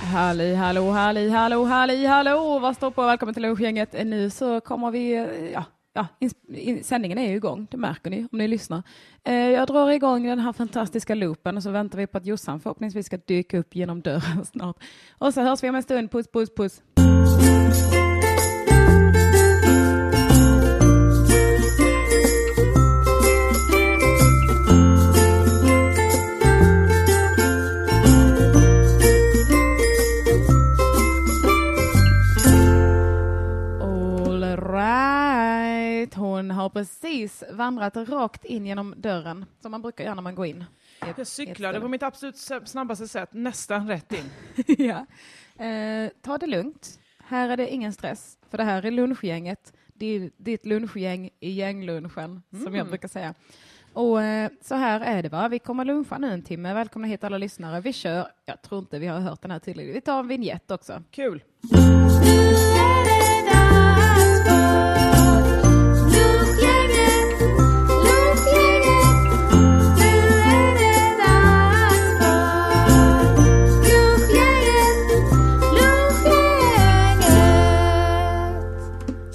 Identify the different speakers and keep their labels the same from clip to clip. Speaker 1: Halli hallå, halli hallå, halli hallå, vad står på? Välkommen till Lunchgänget. Eh, Nu så kommer vi, eh, ja, ja ins- in, sändningen är ju igång, det märker ni om ni lyssnar. Eh, jag drar igång den här fantastiska loopen och så väntar vi på att Jossan förhoppningsvis ska dyka upp genom dörren snart. Och så hörs vi om en stund, puss, puss, puss. All right. Hon har precis vandrat rakt in genom dörren, som man brukar göra när man går in. i ett-
Speaker 2: Jag
Speaker 1: i ett
Speaker 2: cyklade
Speaker 1: ställe.
Speaker 2: på mitt absolut s- snabbaste sätt, nästan rätt in.
Speaker 1: ja. eh, ta det lugnt. Här är det ingen stress, för det här är lunchgänget. Det är ditt lunchgäng i gänglunchen, som
Speaker 2: Mm.
Speaker 1: jag brukar säga. Och eh, så här är det, va? vi kommer luncha nu en timme. Välkomna hit alla lyssnare. Vi kör, jag tror inte vi har hört den här tydligen. Vi tar en vignett också.
Speaker 2: Kul!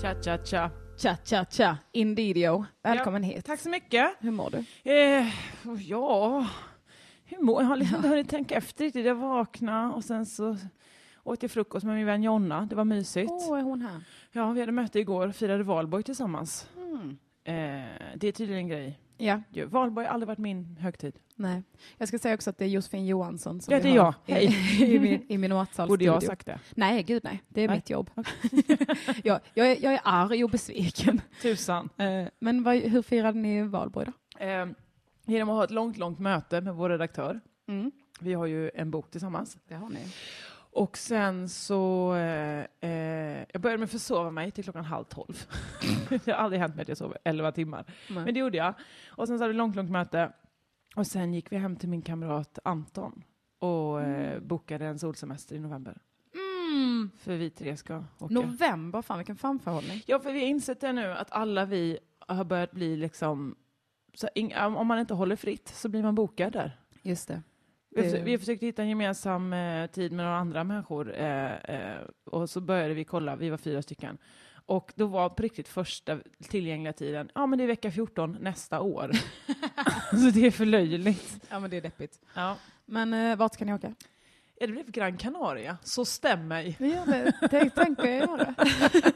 Speaker 2: Tja, tja, tja.
Speaker 1: Tja, tja, tja, Indidio. Välkommen hit.
Speaker 2: Tack så mycket.
Speaker 1: Hur mår du?
Speaker 2: Eh, ja, hur mår jag? har liksom inte hunnit tänka efter riktigt. Jag vaknade och sen så åt jag frukost med min vän Jonna. Det var mysigt.
Speaker 1: Åh, är hon här?
Speaker 2: Ja, vi hade möte igår och firade valborg tillsammans. Eh, det är tydligen en grej.
Speaker 1: Ja,
Speaker 2: Ju, Valborg har aldrig varit min högtid.
Speaker 1: nej. Jag ska säga också att det är Josefin Johansson som
Speaker 2: Ja,
Speaker 1: vi
Speaker 2: det är
Speaker 1: har
Speaker 2: jag.
Speaker 1: I, i min, i min matsalstudio.
Speaker 2: Borde jag ha sagt det?
Speaker 1: Nej, gud nej. Det är
Speaker 2: Nej.
Speaker 1: mitt jobb. jag, jag, är, jag är arg och besviken.
Speaker 2: Tusan.
Speaker 1: Eh, Men vad, hur firade ni valborg då?
Speaker 2: Eh, genom att ha ett långt, långt möte med vår redaktör.
Speaker 1: Mm.
Speaker 2: Vi har ju en bok tillsammans.
Speaker 1: Det har ni.
Speaker 2: Och sen så... Eh, eh, jag började med att försova mig till klockan halv tolv. det har aldrig hänt mig att jag sover elva timmar.
Speaker 1: Nej.
Speaker 2: Men det gjorde jag. Och sen så hade vi ett långt, långt möte. Och sen gick vi hem till min kamrat Anton och eh, bokade en solsemester i november.
Speaker 1: Mm.
Speaker 2: För vi tre ska åka.
Speaker 1: November, fan vilken framförhållning.
Speaker 2: Ja, för vi har insett det nu att alla vi har börjat bli liksom... Så ing- om man inte håller fritt så blir man bokad där.
Speaker 1: Just det.
Speaker 2: Vi,
Speaker 1: Det-
Speaker 2: försö- vi försökte hitta en gemensam eh, tid med några andra människor eh, eh, och så började vi kolla, vi var fyra stycken. Och då var på riktigt första tillgängliga tiden, ja men det är vecka 14 nästa år. så det är för löjligt.
Speaker 1: Ja men det är deppigt.
Speaker 2: Ja.
Speaker 1: Men eh, vart ska ni åka?
Speaker 2: Ja, det blev Gran Canaria, så stäm mig.
Speaker 1: Vi gör det. Tänk, tänkte jag göra.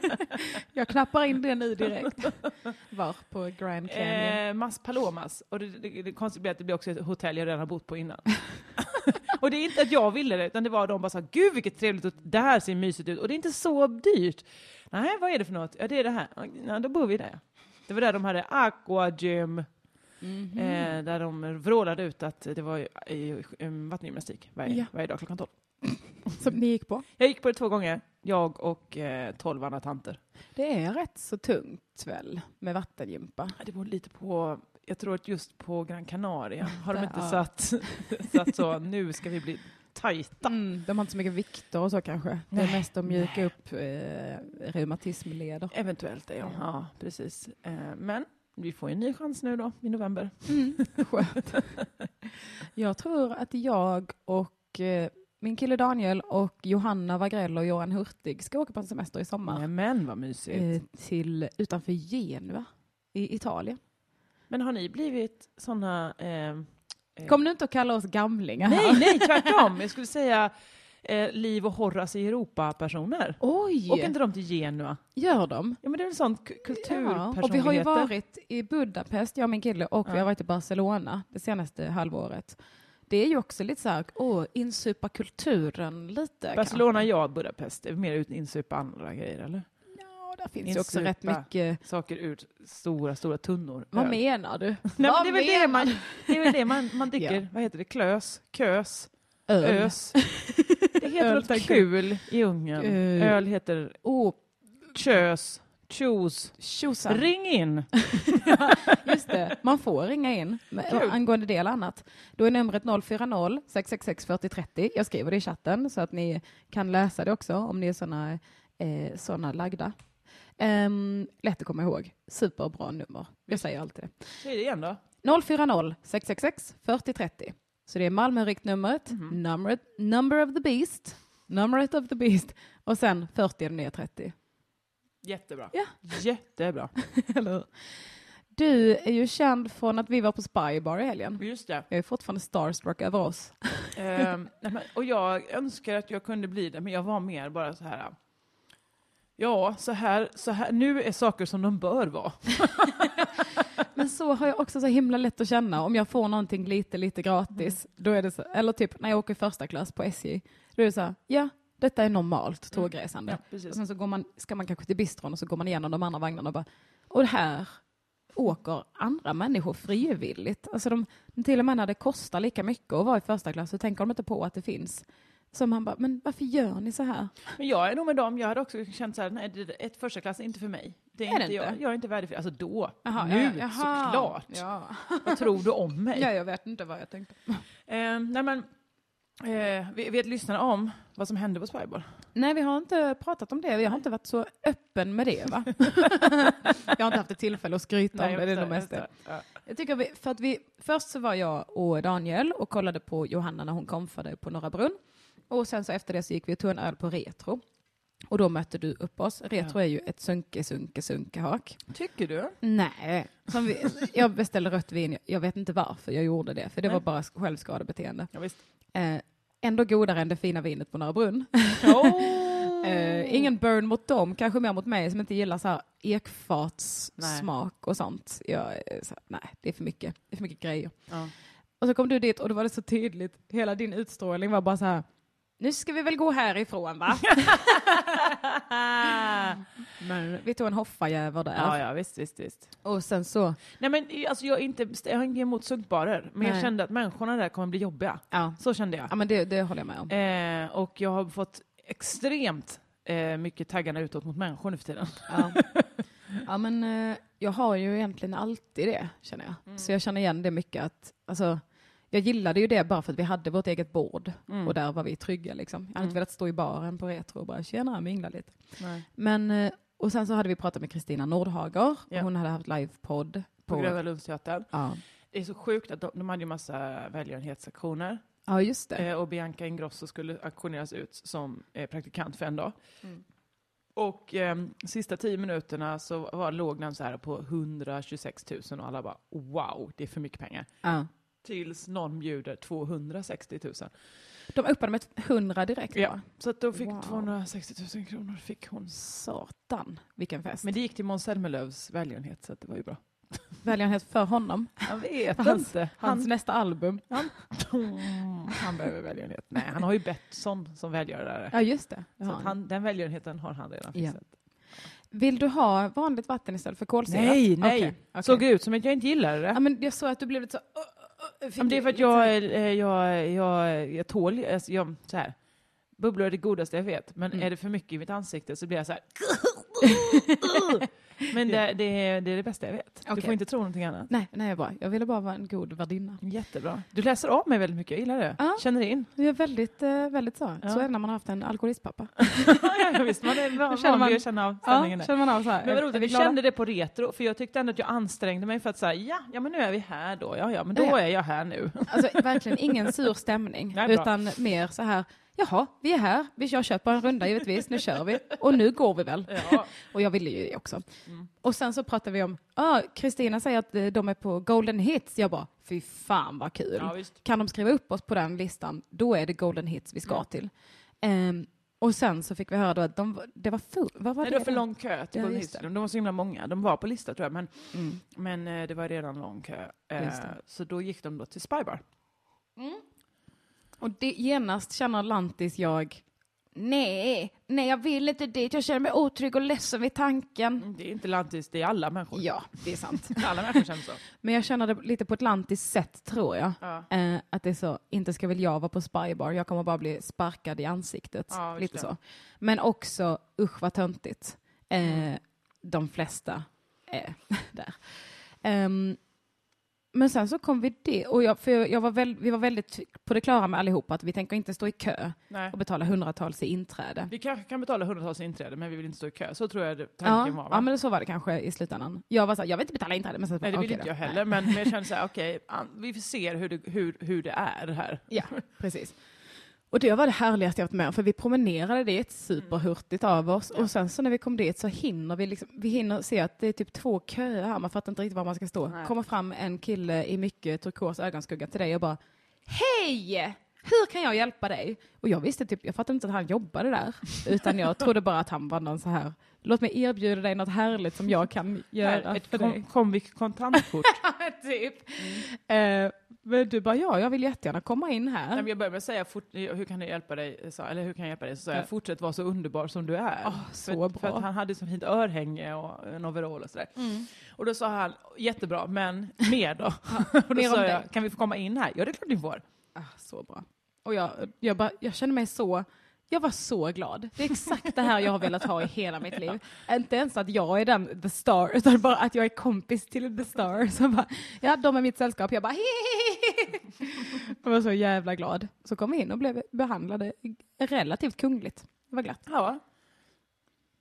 Speaker 1: jag knappar in det nu direkt. Var på Grand Canyon.
Speaker 2: Eh, Mas Palomas, och det, det, det konstiga blir att det blir också ett hotell jag redan har bott på innan. och det är inte att jag ville det, utan det var de bara sa, gud vilket trevligt, hot- det här ser mysigt ut, och det är inte så dyrt. Nej, vad är det för något? Ja, det är det här. Ja, då bor vi där. Det var där de hade aquagym,
Speaker 1: mhm.
Speaker 2: eh, där de vrålade ut att det var ju, eh, vattengymnastik varje,
Speaker 1: Ja.
Speaker 2: varje dag klockan 12.
Speaker 1: Som ni gick på.
Speaker 2: Jag gick på det två gånger, jag och eh, 12 andra tanter.
Speaker 1: Det är rätt så tungt väl med vattengympa.
Speaker 2: Ja, Det beror lite på, jag tror att just på Gran Canaria har de
Speaker 1: Där,
Speaker 2: inte
Speaker 1: ja.
Speaker 2: satt, satt så, nu ska vi bli tajta.
Speaker 1: Mm, de har inte så mycket vikter och så kanske. Det är
Speaker 2: Nej.
Speaker 1: mest de mjuka upp eh, reumatismleder.
Speaker 2: Eventuellt, ja.
Speaker 1: Ja.
Speaker 2: ja precis. Eh, Men vi får ju en ny chans nu då, i november.
Speaker 1: Skönt. jag tror att jag och eh, min kille Daniel och Johanna Wagrell och Göran Hurtig ska åka på en semester i sommar.
Speaker 2: Nej, men vad mysigt.
Speaker 1: eh, till utanför Genua i Italien.
Speaker 2: Men har ni blivit såna... Eh, eh,
Speaker 1: Kom nu inte och kalla oss gamlingar här.
Speaker 2: nej, nej, tvärtom. Jag skulle säga eh, Liv och Horace i Europa-personer.
Speaker 1: Oj!
Speaker 2: Åker inte de till Genua?
Speaker 1: Gör de?
Speaker 2: Ja, men det är väl sånt k- kulturpersonligheter?
Speaker 1: och vi har ju varit i Budapest, jag och min kille, och vi
Speaker 2: Ja.
Speaker 1: har varit i Barcelona det senaste halvåret. Det är ju också lite så här, åh, insupa kulturen lite.
Speaker 2: Barcelona, ja, Budapest. Det är mer ut insupa andra grejer, eller?
Speaker 1: kanske. Ja, där finns ju också
Speaker 2: Insupa.
Speaker 1: rätt mycket.
Speaker 2: saker ur stora, stora tunnor.
Speaker 1: Vad
Speaker 2: Öl.
Speaker 1: menar du?
Speaker 2: Nej, men
Speaker 1: Vad
Speaker 2: det, är väl det,
Speaker 1: menar
Speaker 2: man, det är väl det man, man dricker,
Speaker 1: Ja.
Speaker 2: vad heter det, klös, kös,
Speaker 1: du? Öl.
Speaker 2: ös. Det heter
Speaker 1: Öl,
Speaker 2: något
Speaker 1: tack.
Speaker 2: kul i Ungern.
Speaker 1: Öl.
Speaker 2: Öl heter
Speaker 1: Åh,
Speaker 2: kös, tjos.
Speaker 1: tjosan.
Speaker 2: Ring in!
Speaker 1: Just det, man får ringa in med,
Speaker 2: Kul.
Speaker 1: angående det eller annat. Då är numret 040 666 4030. Jag skriver det i chatten så att ni kan läsa det också om ni är såna, eh, såna lagda. Ehm, lätt att komma ihåg. Superbra nummer. Jag säger alltid det.
Speaker 2: Säg det igen då.
Speaker 1: 040 Mhm. 666 4030. Så det är Malmö riktnumret, number, number of the beast. Numerate of the Beast och sen 40 är den nya 30.
Speaker 2: Jättebra.
Speaker 1: Ja.
Speaker 2: Jättebra.
Speaker 1: Eller hur? Du är ju känd från att vi var på Spy Bar i helgen.
Speaker 2: Just det.
Speaker 1: Jag är fortfarande starstruck över oss.
Speaker 2: Ehm, nej, men- och jag önskar att jag kunde bli det, men jag var mer bara så här. Ja, så här, så här, nu är saker som de bör vara.
Speaker 1: Men så har jag också så himla lätt att känna. Om jag får någonting lite, lite gratis, då är det så. Eller typ när jag åker första klass på SJ, då är det så här, ja, detta är normalt tågresande. Och
Speaker 2: precis.
Speaker 1: sen så går man, ska man kanske till bistron och så går man igenom de andra vagnarna och bara, och här åker andra människor frivilligt. Alltså de, till och med när det kostar lika mycket att vara i första klass så tänker de inte på att det finns. Så man bara, men varför gör ni så här?
Speaker 2: Men jag är nog med dem, jag hade också känt så här, nej, det- det- ett första klass är inte för mig. Det är,
Speaker 1: Är det
Speaker 2: inte jag,
Speaker 1: inte?
Speaker 2: jag är inte värdig för Alltså då,
Speaker 1: Jaha,
Speaker 2: nu,
Speaker 1: ja, jaha.
Speaker 2: såklart.
Speaker 1: Ja.
Speaker 2: Vad tror du om mig?
Speaker 1: ja, jag vet inte vad jag tänkte.
Speaker 2: Eh, nej men, eh, vet, vet lyssnarna om vad som hände på Spybar?
Speaker 1: Nej, vi har inte pratat om det. Jag har inte varit så öppen med det, va? jag har inte haft ett tillfälle att skryta om det. det är nog mest det.
Speaker 2: Ja.
Speaker 1: Jag tycker vi, för att vi, först så var jag och Daniel och kollade på Johanna när hon kom för dig på Norra Brunn. Och sen så efter det så gick vi och tog en öl på Retro. Och då mötte du upp oss. Retro är ju ett sunke, sunke, sunkehak.
Speaker 2: Tycker du?
Speaker 1: Nej, som vi, jag beställde rött vin. Jag vet inte varför jag gjorde det, för det
Speaker 2: Nej.
Speaker 1: var bara självskadebeteende.
Speaker 2: Ja, visst.
Speaker 1: Eh, ändå godare än det fina vinet på Norra Brunn.
Speaker 2: Oh!
Speaker 1: Eh, ingen burn mot dem, kanske mer mot mig som inte gillar så här
Speaker 2: Nej.
Speaker 1: ekfatssmak och sånt. Jag, är så här, nej, det är för mycket. Det är för mycket grejer.
Speaker 2: Ja.
Speaker 1: Och så kom du dit och då var det så tydligt, hela din utstrålning var bara så här, nu ska vi väl gå härifrån va? Men vi tog en hoffajäver där.
Speaker 2: ja, ja, visst, visst, visst.
Speaker 1: Och sen så,
Speaker 2: Nej men eh, alltså jag, är inte, jag har inget emot sunkbarer, men jag
Speaker 1: Nej.
Speaker 2: kände att människorna där kommer bli jobbiga.
Speaker 1: ja,
Speaker 2: Så kände
Speaker 1: ja
Speaker 2: jag.
Speaker 1: men det, det håller jag med om.
Speaker 2: Eh, och jag har fått extremt eh, mycket taggarna utåt mot människor nu för tiden.
Speaker 1: Ja, ja men eh, jag har ju egentligen alltid det, känner jag.
Speaker 2: Mm.
Speaker 1: Så jag känner igen det mycket att, alltså, jag gillade ju det bara för att vi hade vårt eget bord
Speaker 2: Mm.
Speaker 1: och där var vi trygga liksom. Jag hade inte velat stå i baren på Retro och bara tjena, mingla lite. Men, eh, och sen så hade vi pratat med Kristina Nordhager,
Speaker 2: Ja.
Speaker 1: hon hade haft livepodd
Speaker 2: På
Speaker 1: på...
Speaker 2: Gröna Lundsteatern.
Speaker 1: ja.
Speaker 2: Det är så sjukt att de, de hade ju massa välgörenhetsaktioner
Speaker 1: ja, just det.
Speaker 2: eh, och Bianca Ingrosso skulle auktioneras ut som eh, praktikant för en dag.
Speaker 1: Mm.
Speaker 2: Och ehm, sista tio minuterna så var, låg den så här på 126 000 och alla bara wow, det är för mycket pengar.
Speaker 1: Ja.
Speaker 2: Tills någon bjuder 260 000.
Speaker 1: De öppnade med 100 direkt.
Speaker 2: Ja.
Speaker 1: va?
Speaker 2: Så att då fick
Speaker 1: Wow.
Speaker 2: 260 000 kronor fick hon.
Speaker 1: Satan, vilken fest.
Speaker 2: Men det gick till Måns Zelmerlöws välgörenhet så att det var ju bra.
Speaker 1: Välgörenhet för honom.
Speaker 2: Jag vet
Speaker 1: Hans-
Speaker 2: inte.
Speaker 1: Hans
Speaker 2: Han,
Speaker 1: nästa album.
Speaker 2: Mm, han behöver välgörenhet. Nej, han har ju Betsson som välgörare.
Speaker 1: Ja, just det. det.
Speaker 2: Så
Speaker 1: har
Speaker 2: att
Speaker 1: han.
Speaker 2: han, den välgörenheten har han redan
Speaker 1: Ja.
Speaker 2: fixat.
Speaker 1: Vill du ha vanligt vatten istället för kolsyra?
Speaker 2: Nej, nej.
Speaker 1: Okej, okej.
Speaker 2: Såg ut som att jag inte gillade det.
Speaker 1: Ja, men jag såg att du blev lite så... "Åh, åh, åh", fick
Speaker 2: Men det är för att
Speaker 1: lite så här-
Speaker 2: jag, är- eh, jag, jag, jag tål alltså jag, så här. Bubblor är det godaste jag vet, men
Speaker 1: Mm.
Speaker 2: är det för mycket i mitt ansikte så blir jag så här. men det, det, är, det är det bästa jag vet. Du
Speaker 1: Okej.
Speaker 2: får inte tro någonting annat.
Speaker 1: Nej, nej, bra. Jag ville bara vara en god värdinna.
Speaker 2: Jättebra. Du läser av mig väldigt mycket, jag gillar det.
Speaker 1: Mm. Ja.
Speaker 2: Känner in.
Speaker 1: Jag är väldigt, eh, väldigt så.
Speaker 2: Ja.
Speaker 1: Så är det när man har haft en alkoholistpappa.
Speaker 2: ja, visst, man är van-
Speaker 1: känner man-
Speaker 2: vanlig att känna av stämningen. där.
Speaker 1: känner man av så här.
Speaker 2: Men vad roligt,
Speaker 1: är
Speaker 2: att vi
Speaker 1: glada?
Speaker 2: kände det på retro, för jag tyckte ändå att jag ansträngde mig för att säga ja, ja men nu är vi här då, ja ja, men då
Speaker 1: Ja, ja.
Speaker 2: är jag här nu.
Speaker 1: Alltså verkligen ingen sur stämning,
Speaker 2: Nej, bra.
Speaker 1: utan mer så här, jaha, vi är här, vi kör köper en runda givetvis, nu kör vi, och nu går vi väl.
Speaker 2: Ja.
Speaker 1: Och jag ville ju det också.
Speaker 2: Mm.
Speaker 1: Och sen så pratade vi om, ah, Kristina säger att eh, de är på Golden Hits, jag bara, fy fan vad kul.
Speaker 2: Ja, visst.
Speaker 1: kan de skriva upp oss på den listan, då är det Golden Hits vi ska till. Ehm, och sen så fick vi höra då att de, var- det var full, vad var
Speaker 2: Nej,
Speaker 1: det?
Speaker 2: det var för lång kö till
Speaker 1: Ja,
Speaker 2: Golden
Speaker 1: just
Speaker 2: Hits. De var så himla många. De var på lista tror jag, men,
Speaker 1: Mm.
Speaker 2: men eh, det var redan lång kö. Eh,
Speaker 1: Just det.
Speaker 2: Så då gick de då till Spybar.
Speaker 1: Och det genast känner Lantis jag, nej, nej jag vill inte dit, jag känner mig otrygg och ledsen vid tanken.
Speaker 2: Mm, Det är inte lantis, det är alla människor.
Speaker 1: Ja, det är sant.
Speaker 2: Alla människor känner så.
Speaker 1: Men jag känner det lite på ett lantiskt sätt tror jag.
Speaker 2: Ja.
Speaker 1: Eh, att det är så, inte ska väl jag vara på spybar, jag kommer bara bli sparkad i ansiktet.
Speaker 2: Ja, visst
Speaker 1: lite
Speaker 2: det.
Speaker 1: så. Men också, usch vad töntigt. Eh,
Speaker 2: Mm.
Speaker 1: De flesta är där. Ehm, men sen så kom vi det, och jag, för jag var väl, vi var väldigt på det klara med allihopa att vi tänker inte stå i kö
Speaker 2: Nej.
Speaker 1: och betala hundratals i inträde.
Speaker 2: Vi kanske kan betala hundratals inträde, men vi vill inte stå i kö. Så tror jag det-
Speaker 1: Ja,
Speaker 2: tanken var. Va?
Speaker 1: ja, men så var det kanske i slutändan. Jag var så här, jag vill inte betala inträde. Men sen,
Speaker 2: Nej, det vill
Speaker 1: okej
Speaker 2: inte
Speaker 1: då.
Speaker 2: jag
Speaker 1: Nej.
Speaker 2: heller, men, men jag känner så här, okej, an- vi får se hur det, hur, hur det är här.
Speaker 1: Ja, precis. Och det var det härligaste jag varit med om, för vi promenerade dit superhurtigt av oss och sen så när vi kom dit så hinner vi, liksom, vi hinner se att det är typ två köer här, man fattar inte riktigt var man ska stå.
Speaker 2: Nej.
Speaker 1: Kommer fram en kille i mycket turkos ögonskugga till dig och bara Hej! Hur kan jag hjälpa dig? Och jag visste typ, jag fattade inte att han jobbade där, utan jag trodde bara att han var någon så här, låt mig erbjuda dig något härligt som jag kan göra
Speaker 2: Här, ett
Speaker 1: för dig.
Speaker 2: kom, komvik kontantkort.
Speaker 1: typ. Eh, men du bara, ja, jag vill jättegärna komma in här.
Speaker 2: Nej, men jag började med att säga, fort, hur kan jag hjälpa dig? sa- Eller hur kan jag hjälpa dig? Så sa
Speaker 1: Ja.
Speaker 2: jag, fortsätt vara så underbar som du är.
Speaker 1: Åh, så
Speaker 2: för,
Speaker 1: bra. Mm.
Speaker 2: för att han hade så fint örhänge och en overall och sådär. Och då sa han, jättebra, men mer då? och då
Speaker 1: mer om
Speaker 2: sa
Speaker 1: dig.
Speaker 2: jag, kan vi få komma in här? Ja, det är klart ni får.
Speaker 1: Ah, så bra. Och jag, jag, bara, jag kände mig så, jag var så glad. Det är exakt det här jag har velat ha i hela mitt liv. Inte ens att jag är den, the star, utan bara att jag är kompis till the star. Så bara, ja, de är mitt sällskap. Jag bara hehehe. Jag var så jävla glad. Så kom vi in och blev behandlade relativt kungligt. Det var glatt.
Speaker 2: Ja.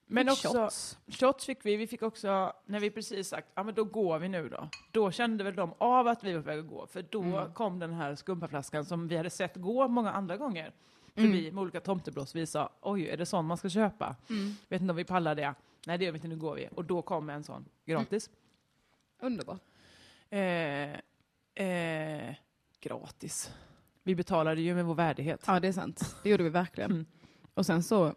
Speaker 2: Men
Speaker 1: Fick
Speaker 2: också,
Speaker 1: shots.
Speaker 2: Shots fick vi. Vi fick också, när vi precis sagt, ja men då går vi nu då. Då kände väl de av att vi var på väg att gå, för då
Speaker 1: Mm.
Speaker 2: kom den här skumpaflaskan som vi hade sett gå många andra gånger förbi
Speaker 1: Mm.
Speaker 2: med olika tomteblås. Vi sa, oj, är det sån man ska köpa?
Speaker 1: Mm.
Speaker 2: Vet inte om vi pallar det. Nej, det gör vi inte, nu går vi. Och då kom en sån, gratis.
Speaker 1: Underbart.
Speaker 2: Eh, eh, gratis. Vi betalade ju med vår värdighet.
Speaker 1: Ja, det är sant. Det gjorde vi verkligen.
Speaker 2: Mm.
Speaker 1: Och sen så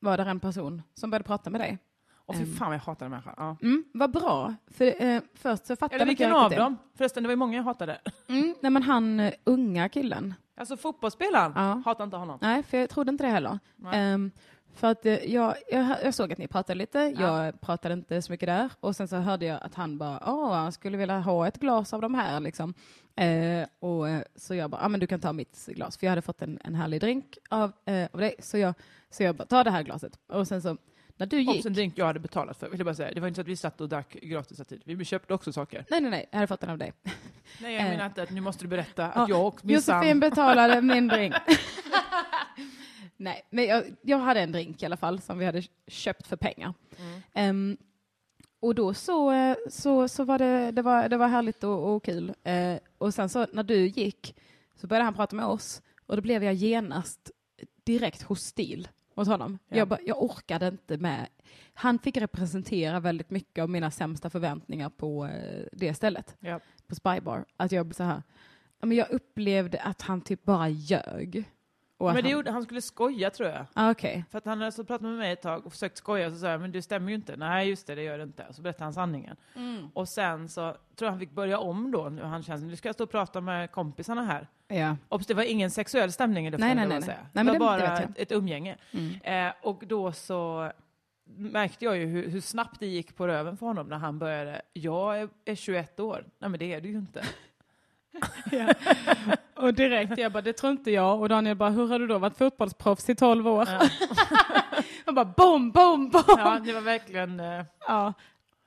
Speaker 1: var det en person som började prata med dig.
Speaker 2: Och fy
Speaker 1: Ehm.
Speaker 2: fan vad jag hatar den människan. Ja.
Speaker 1: Mm, vad bra. För eh, först så fattade
Speaker 2: Eller
Speaker 1: inte
Speaker 2: vilken
Speaker 1: jag
Speaker 2: av
Speaker 1: riktigt det.
Speaker 2: dem? Förresten, det var ju många jag hatade.
Speaker 1: Mm, nej men han eh, unga killen.
Speaker 2: Alltså fotbollsspelaren,
Speaker 1: Ja.
Speaker 2: hatar inte honom.
Speaker 1: Nej, för jag trodde inte det heller.
Speaker 2: Nej.
Speaker 1: Ehm, för att eh, jag, jag, jag såg att ni pratade lite,
Speaker 2: Ja.
Speaker 1: jag pratade inte så mycket där. Och sen så hörde jag att han bara, åh, han skulle vilja ha ett glas av de här liksom. Eh, och, eh, så jag bara, ja men du kan ta mitt glas, för jag hade fått en, en härlig drink av, eh, av dig. Så jag, så jag bara, ta det här glaset. Och sen så, när du gick,
Speaker 2: Obs! En drink jag hade betalat för, vill jag bara säga. Det var inte så att vi satt och drack gratis hela tiden. Vi köpte också saker.
Speaker 1: nej nej nej, jag hade fått den av dig.
Speaker 2: Nej, jag
Speaker 1: Eh.
Speaker 2: menar inte att nu måste du berätta
Speaker 1: Ja,
Speaker 2: att jag och min
Speaker 1: Josefin
Speaker 2: sam...
Speaker 1: betalade min drink. Nej, men jag, jag hade en drink i alla fall som vi hade köpt för pengar.
Speaker 2: Mm.
Speaker 1: Ehm, och då så, eh, så, så var det, det, var, det var härligt och, och kul. Eh, och sen så när du gick så började han prata med oss och då blev jag genast direkt hostil mot honom.
Speaker 2: Ja.
Speaker 1: Jag, bara- jag orkade inte med. Han fick representera väldigt mycket av mina sämsta förväntningar på eh, det stället
Speaker 2: Ja.
Speaker 1: på Spybar. Att jag så här, ja, men jag upplevde att han typ bara ljög. Och att
Speaker 2: Men det
Speaker 1: han,
Speaker 2: gjorde, han skulle skoja tror jag.
Speaker 1: ah, okej.
Speaker 2: För att han hade så pratat med mig ett tag och försökt skoja och så sa jag, men det stämmer ju inte. Nej, just det, det gör det inte. Och så berättade han sanningen.
Speaker 1: Mm.
Speaker 2: Och sen så tror jag han fick börja om då. Nu Han kände, nu ska jag stå och prata med kompisarna här.
Speaker 1: Ja.
Speaker 2: Obs, det var ingen sexuell stämning i luften.
Speaker 1: Nej, nej,
Speaker 2: vill jag
Speaker 1: nej,
Speaker 2: säga.
Speaker 1: nej. Nej, men
Speaker 2: det var
Speaker 1: det- det
Speaker 2: bara
Speaker 1: vet jag.
Speaker 2: ett, ett umgänge.
Speaker 1: mm.
Speaker 2: Eh, och då så märkte jag ju hur, hur snabbt det gick på röven för honom när han började. Jag är, är 21 år. Nej, men det är du ju inte.
Speaker 1: Och direkt, jag bara, det tror inte jag. Och Daniel bara, hur har du då varit fotbollsproffs i tolv år?
Speaker 2: Ja.
Speaker 1: Han bara, bom, bom, bom!
Speaker 2: Ja, det var verkligen... Eh,
Speaker 1: Ja.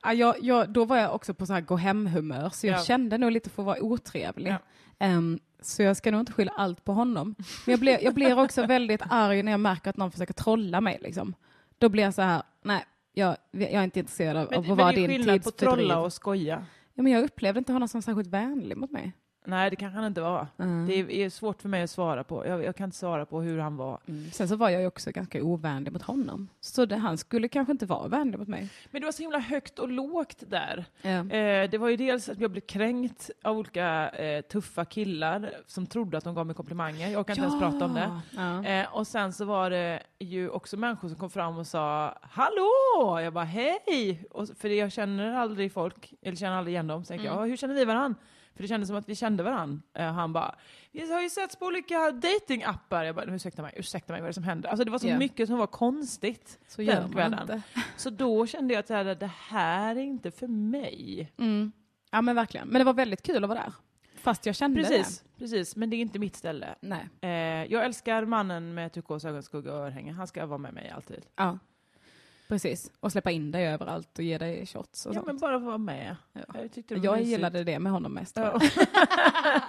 Speaker 1: Ja, jag, jag, då var jag också på så här gå hem-humör, så jag
Speaker 2: Ja.
Speaker 1: kände nog lite för att vara otrevlig.
Speaker 2: Ja.
Speaker 1: Ehm, så jag ska nog inte skylla allt på honom. Men jag blir, jag blir också väldigt arg när jag märker att någon försöker trolla mig. Liksom. Då blir jag så här, nej, jag, jag är inte intresserad av
Speaker 2: men,
Speaker 1: att
Speaker 2: men det
Speaker 1: vara
Speaker 2: är
Speaker 1: din
Speaker 2: skillnad på
Speaker 1: tidsfördriv.
Speaker 2: trolla och skoja.
Speaker 1: Ja, men jag upplevde inte honom som särskilt vänlig mot mig.
Speaker 2: Nej, det kanske han inte var.
Speaker 1: Mm.
Speaker 2: Det är, är svårt för mig att svara på. Jag, jag kan inte svara på hur han var.
Speaker 1: mm. Sen så var jag ju också ganska ovänlig mot honom. Så det, han skulle kanske inte vara vänlig mot mig.
Speaker 2: Men det var så himla högt och lågt där.
Speaker 1: Ja.
Speaker 2: Eh, det var ju dels att jag blev kränkt av olika eh, tuffa killar som trodde att de gav mig komplimanger. Jag kan inte ens prata om det.
Speaker 1: Ja.
Speaker 2: Eh, och sen så var det ju också människor som kom fram och sa ”Hallå!” Jag bara ”Hej!” och, så- För jag känner aldrig folk, eller känner aldrig igen dem. Så tänkte
Speaker 1: Mm.
Speaker 2: jag "Ja, ”Hur känner vi varann?” För det kändes som att vi kände varann. Eh, han bara ”Vi har ju setts på olika datingappar. Jag bara "Men “Ursäkta mig, ursäkta mig, vad är det som händer?” Alltså det var så
Speaker 1: Ja.
Speaker 2: mycket som var konstigt.
Speaker 1: Så gör
Speaker 2: den
Speaker 1: man
Speaker 2: kvällen.
Speaker 1: inte.
Speaker 2: Så då kände jag att det här, det här är inte för mig.
Speaker 1: Mm. Ja men verkligen. Men det var väldigt kul att vara där. Fast jag kände
Speaker 2: Precis, precis, men det är inte mitt ställe.
Speaker 1: det. Nej.
Speaker 2: Eh, jag älskar mannen med turkos ögonskugga och örhänge. Han ska vara med mig alltid.
Speaker 1: Ja. Precis. Och släppa in dig överallt och ge dig shots och
Speaker 2: Ja,
Speaker 1: sånt.
Speaker 2: men bara vara med.
Speaker 1: Ja.
Speaker 2: Jag, tyckte det var
Speaker 1: Jag
Speaker 2: mysigt.
Speaker 1: gillade det med honom mest. tror jag.
Speaker 2: Ja.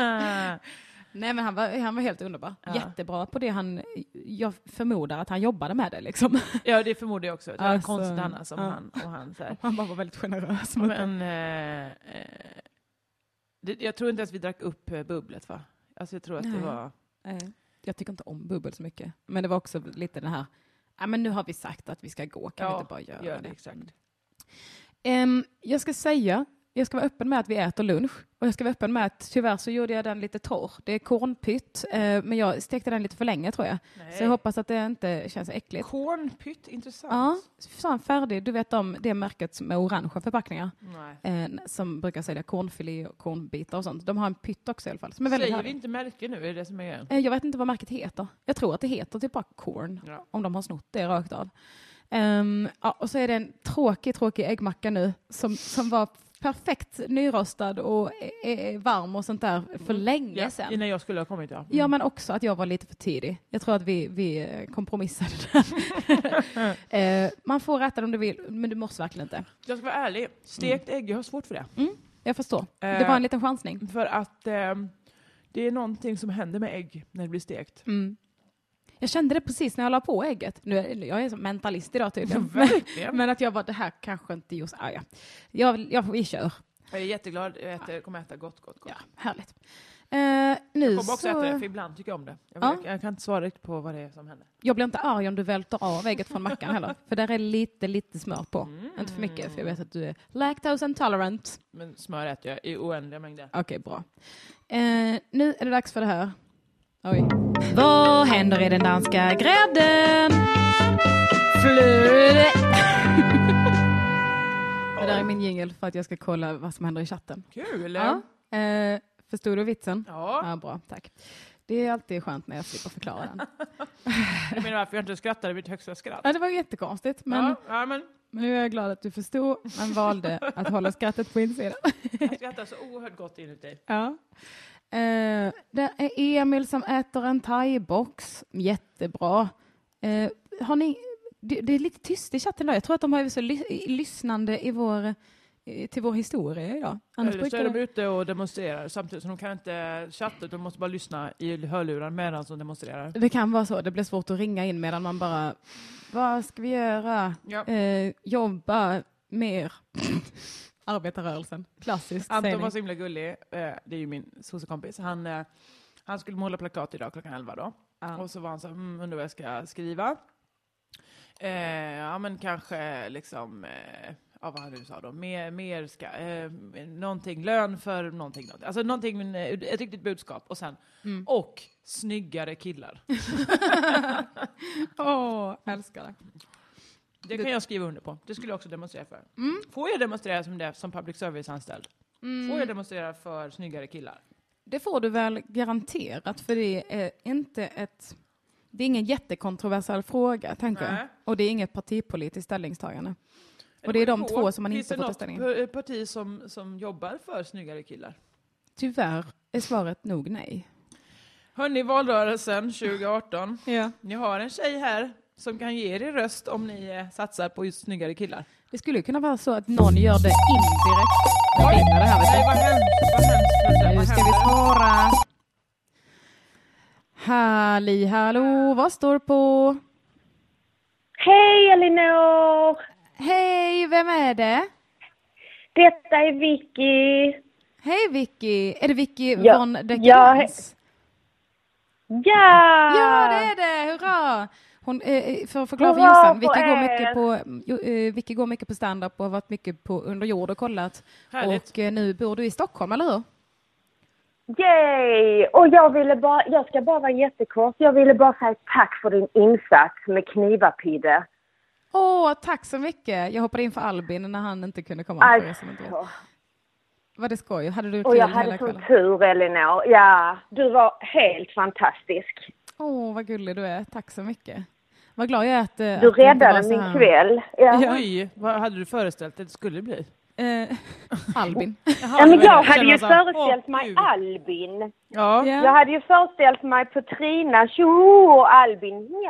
Speaker 1: Nej men han var, han var helt underbar.
Speaker 2: Ja.
Speaker 1: Jättebra på det han, jag förmodar att han jobbade med det liksom.
Speaker 2: ja, det förmodar jag också. Det var
Speaker 1: Alltså,
Speaker 2: konstigt annars som
Speaker 1: ja.
Speaker 2: han och han. Så här.
Speaker 1: Han bara var väldigt generös mot det.
Speaker 2: Men, eh, eh, det, jag tror inte att vi drack upp eh, bubblet va? Alltså jag tror att
Speaker 1: Nej.
Speaker 2: det var...
Speaker 1: Nej. jag tycker inte om bubbel så mycket. Men det var också lite den här, ja men nu har vi sagt att vi ska gå, kan vi
Speaker 2: Ja,
Speaker 1: inte bara göra
Speaker 2: gör det,
Speaker 1: det?
Speaker 2: exakt.
Speaker 1: Ehm, jag ska säga, jag ska vara öppen med att vi äter lunch och jag ska vara öppen med att tyvärr så gjorde jag den lite torr. Det är kornpytt, eh, men jag stekte den lite för länge tror jag.
Speaker 2: Nej.
Speaker 1: Så jag hoppas att det inte känns äckligt.
Speaker 2: Cornpytt, intressant.
Speaker 1: Ja, sån färdig. Du vet om det märket med orangea förpackningar
Speaker 2: Nej.
Speaker 1: eh, som brukar sälja kornfilé och kornbitar och sånt. De har en pytt också i alla fall som är väldigt
Speaker 2: Säger vi
Speaker 1: härlig.
Speaker 2: inte märke nu? Är det det som är grejen?
Speaker 1: Eh, Jag vet inte vad märket heter. Jag tror att det heter typ bara corn,
Speaker 2: Ja.
Speaker 1: om de har snott det rakt av. Ehm, ja, och så är det en tråkig, tråkig äggmacka nu som, som var perfekt nyrostad och är, är varm och sånt där för länge
Speaker 2: Mm. Ja,
Speaker 1: sedan.
Speaker 2: innan jag skulle ha kommit, ja. Mm.
Speaker 1: Ja, men också att jag var lite för tidig. Jag tror att vi, vi eh, kompromissade där. Eh, man får äta det om du vill, men du måste verkligen inte.
Speaker 2: Jag ska vara ärlig, stekt
Speaker 1: Mm.
Speaker 2: ägg, jag har svårt för det.
Speaker 1: Jag förstår. Det
Speaker 2: Eh,
Speaker 1: var en liten chansning.
Speaker 2: För att ehm, det är någonting som händer med ägg när det blir stekt.
Speaker 1: Mm. Jag kände det precis när jag la på ägget. Nu är, jag är som mentalist idag tydligen.
Speaker 2: Verkligen.
Speaker 1: Men att jag var det här kanske inte just... Ah, ja. jag, jag, vi kör.
Speaker 2: Jag är jätteglad, jag äter, kommer äta gott, gott, gott.
Speaker 1: Ja, härligt. Eh, nu
Speaker 2: Jag kommer också
Speaker 1: så,
Speaker 2: äta det, för ibland tycker jag om det. Jag,
Speaker 1: Ja.
Speaker 2: jag, jag kan inte svara riktigt på vad det är som händer.
Speaker 1: jag blir inte arg om du välter av ägget från mackan heller. För där är lite, lite smör på.
Speaker 2: Mm.
Speaker 1: Inte för mycket, för jag vet att du är lactose intolerant.
Speaker 2: Men smör äter jag i oändliga mängder.
Speaker 1: Okej, bra. Eh, nu är det dags för det här. Oj. Vad händer i den danska grädden? Flöde. det där är min jingel för att jag ska kolla vad som händer i chatten.
Speaker 2: Kul!
Speaker 1: Ja. Eh, förstod du vitsen?
Speaker 2: Ja,
Speaker 1: Ja, bra. Tack. Det är alltid skönt när jag slipper förklara den.
Speaker 2: jag menar varför jag inte skrattade mitt högsta skratt.
Speaker 1: Ja, det var ju jättekonstigt, men,
Speaker 2: Ja, ja, men
Speaker 1: men nu är jag glad att du förstod men valde att hålla skrattet på insidan.
Speaker 2: jag skrattar så oerhört gott inuti.
Speaker 1: Ja. Eh, det är Emil som äter en thaibox. Jättebra. Eh, har ni, det, det är lite tyst i chatten idag. Jag tror att de har varit så ly, lyssnande i vår, eh, till vår historia idag. Annars
Speaker 2: Eller så är
Speaker 1: brukar
Speaker 2: de ute och demonstrerar samtidigt, så de kan inte chatta, de måste bara lyssna i hörlurar medan de demonstrerar.
Speaker 1: det kan vara så. Det blir svårt att ringa in medan man bara, vad ska vi göra?
Speaker 2: Ja.
Speaker 1: Eh, jobba mer. Arbetarrörelsen, klassiskt. säger
Speaker 2: Anton
Speaker 1: ni.
Speaker 2: var så himla gullig, eh, det är ju min sossekompis. Han, eh, han skulle måla plakat idag klockan 11 då.
Speaker 1: Ja.
Speaker 2: Och så var han så här, mm, undrar vad jag ska skriva. Eh, ja men kanske liksom, eh, ja vad han nu sa då, mer, mer ska, eh, någonting, lön för någonting. någonting. Alltså någonting, eh, ett riktigt budskap. Och sen,
Speaker 1: Mm.
Speaker 2: och snyggare killar. Mm.
Speaker 1: Åh, älskar det.
Speaker 2: Det kan jag skriva under på. Det skulle jag också demonstrera för.
Speaker 1: Mm.
Speaker 2: Får jag demonstrera som det, som public service-anställd? Får
Speaker 1: Mm.
Speaker 2: jag demonstrera för snyggare killar?
Speaker 1: Det får du väl garanterat, för det är inte ett... Det är ingen jättekontroversiell fråga, tänker
Speaker 2: Nej.
Speaker 1: jag. Och det är inget partipolitiskt ställningstagande. Och det är de två som man inte får ta ställning
Speaker 2: Finns det något p- parti som, som jobbar för snyggare killar?
Speaker 1: Tyvärr är svaret nog nej.
Speaker 2: Hörni, valrörelsen 2018.
Speaker 1: Ja.
Speaker 2: Ni har en tjej här som kan ge er er röst om ni eh, satsar på just snyggare killar.
Speaker 1: Det skulle ju kunna vara så att någon gör det indirekt. Det ringer det här, vet du.
Speaker 2: Nej, vad hemskt! Vad hemskt! Petra,
Speaker 1: Nu
Speaker 2: vad
Speaker 1: ska vi
Speaker 2: hemskt.
Speaker 1: svara. Halli hallå, vad står på?
Speaker 3: Hej Elinor!
Speaker 1: Hej, vem är det?
Speaker 3: Detta är Vicky.
Speaker 1: Hej Vicky! Är det Vicky
Speaker 3: Ja,
Speaker 1: von der
Speaker 3: ja,
Speaker 1: Krantz?
Speaker 3: Ja!
Speaker 1: Ja, det är det! Hurra! Hon, eh, eh, för att förklara för
Speaker 3: Ah. Hurra
Speaker 1: Jossan,
Speaker 3: på
Speaker 1: Vicky går,
Speaker 3: er!
Speaker 1: mycket på, jo, eh, Vicky går mycket på stand-up och har varit mycket på under jord och kollat.
Speaker 2: Härligt.
Speaker 1: Och eh, nu bor du i Stockholm, eller hur?
Speaker 3: Yay! Och jag ville bara, jag ska bara vara jättekort. Jag ville bara säga tack för din insats med Knivapidde.
Speaker 1: Åh, tack så mycket! Jag hoppade in för Albin när han inte kunde komma. för er som inte vet.
Speaker 3: Alltså,
Speaker 1: Var det skoj? Hade du
Speaker 3: och
Speaker 1: kul
Speaker 3: jag
Speaker 1: hela
Speaker 3: hade sån
Speaker 1: kvällen?
Speaker 3: tur Elinor. Ja, du var helt fantastisk.
Speaker 1: Åh, vad gullig du är. Tack så mycket. Vad glad jag är att... eh, att det inte
Speaker 3: Du
Speaker 1: var
Speaker 3: räddade
Speaker 1: så
Speaker 3: min
Speaker 1: här-
Speaker 3: kväll. Ja.
Speaker 1: Ja.
Speaker 2: Oj, vad hade du föreställt dig att det skulle bli?
Speaker 1: Eh, Albin.
Speaker 3: Ja, men jag
Speaker 2: känner
Speaker 3: hade ju
Speaker 2: så här,
Speaker 3: föreställt
Speaker 2: åh,
Speaker 3: mig
Speaker 2: gud.
Speaker 3: Albin.
Speaker 2: Ja, ja,
Speaker 1: Ja.
Speaker 3: Jag hade ju föreställt mig Petrina, tjo och Albin.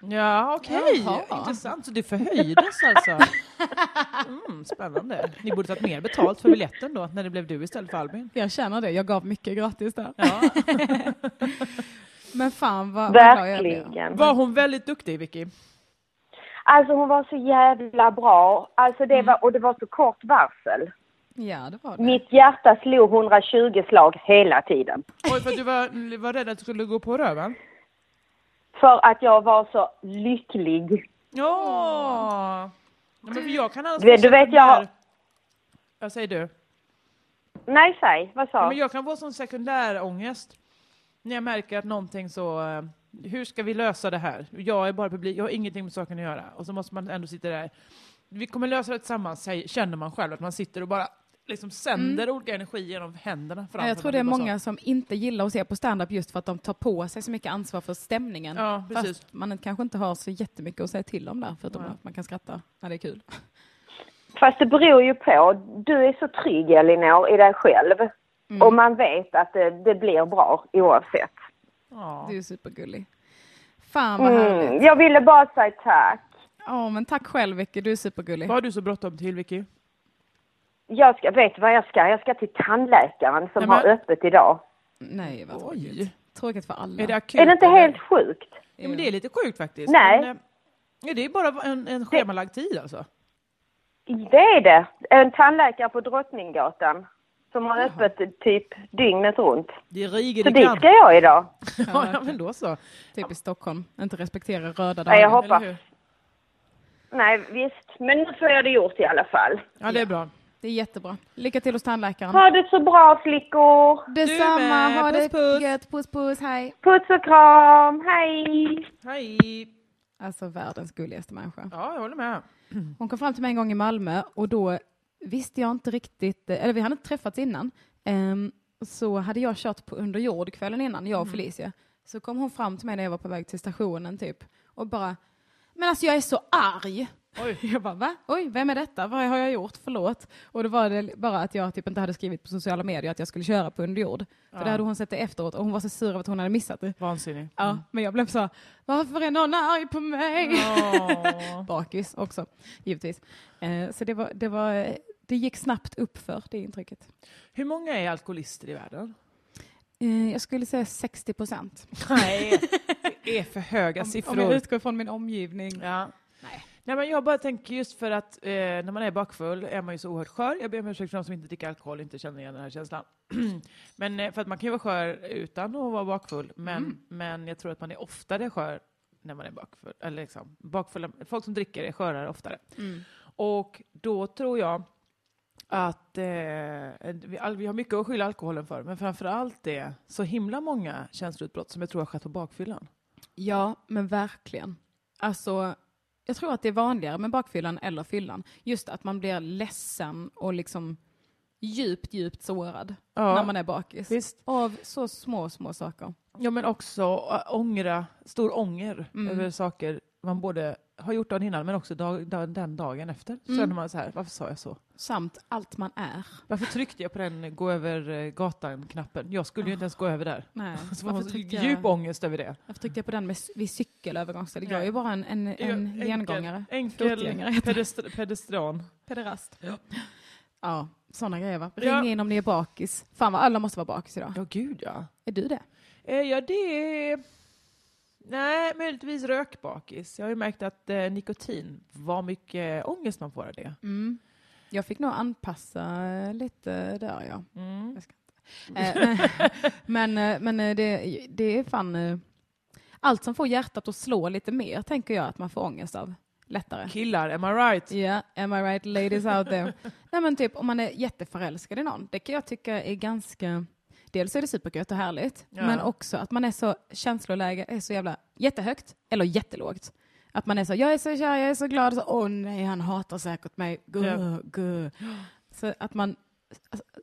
Speaker 3: Ja.
Speaker 2: okej.
Speaker 1: Jaha.
Speaker 2: Intressant. Så det förhöjdes alltså? Mm, spännande. Ni borde tagit mer betalt för biljetten då, när det blev du istället för Albin.
Speaker 1: Jag känner det. Jag gav mycket gratis där.
Speaker 2: Ja.
Speaker 1: Men fan vad, vad glad jag blev.
Speaker 3: Verkligen.
Speaker 2: Var hon väldigt duktig, Vicky?
Speaker 3: Alltså hon var så jävla bra. Alltså
Speaker 1: Mm.
Speaker 3: det var, och det var så kort varsel.
Speaker 1: Ja, det var det.
Speaker 3: Mitt hjärta slog 120 slag hela tiden.
Speaker 2: Oj, för att du var, var rädd att du skulle gå på röven?
Speaker 3: För att jag var så lycklig.
Speaker 2: Ja! ja men för jag kan annars
Speaker 3: Du vet- du
Speaker 2: känna
Speaker 3: vet, jag har-
Speaker 2: där- Jag säger du.
Speaker 3: Nej, säg. Vad sa
Speaker 2: Ja, men jag kan få sån sekundär ångest när jag märker att någonting så... eh, Hur ska vi lösa det här? Jag är bara publik, jag har ingenting med saken att göra. Och så måste man ändå sitta där. Vi kommer lösa det tillsammans, säger- känner man själv. Att man sitter och bara liksom sänder olika energier genom händerna framför
Speaker 1: Mm. Jag tror
Speaker 2: man.
Speaker 1: det är
Speaker 2: bara så.
Speaker 1: många som inte gillar att se på stand-up just för att de tar på sig så mycket ansvar för stämningen.
Speaker 2: Ja, precis.
Speaker 1: Fast man kanske inte har så jättemycket att säga till om där, förutom att man kan skratta när det är kul.
Speaker 3: Fast det beror ju på. Du är så trygg, Elinor, i dig själv. Och man vet att det, det blir bra oavsett.
Speaker 2: Ja.
Speaker 1: Du är supergullig. Fan vad härligt.
Speaker 3: Mm. Jag ville bara säga tack.
Speaker 1: Ja, men tack själv Vicky, du är supergullig.
Speaker 2: Vad har du så bråttom till, Vicky?
Speaker 3: Jag ska, vet du vad jag ska? Jag ska till tandläkaren som
Speaker 2: Nej, men-
Speaker 3: har öppet idag.
Speaker 1: Nej, vad tråkigt.
Speaker 2: Oj.
Speaker 1: Tråkigt för alla.
Speaker 2: Är det akut?
Speaker 3: Är det inte
Speaker 2: eller?
Speaker 3: helt sjukt?
Speaker 2: Ja, men det är lite sjukt faktiskt.
Speaker 3: Nej.
Speaker 2: Men, eh, ja, det är bara en, en schemalagd tid alltså.
Speaker 3: Det är det. En tandläkare på Drottninggatan som har öppet typ dygnet runt.
Speaker 2: Det riger
Speaker 3: Så
Speaker 2: i
Speaker 3: dit
Speaker 2: kant.
Speaker 3: ska jag idag.
Speaker 2: Ja, ja, men då så.
Speaker 1: Typ i Stockholm, inte respektera röda dagar.
Speaker 3: Nej, jag
Speaker 2: Eller
Speaker 3: hoppas.
Speaker 2: hur?
Speaker 3: Nej, visst. Men nu får jag det gjort i alla fall.
Speaker 2: Ja, det är bra.
Speaker 1: Det är jättebra. Lycka till hos tandläkaren.
Speaker 3: Ha det så bra flickor!
Speaker 1: Detsamma,
Speaker 2: med.
Speaker 1: ha
Speaker 2: Puss,
Speaker 1: det
Speaker 2: puss.
Speaker 1: gött, puss puss, hej.
Speaker 3: Puss och kram, hej!
Speaker 2: Hej!
Speaker 1: Alltså världens gulligaste människa.
Speaker 2: Ja, jag håller med.
Speaker 1: Hon kom fram till mig en gång i Malmö och då visste jag inte riktigt, eh, eller vi hade inte träffats innan, Ehm, så hade jag kört på under jord kvällen innan, jag och Felicia. Så kom hon fram till mig när jag var på väg till stationen typ och bara, men alltså jag är så arg.
Speaker 2: Oj.
Speaker 1: Jag bara, va? Oj, vem är detta? Vad har jag gjort? Förlåt. Och då var det bara att jag typ inte hade skrivit på sociala medier att jag skulle köra på under jord. För det hade hon sett det efteråt och hon var så sur över att hon hade missat det.
Speaker 2: Vansinnig.
Speaker 1: Ja, men jag blev så, varför är någon arg på mig?
Speaker 2: Åh.
Speaker 1: bakis också, givetvis. Eh, så det, var, det, var, eh, det gick snabbt upp för det intrycket.
Speaker 2: Hur många är alkoholister i världen?
Speaker 1: Eh, jag skulle säga 60 procent.
Speaker 2: Nej, det är för höga
Speaker 1: Om
Speaker 2: siffror.
Speaker 1: jag utgår från min omgivning.
Speaker 2: ja. Nej, men jag bara tänker just för att eh, när man är bakfull är man ju så oerhört skör. Jag ber om ursäkt för de som inte dricker alkohol och inte känner igen den här känslan. men eh, för att man kan ju vara skör utan att vara bakfull. Men, men jag tror att man är oftare skör när man är bakfull. Eller liksom, bakfulla, folk som dricker är skörare oftare. Och då tror jag att eh, vi, all, vi har mycket att skylla alkoholen för, men framför allt det, så himla många känsloutbrott som jag tror har skett på bakfyllan.
Speaker 1: Ja, men verkligen. Alltså, jag tror att det är vanligare med bakfyllan eller fyllan. Just att man blir ledsen och liksom djupt, djupt sårad
Speaker 2: Ja.
Speaker 1: när man är bakis.
Speaker 2: Visst.
Speaker 1: Av så små, små saker.
Speaker 2: Ja, men också ä, ångra, stor ånger över saker man både har gjort dagen innan, men också dag, dag, den dagen efter. Så känner man så här, varför sa jag så?
Speaker 1: Samt allt man är.
Speaker 2: Varför tryckte jag på den gå över eh, gatan-knappen? Jag skulle ju inte ens gå över där.
Speaker 1: Nej,
Speaker 2: Så
Speaker 1: varför
Speaker 2: man har så
Speaker 1: tryckte jag-
Speaker 2: djup ångest över det.
Speaker 1: Varför tryckte jag på den med, c- vid cykelövergångsstället? Jag är
Speaker 2: Nej.
Speaker 1: ju bara en, en, en gengångare.
Speaker 2: Enkel,
Speaker 1: Fotgängare
Speaker 2: enkel
Speaker 1: heter
Speaker 2: pedest, pedestran.
Speaker 1: Pederast.
Speaker 2: Ja.
Speaker 1: Ja, sådana grejer va? Ring
Speaker 2: Ja.
Speaker 1: in om ni är bakis. Fan vad alla måste vara bakis idag.
Speaker 2: Ja, gud ja.
Speaker 1: Är du det?
Speaker 2: Eh, ja, det är... Nej, möjligtvis rökbakis. Jag har ju märkt att eh, nikotin, vad mycket ångest man får av det.
Speaker 1: Mm. Jag fick nog anpassa eh, lite där ja.
Speaker 2: Mm.
Speaker 1: Jag ska inte. Eh, men men, eh, men eh, det, det är fan... eh, Allt som får hjärtat att slå lite mer tänker jag att man får ångest av lättare.
Speaker 2: Killar, am I right?
Speaker 1: Ja, am I right ladies out there? Nej men typ om man är jätteförälskad i någon, det kan jag tycka är ganska... Dels är det supergött och härligt,
Speaker 2: Ja.
Speaker 1: men också att man är så, känsloläge är så jävla jättehögt eller jättelågt. Att man är så, jag är så kär, jag är så glad, så, åh nej han hatar säkert mig, guh,
Speaker 2: Ja.
Speaker 1: guh. Så att man,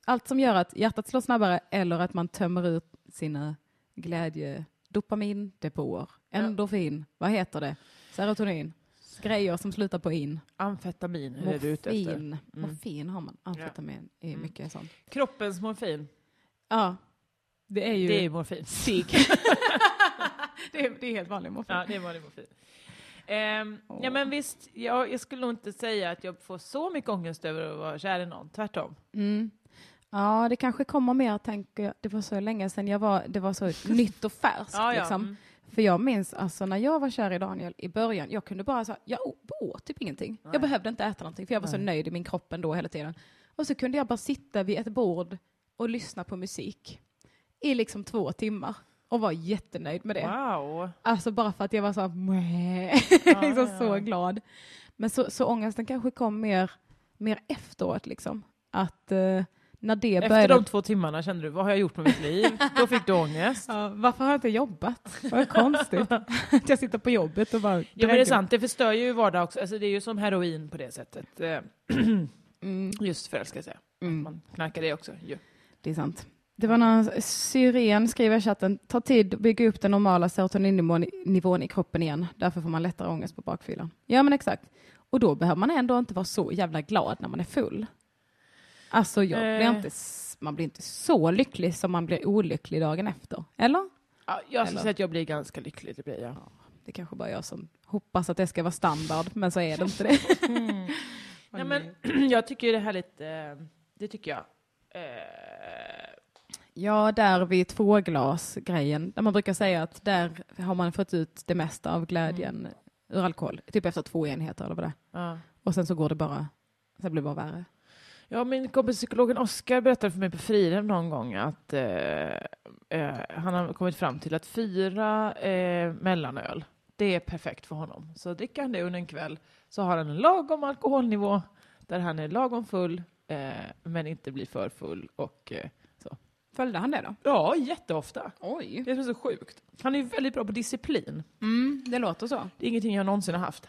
Speaker 1: allt som gör att hjärtat slår snabbare eller att man tömmer ut sina glädje, dopamindepåer, endorfin, vad heter det, serotonin, grejer som slutar på in.
Speaker 2: Amfetamin är det du är ute efter. Mm.
Speaker 1: Morfin. Morfin har man. Amfetamin är mycket sånt.
Speaker 2: Kroppens morfin.
Speaker 1: Ja. Det är ju...
Speaker 2: Det är morfin. Sick.
Speaker 1: det är, det är helt vanlig morfin.
Speaker 2: ja, det var det morfin. Ehm, Ja, men visst, jag, jag skulle nog inte säga att jag får så mycket ångest över att vara kär i någon. Tvärtom.
Speaker 1: Mm. Ja, det kanske kommer mer, tänker jag. Det var så länge sedan jag var, det var så nytt och färskt.
Speaker 2: Ja, ja.
Speaker 1: Liksom.
Speaker 2: Mm.
Speaker 1: För jag minns alltså när jag var kär i Daniel i början, jag kunde bara säga, jag å- åt typ ingenting. Jag behövde inte äta någonting för jag var så nöjd i min kropp ändå hela tiden. Och så kunde jag bara sitta vid ett bord och lyssna på musik i liksom två timmar. och var jättenöjd med det.
Speaker 2: Wow.
Speaker 1: Alltså bara för att jag var så här,
Speaker 2: Ja,
Speaker 1: liksom
Speaker 2: ja,
Speaker 1: så
Speaker 2: ja.
Speaker 1: glad. Men så, så ångesten kanske kom mer, mer efteråt liksom. Att eh, när det
Speaker 2: Efter
Speaker 1: började...
Speaker 2: de två timmarna kände du, vad har jag gjort med mitt liv? Då fick du ångest.
Speaker 1: Ja, varför har jag inte jobbat? Vad konstigt. att jag sitter på jobbet och bara
Speaker 2: Ja, men det är
Speaker 1: drömmer.
Speaker 2: sant, det förstör ju vardag också. Alltså, det är ju som heroin på det sättet. Eh,
Speaker 1: Mm,
Speaker 2: Just förälskelse.
Speaker 1: mm,
Speaker 2: Man knarkar det också ju.
Speaker 1: det är sant. Det var någon syren skriver i chatten, ta tid att bygga upp den normala serotoninnivån nivån i kroppen igen. Därför får man lättare ångest på bakfyllan. Ja men exakt. Och då behöver man ändå inte vara så jävla glad när man är full. Alltså jag blir
Speaker 2: Nej.
Speaker 1: inte, s- man blir inte så lycklig som man blir olycklig dagen efter. Eller?
Speaker 2: Ja, jag skulle
Speaker 1: Eller?
Speaker 2: säga att jag blir ganska lycklig, det blir jag.
Speaker 1: Det kanske bara jag som hoppas att det ska vara standard, men så är det inte det.
Speaker 2: Nej, men, jag tycker ju det här är lite, eh, det tycker jag. Eh,
Speaker 1: Ja, där vid tvåglas-grejen, där man brukar säga att där har man fått ut det mesta av glädjen ur alkohol, typ efter två enheter eller vad det är.
Speaker 2: ja.
Speaker 1: Och sen så går det bara, sen blir det bara värre.
Speaker 2: Ja, min kompis psykologen Oskar berättade för mig på Frirem någon gång att eh, eh, han har kommit fram till att fyra eh, mellanöl, det är perfekt för honom. Så dricker han det under en kväll så har han en lagom alkoholnivå där han är lagom full eh, men inte blir för full. Och, eh,
Speaker 1: Följde han det då?
Speaker 2: ja, jätteofta.
Speaker 1: Oj.
Speaker 2: Det är så sjukt. Han är ju väldigt bra på disciplin.
Speaker 1: Mm, det låter så.
Speaker 2: Det är ingenting jag någonsin har haft.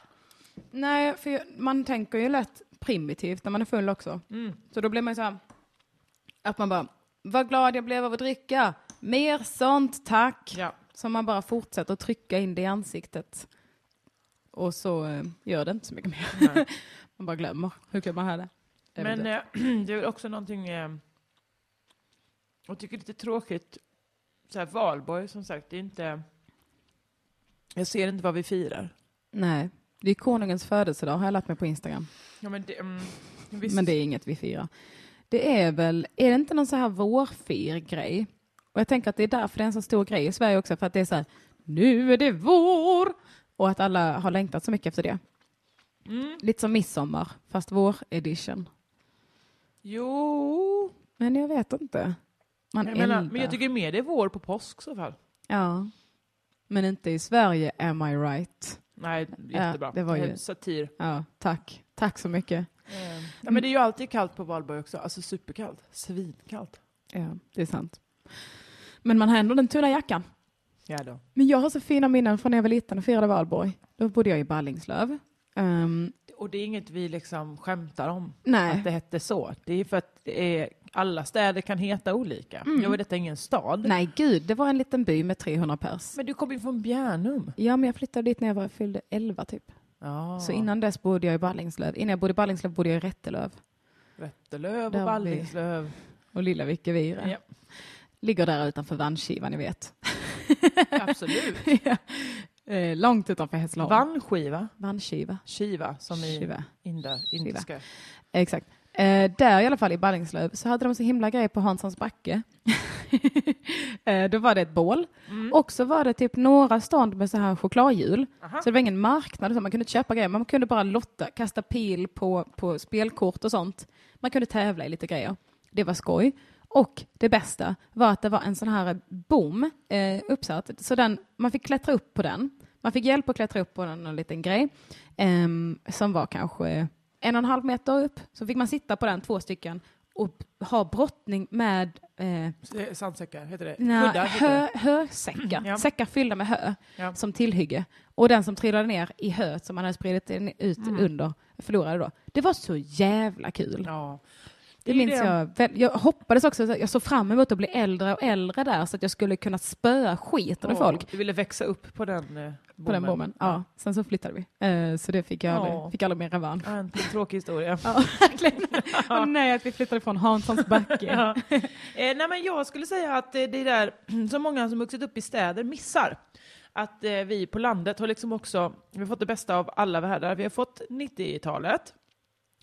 Speaker 1: Nej, för jag- man tänker ju lätt primitivt när man är full också. Så då blir man ju så här, att man bara, vad glad jag blev av att dricka, mer sånt tack.
Speaker 2: Ja.
Speaker 1: Så man bara fortsätter att trycka in det i ansiktet. Och så eh, gör det inte så mycket mer. man bara glömmer. Hur kan man ha det?
Speaker 2: Men eh, det är väl också någonting eh, jag tycker är lite tråkigt. Så här, valborg, som sagt, det är inte... Jag ser inte vad vi firar.
Speaker 1: Nej, det är konungens födelsedag har jag lärt mig på Instagram.
Speaker 2: Ja, men det, mm, visst.
Speaker 1: Men det är inget vi firar. Det är väl, är det inte någon så här vårfir-grej? Och jag tänker att det är därför det är en så stor grej i Sverige också, för att det är så här, nu är det vår! Och att alla har längtat så mycket efter det.
Speaker 2: Mm.
Speaker 1: Lite som midsommar, fast vår-edition.
Speaker 2: Jo...
Speaker 1: Men jag vet inte. Man
Speaker 2: Jag menar,
Speaker 1: eldar.
Speaker 2: men jag tycker mer det är vår på påsk i så fall.
Speaker 1: Ja. Men inte i Sverige, am I right?
Speaker 2: Nej, jättebra.
Speaker 1: det var ju-
Speaker 2: är Satir.
Speaker 1: Ja, tack. Tack så mycket.
Speaker 2: Ja, men det är ju alltid kallt på valborg också. Alltså superkallt. Svinkallt.
Speaker 1: Ja, det är sant. Men man har ändå den tunna jackan.
Speaker 2: Ja då.
Speaker 1: Men jag har så fina minnen från när jag var liten och firade valborg. Då bodde jag i Ballingslöv. Ehm,
Speaker 2: Och det är inget vi liksom skämtar om.
Speaker 1: nej,
Speaker 2: att det hette så. Det är för att det är, alla städer kan heta olika. Nu var detta ingen stad.
Speaker 1: Mm. nej gud, det var en liten by med 300 pers.
Speaker 2: Men du kom ju från Bjärnum.
Speaker 1: Ja, men jag flyttade dit när jag var, fyllde 11 typ.
Speaker 2: Ja.
Speaker 1: Så innan dess bodde jag i Ballingslöv. Innan jag bodde i Ballingslöv bodde jag i Rättelöv.
Speaker 2: Rättelöv
Speaker 1: Där
Speaker 2: och
Speaker 1: vi-
Speaker 2: Ballingslöv.
Speaker 1: Och lilla Vikevira.
Speaker 2: Ja.
Speaker 1: Ligger där utanför Vanskiva, ni vet.
Speaker 2: Absolut.
Speaker 1: ja. eh, långt utanför Hässleholm.
Speaker 2: Vannskiva.
Speaker 1: Vanskiva.
Speaker 2: Kiva, som i
Speaker 1: Shiva.
Speaker 2: inda, indiska.
Speaker 1: Exakt. Eh, där i alla fall i Ballingslöv så hade de så himla grej på Hanssons backe. eh, då var det ett bål och så var det typ några stånd med så här chokladhjul. Så det var ingen marknad, så man kunde inte köpa grejer, man kunde bara lotta, kasta pil på, på spelkort och sånt. Man kunde tävla i lite grejer. Det var skoj. Och det bästa var att det var en sån här bom eh, uppsatt, så den, man fick klättra upp på den. Man fick hjälp att klättra upp på den, någon liten grej ehm, som var kanske en och en halv meter upp. Så fick man sitta på den, två stycken, och ha brottning med eh,
Speaker 2: S- Sandsäckar, heter det?
Speaker 1: Nej,
Speaker 2: Kuddar, heter
Speaker 1: hö,
Speaker 2: det.
Speaker 1: hösäckar.
Speaker 2: Ja.
Speaker 1: Säckar fyllda med hö
Speaker 2: Ja.
Speaker 1: som tillhygge. Och den som trillade ner i höet som man hade spridit in- ut under förlorade då. Det var så jävla kul.
Speaker 2: Ja.
Speaker 1: Det,
Speaker 2: är ju
Speaker 1: minns jag. väl. Jag hoppades också, så jag såg fram emot att bli äldre och äldre där så att jag skulle kunna spöa skiten ur
Speaker 2: Åh,
Speaker 1: folk.
Speaker 2: Du ville växa upp på den eh, bommen.
Speaker 1: På den bommen. Ja, sen så flyttade vi. Eh, Så det fick jag
Speaker 2: Ja.
Speaker 1: aldrig, fick aldrig mer revansch.
Speaker 2: Ja, en tråkig historia.
Speaker 1: Ja, verkligen. Och nej, att vi flyttade från Hanssons backe.
Speaker 2: Ja. Eh, nej, men jag skulle säga att eh, det är där så många som vuxit upp i städer missar. Att eh, vi på landet har liksom också, vi har fått det bästa av alla världar. Vi har fått 90-talet.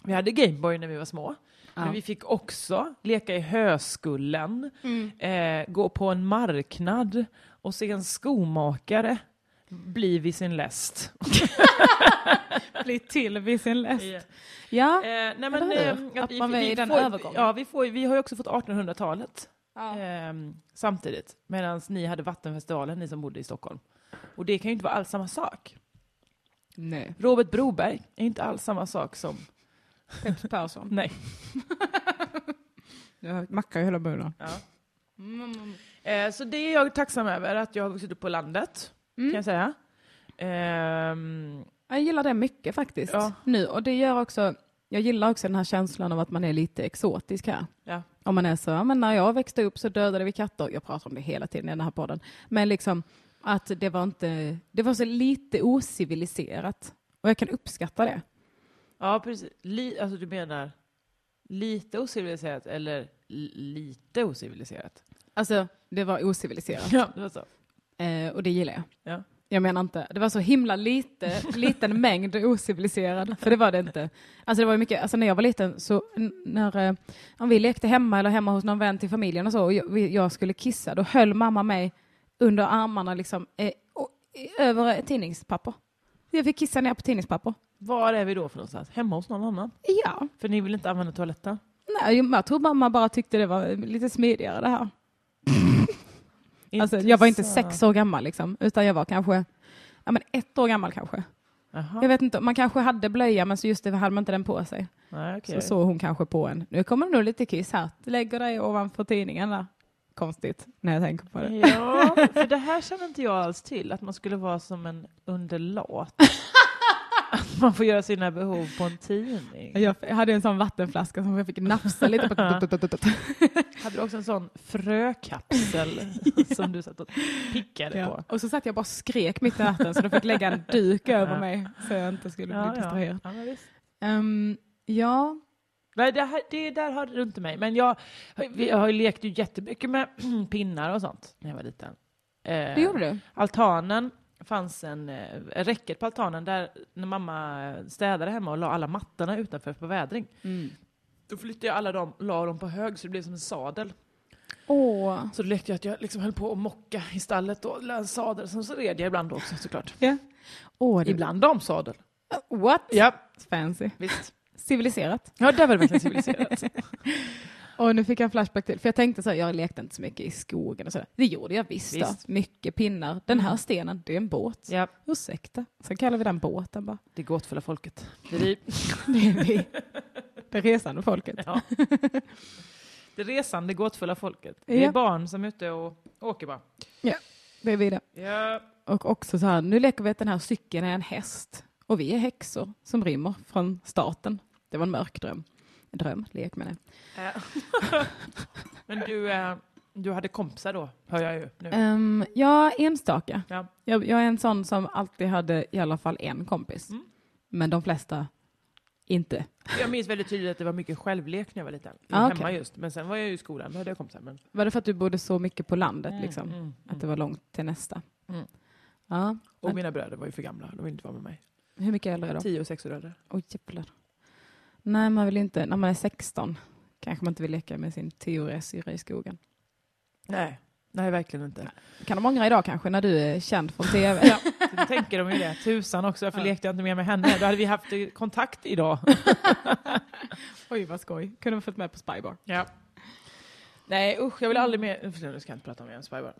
Speaker 2: Vi hade Gameboy när vi var små. Men vi fick också leka i höskullen,
Speaker 1: Mm.
Speaker 2: eh, gå på en marknad och se en skomakare bli vid sin läst.
Speaker 1: Bli till vid sin läst.
Speaker 2: Ja.
Speaker 1: Ja,
Speaker 2: Eh, nej, men,
Speaker 1: Eller hur?
Speaker 2: eh,
Speaker 1: Att man är i den
Speaker 2: får,
Speaker 1: övergången.
Speaker 2: Ja, vi, får, ju- vi har ju också fått 1800-talet.
Speaker 1: Ja.
Speaker 2: ehm, samtidigt. Medan ni hade Vattenfestivalen, ni som bodde i Stockholm. Och det kan ju inte vara alls samma sak.
Speaker 1: Nej.
Speaker 2: Robert Broberg är inte alls samma sak som...
Speaker 1: Peps Persson.
Speaker 2: Nej.
Speaker 1: Jag mackar ju hela munnen.
Speaker 2: Ja. Eh, så det är jag tacksam över, att jag har vuxit upp på landet, kan jag säga. Ehm,
Speaker 1: Jag gillar det mycket faktiskt
Speaker 2: Ja.
Speaker 1: nu och det gör också, jag gillar också den här känslan av att man är lite exotisk här.
Speaker 2: ja.
Speaker 1: Om man är så, ja, men när jag växte upp så dödade vi katter. Jag pratar om det hela tiden i den här podden. Men liksom att det var inte, det var så lite ociviliserat. Och jag kan uppskatta det.
Speaker 2: ja, precis. Li, alltså du menar lite ociviliserat eller li- lite ociviliserat?
Speaker 1: Alltså, det var ociviliserat.
Speaker 2: Ja, det var så.
Speaker 1: Eh, och det gillar jag.
Speaker 2: Ja.
Speaker 1: Jag menar inte, det var så himla lite, liten mängd ociviliserad, för det var det inte. Alltså det var ju mycket, alltså när jag var liten så, n- när eh, om vi lekte hemma eller hemma hos någon vän till familjen och så, och jag, vi- jag skulle kissa, då höll mamma mig under armarna liksom, eh, och, eh, över ett tidningspapper. Jag fick kissa ner på tidningspapper.
Speaker 2: Var är vi då för någonstans? Hemma hos någon annan?
Speaker 1: Ja.
Speaker 2: För ni vill inte använda toaletten?
Speaker 1: Nej, jag tror mamma bara tyckte det var lite smidigare det här. Alltså, jag var inte sex år gammal liksom, utan jag var kanske, ja men ett år gammal kanske.
Speaker 2: Jaha.
Speaker 1: Jag vet inte, man kanske hade blöja men så just det hade man inte den på sig.
Speaker 2: Nej,
Speaker 1: Så
Speaker 2: okej.
Speaker 1: såg hon kanske på en. Nu kommer det nog lite kiss här. Du lägger dig ovanför tidningen där. Konstigt när jag tänker på det.
Speaker 2: Ja, för det här känner inte jag alls till, att man skulle vara som en underlat. att man får göra sina behov på en tidning.
Speaker 1: Jag f- hade en sån vattenflaska som jag fick nafsa lite på.
Speaker 2: Hade du också en sån frökapsel som du satt och pickade på?
Speaker 1: Ja. Och så satt jag bara och skrek mitt i natten så de fick lägga en duk över
Speaker 2: Ja.
Speaker 1: mig så jag inte skulle bli distraherad.
Speaker 2: Ja, men visst.
Speaker 1: Ehm, ja,
Speaker 2: Nej, det, här, det där hörde du inte mig. Men jag, jag har ju lekt ju jättemycket med pinnar och sånt när jag var liten. Eh,
Speaker 1: det gjorde du.
Speaker 2: altanen fanns en eh, räcket på altanen där när mamma eh, städade hemma och la alla mattorna utanför på vädring. Då flyttade jag alla dem och la dem på hög så det blev som en sadel.
Speaker 1: Åh.
Speaker 2: Så då lekte jag att jag liksom höll på att mocka i stallet och la en sadel. Sen så red jag ibland också såklart.
Speaker 1: Ja. Åh, det-
Speaker 2: Ibland damsadel.
Speaker 1: What?
Speaker 2: Ja,
Speaker 1: Fancy.
Speaker 2: visst.
Speaker 1: Civiliserat.
Speaker 2: Ja, där var det verkligen civiliserat.
Speaker 1: Och nu fick jag en flashback till, för jag tänkte så här, jag lekte inte så mycket i skogen och sådär. Det gjorde jag visst,
Speaker 2: Visst.
Speaker 1: Då. Mycket pinnar. Den här stenen, det är en båt.
Speaker 2: ja,
Speaker 1: Ursäkta. Sen kallar vi den båten bara.
Speaker 2: det gåtfulla folket. Det är vi.
Speaker 1: Det är vi. Det resande folket.
Speaker 2: Ja. Det resande gåtfulla folket.
Speaker 1: Ja.
Speaker 2: Det är barn som är ute och åker bara.
Speaker 1: Det är vi det.
Speaker 2: Ja.
Speaker 1: Och också så här, nu leker vi att den här cykeln är en häst. Och vi är häxor som rymmer från staten. Det var en mörk dröm. En dröm, lek med det.
Speaker 2: Eh. Men du, eh, du hade kompisar då, hör jag ju nu.
Speaker 1: Ehm, ja, enstaka.
Speaker 2: Ja.
Speaker 1: Jag, jag är en sån som alltid hade i alla fall en kompis.
Speaker 2: Mm.
Speaker 1: Men de flesta inte.
Speaker 2: Jag minns väldigt tydligt att det var mycket självlek när jag var liten.
Speaker 1: Ah,
Speaker 2: hemma
Speaker 1: okej.
Speaker 2: just. Men sen var jag ju i skolan, då hade jag kompisar. Men...
Speaker 1: Var det för att du bodde så mycket på landet? liksom?
Speaker 2: Mm, mm,
Speaker 1: Att det var långt till nästa?
Speaker 2: Mm.
Speaker 1: Ja.
Speaker 2: Och mina bröder var ju för gamla, de ville inte vara med mig.
Speaker 1: Hur mycket äldre är de?
Speaker 2: Tio och sex år äldre.
Speaker 1: Oj, jävlar. Nej, man vill inte, när man är 16 kanske man inte vill leka med sin tioåriga syrra i skogen.
Speaker 2: Nej, nej verkligen inte.
Speaker 1: Kan de ångra idag kanske, när du är känd från tv?
Speaker 2: Ja, då tänker de ju det. Tusan också, varför
Speaker 1: Ja.
Speaker 2: lekte jag inte mer med henne? Då hade vi haft eh, kontakt idag.
Speaker 1: Oj, vad skoj. Kunde ha fått med på Spybar.
Speaker 2: Ja. Nej usch, jag vill aldrig mer... Nu ska jag inte prata om en spybar.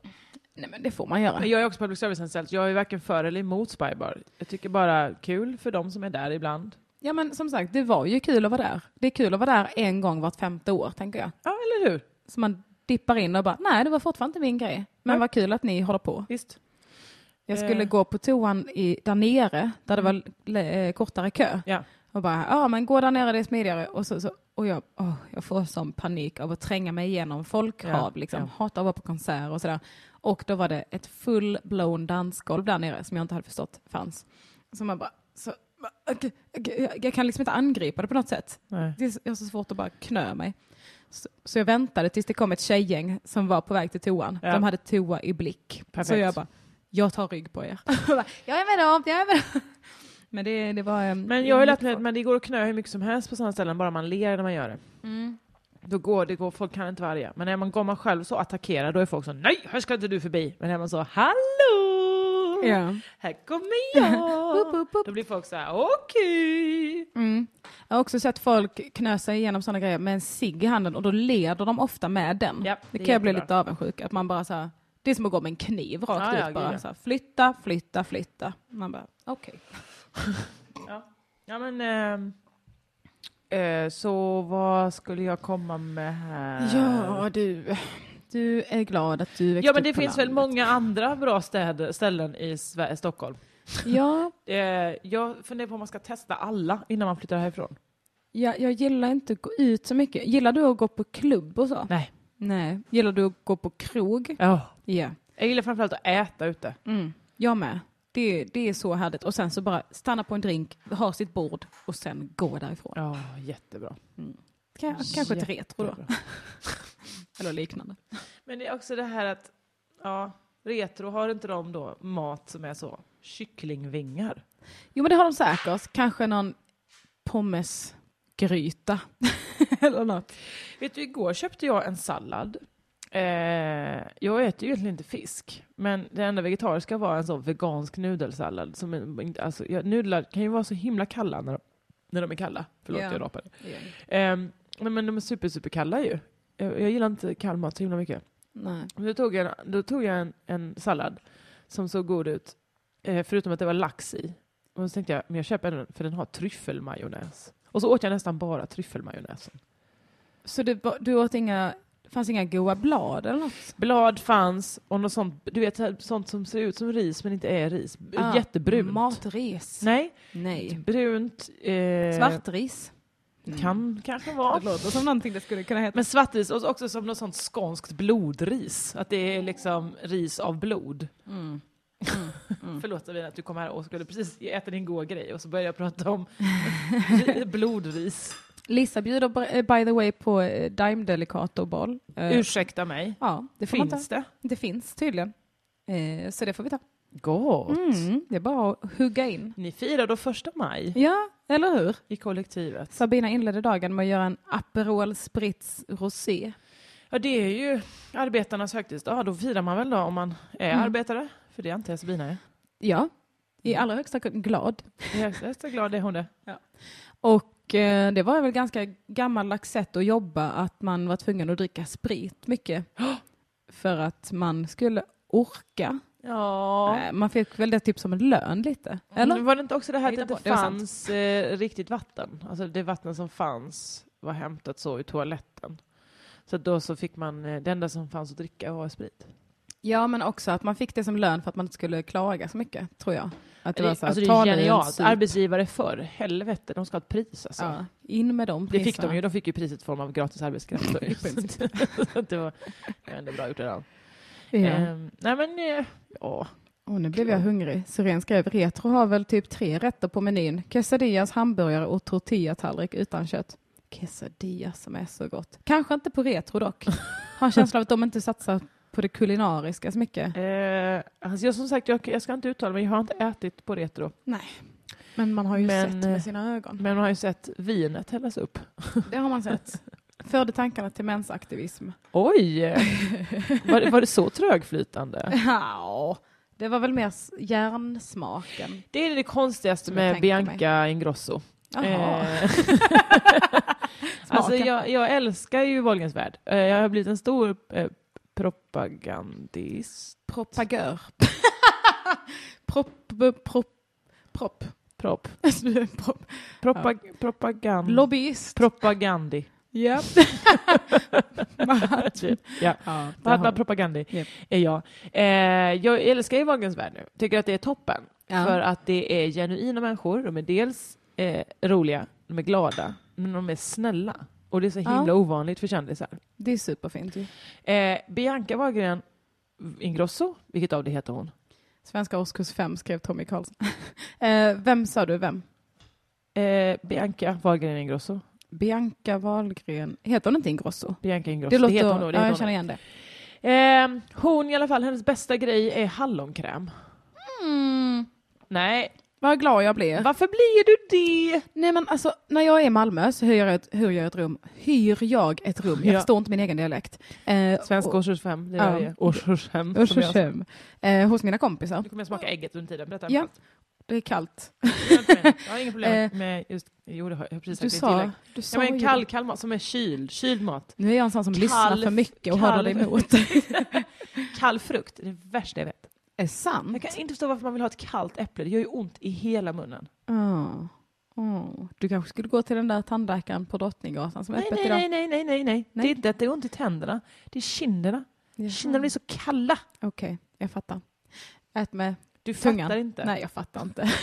Speaker 1: Nej, men det får man göra.
Speaker 2: Men jag är också public service-anställd, så jag är varken för eller emot spybar. Jag tycker bara kul för de som är där ibland.
Speaker 1: Ja, men som sagt, det var ju kul att vara där. Det är kul att vara där en gång vart femte år, tänker jag.
Speaker 2: Ja, eller hur?
Speaker 1: Så man dippar in och bara, nej, det var fortfarande inte min grej. Men
Speaker 2: Nej.
Speaker 1: vad kul att ni håller på.
Speaker 2: Visst.
Speaker 1: Jag skulle
Speaker 2: Eh.
Speaker 1: gå på toan i, där nere, där det var le- eh, kortare kö.
Speaker 2: Ja.
Speaker 1: Och bara, ja men gå där nere, det är smidigare. Och, så, så, och jag, åh, jag får sån panik av att tränga mig igenom folkhav.
Speaker 2: Ja,
Speaker 1: liksom.
Speaker 2: ja.
Speaker 1: Hatar att vara på konserter och sådär. Och då var det ett full-blown dansgolv där nere som jag inte hade förstått fanns. Så man bara, så, okej, okej, jag, jag kan liksom inte angripa det på något sätt.
Speaker 2: Nej.
Speaker 1: Det är, så- jag har så svårt att bara knö mig. Så, så jag väntade tills det kom ett tjejgäng som var på väg till toan.
Speaker 2: Ja.
Speaker 1: De hade toa i blick. Så
Speaker 2: Perfekt.
Speaker 1: jag bara, jag tar rygg på er. jag bara, jag är med dem, jag är med dem. Men det, det var... ehm, em,
Speaker 2: Men
Speaker 1: det
Speaker 2: jag har
Speaker 1: var
Speaker 2: ju lärt mig
Speaker 1: mycket
Speaker 2: att men det går att knö hur mycket som helst på sådana ställen, bara man ler när man gör det.
Speaker 1: Mm.
Speaker 2: Då går det, går, folk kan inte vara arga. Men när man går man själv så attackerar, då är folk så nej, här ska inte du förbi. Men när man så hallå!
Speaker 1: Ja.
Speaker 2: Här kommer jag!
Speaker 1: Upp, upp, upp.
Speaker 2: Då blir folk så här, okej!
Speaker 1: Mm. Jag har också sett folk knösa igenom sådana grejer med en cigg i handen och då leder de ofta med den.
Speaker 2: Japp,
Speaker 1: det
Speaker 2: det är
Speaker 1: kan jag bli
Speaker 2: jättebra.
Speaker 1: lite avundsjuk att man bara så här, det är som att gå med en kniv rakt
Speaker 2: Ja, ja,
Speaker 1: ut
Speaker 2: gud,
Speaker 1: bara.
Speaker 2: ja.
Speaker 1: Så här, flytta, flytta, flytta. Man bara okej.
Speaker 2: Ja. ja, men... ehm, eh, så vad skulle jag komma med här?
Speaker 1: Ja du, du är glad att du växte
Speaker 2: Eh. Ja men
Speaker 1: upp
Speaker 2: det
Speaker 1: på
Speaker 2: finns väl
Speaker 1: landet.
Speaker 2: många andra bra städer, ställen i Sve- Stockholm.
Speaker 1: Ja,
Speaker 2: Eh, jag funderar på om man ska testa alla innan man flyttar härifrån.
Speaker 1: jag, jag gillar inte att gå ut så mycket. Gillar du att gå på klubb och så?
Speaker 2: Nej.
Speaker 1: Nej. Gillar du att gå på krog?
Speaker 2: Ja.
Speaker 1: Ja.
Speaker 2: Jag gillar framförallt att äta ute.
Speaker 1: Mm. Jag med. Det, det är så härligt. Och sen så bara stanna på en drink, ha sitt bord och sen gå därifrån.
Speaker 2: Ja, jättebra.
Speaker 1: Kan- Kanske till retro då, eller liknande.
Speaker 2: Men det är också det här att, ja, retro, har inte de då mat som är så kycklingvingar?
Speaker 1: Jo men det har de säkert. Kanske någon pommesgryta eller något.
Speaker 2: Vet du, igår köpte jag en sallad. Eh, jag äter ju egentligen inte fisk, men det enda vegetariska var en sån vegansk nudelsallad. Som, är- inte- alltså, ja, nudlar kan ju vara så himla kalla när de, när de är kalla. Förlåt,
Speaker 1: Ja.
Speaker 2: jag rapade. Ehm, nej, men de är super, super kalla ju. Jag, jag gillar inte kall mat så himla mycket.
Speaker 1: Nej.
Speaker 2: Men Då tog jag, då tog jag en, en sallad som såg god ut, eh, förutom att det var lax i. Och så tänkte jag, men jag köper den för den har tryffelmajonnäs. Och så åt jag nästan bara tryffelmajonnäsen.
Speaker 1: Så det, var- du åt inga, det fanns inga goa blad eller något?
Speaker 2: Blad fanns och något sånt, du vet, sånt som ser ut som ris men inte är ris. B-
Speaker 1: Ah,
Speaker 2: Jättebrunt.
Speaker 1: Matris?
Speaker 2: Nej,
Speaker 1: Nej.
Speaker 2: brunt. Eh,
Speaker 1: Svartris?
Speaker 2: Kan kanske
Speaker 1: Mm. Det
Speaker 2: vara.
Speaker 1: låter som någonting det skulle kunna heta.
Speaker 2: Men svartris, och också som något sånt skånskt blodris. Att det är liksom ris av blod.
Speaker 1: Mm.
Speaker 2: Förlåt Sabina att du kom här och skulle precis äta din goda grej och så började jag prata om blodris.
Speaker 1: Lissa bjuder by- by the way på eh, Dime Delicato boll. Eh,
Speaker 2: Ursäkta mig.
Speaker 1: Ja, det får man
Speaker 2: Finns
Speaker 1: ta.
Speaker 2: det?
Speaker 1: Det finns tydligen. Eh, så det får vi ta.
Speaker 2: Gott.
Speaker 1: Mm, det är bara att hugga in.
Speaker 2: Ni firar då första maj
Speaker 1: Ja, eller hur?
Speaker 2: i kollektivet.
Speaker 1: Sabina inledde dagen med att göra en Aperol Spritz Rosé.
Speaker 2: Ja, det är ju arbetarnas högtidsdag. Då firar man väl då om man är
Speaker 1: Mm.
Speaker 2: arbetare? För det antar jag Sabina är.
Speaker 1: Ja, i allra högsta grad glad.
Speaker 2: Jag är så- så glad det är hon det.
Speaker 1: Och eh, det var väl ganska gammaldags sätt att jobba, att man var tvungen att dricka sprit mycket. För att man skulle orka.
Speaker 2: Ja.
Speaker 1: Eh, Man fick väl det typ som en lön lite, eller?
Speaker 2: Men Var det inte också det här att det
Speaker 1: Jag hittar på, det
Speaker 2: inte
Speaker 1: var sant.
Speaker 2: fanns eh, riktigt vatten? Alltså det vatten som fanns var hämtat så ur toaletten. Så att då så fick man, eh, det enda som fanns att dricka var sprit.
Speaker 1: Ja, men också att man fick det som lön för att man inte skulle klaga så mycket, tror jag. Att Eh, det, var så här,
Speaker 2: alltså det
Speaker 1: ta
Speaker 2: är
Speaker 1: nu en
Speaker 2: genialt.
Speaker 1: sup.
Speaker 2: Arbetsgivare förr, helvete, de ska ha ett pris alltså.
Speaker 1: Ja, in med dem
Speaker 2: Det fick
Speaker 1: priserna.
Speaker 2: de ju, de fick ju priset i form av gratis arbetskraft. då ju. Så att det var det var ändå bra gjort av dem.
Speaker 1: Ja.
Speaker 2: Ehm, nej men, eh, ja.
Speaker 1: Och nu blev jag hungrig. Siren skrev retro har väl typ tre rätter på menyn. Quesadillas, hamburgare och tortillatallrik utan kött. Quesadillas som är så gott. Kanske inte på retro dock. Har en känsla av att de inte satsar på det kulinariska så mycket.
Speaker 2: Eh, alltså jag som sagt, jag, jag ska inte uttala mig, jag har inte ätit på retro.
Speaker 1: Nej. Men man har ju
Speaker 2: Men,
Speaker 1: sett med
Speaker 2: eh,
Speaker 1: sina ögon.
Speaker 2: Men man har ju sett vinet hällas upp.
Speaker 1: Det har man sett. Förde tankarna till mensaktivism.
Speaker 2: Oj! Var, det- var det så trögflytande?
Speaker 1: Ja, det var väl mer s- järnsmaken.
Speaker 2: Det är det konstigaste
Speaker 1: Som jag
Speaker 2: med
Speaker 1: tänker mig.
Speaker 2: Bianca Ingrosso.
Speaker 1: Jaha.
Speaker 2: Eh, alltså jag, jag älskar ju Wahlgrens värld. Eh, Jag har blivit en stor eh, propagandist.
Speaker 1: Propagör. propp, propp, propp.
Speaker 2: Prop.
Speaker 1: Alltså, du är en propp.
Speaker 2: Propag, Propagand.
Speaker 1: Lobbyist.
Speaker 2: propagandi.
Speaker 1: Ja.
Speaker 2: ja.
Speaker 1: ja, det
Speaker 2: Mahatma
Speaker 1: har-
Speaker 2: Propagandi
Speaker 1: Japp.
Speaker 2: är jag. Eh, jag älskar ju Wahlgrens värld nu. Tycker att det är toppen.
Speaker 1: Ja.
Speaker 2: För att det är genuina människor. De är dels eh, roliga, de är glada, men de är snälla. Och det är så himla
Speaker 1: Ja.
Speaker 2: ovanligt för kändisar.
Speaker 1: det är superfint ju.
Speaker 2: Eh, Bianca Wahlgren Ingrosso, vilket av det heter hon?
Speaker 1: Svenska årskurs 5 skrev Tommy Karlsson. eh, vem sa du vem?
Speaker 2: Eh, Bianca Wahlgren Ingrosso.
Speaker 1: Bianca Wahlgren. Heter hon inte Ingrosso?
Speaker 2: Bianca Ingrosso,
Speaker 1: Det
Speaker 2: det,
Speaker 1: låter...
Speaker 2: heter hon då. Det
Speaker 1: ja, jag
Speaker 2: heter
Speaker 1: känner
Speaker 2: hon.
Speaker 1: igen det.
Speaker 2: Ehm, hon i alla fall, hennes bästa grej är hallonkräm. Nej,
Speaker 1: Mm, Vad glad jag blir.
Speaker 2: Varför blir du det?
Speaker 1: Nej men alltså, när jag är i Malmö så hyr jag ett, hyr jag ett rum. Hyr jag ett rum? Jag
Speaker 2: Ja.
Speaker 1: förstår inte min egen dialekt. Eh,
Speaker 2: Svensk
Speaker 1: och-
Speaker 2: årskurs 5. Det
Speaker 1: Ja.
Speaker 2: är det. Årskurs 5.
Speaker 1: och- hem. Eh, hos mina kompisar.
Speaker 2: Nu kommer jag smaka ägget under tiden. Berätta.
Speaker 1: Ja. Det är kallt.
Speaker 2: Jag har inga problem
Speaker 1: Eh,
Speaker 2: med just... Jo, det har jag precis sagt.
Speaker 1: Du
Speaker 2: det är ett
Speaker 1: sa, du
Speaker 2: tillägg. Ja,
Speaker 1: sa
Speaker 2: men
Speaker 1: ju
Speaker 2: kall,
Speaker 1: det.
Speaker 2: kall mat som är kyld. Kyld mat.
Speaker 1: Nu är jag en sån som lyssnar för mycket och har det
Speaker 2: kall-
Speaker 1: emot.
Speaker 2: Kall frukt, det är det värsta jag vet.
Speaker 1: är sant?
Speaker 2: Jag kan inte förstå varför man vill ha ett kallt äpple. Det gör ju ont i hela munnen.
Speaker 1: Ah. Ah. Du kanske skulle gå till den där tandläkaren på Drottninggatan som är
Speaker 2: Nej,
Speaker 1: öppet
Speaker 2: nej,
Speaker 1: idag?
Speaker 2: nej, nej, nej, nej, nej. Det
Speaker 1: Nej.
Speaker 2: är inte att det är ont i tänderna. Det är kinderna.
Speaker 1: Jaha.
Speaker 2: Kinderna blir så kalla.
Speaker 1: Okej, jag fattar. Ät med
Speaker 2: Du
Speaker 1: Tungan.
Speaker 2: fattar inte.
Speaker 1: Nej, jag fattar inte.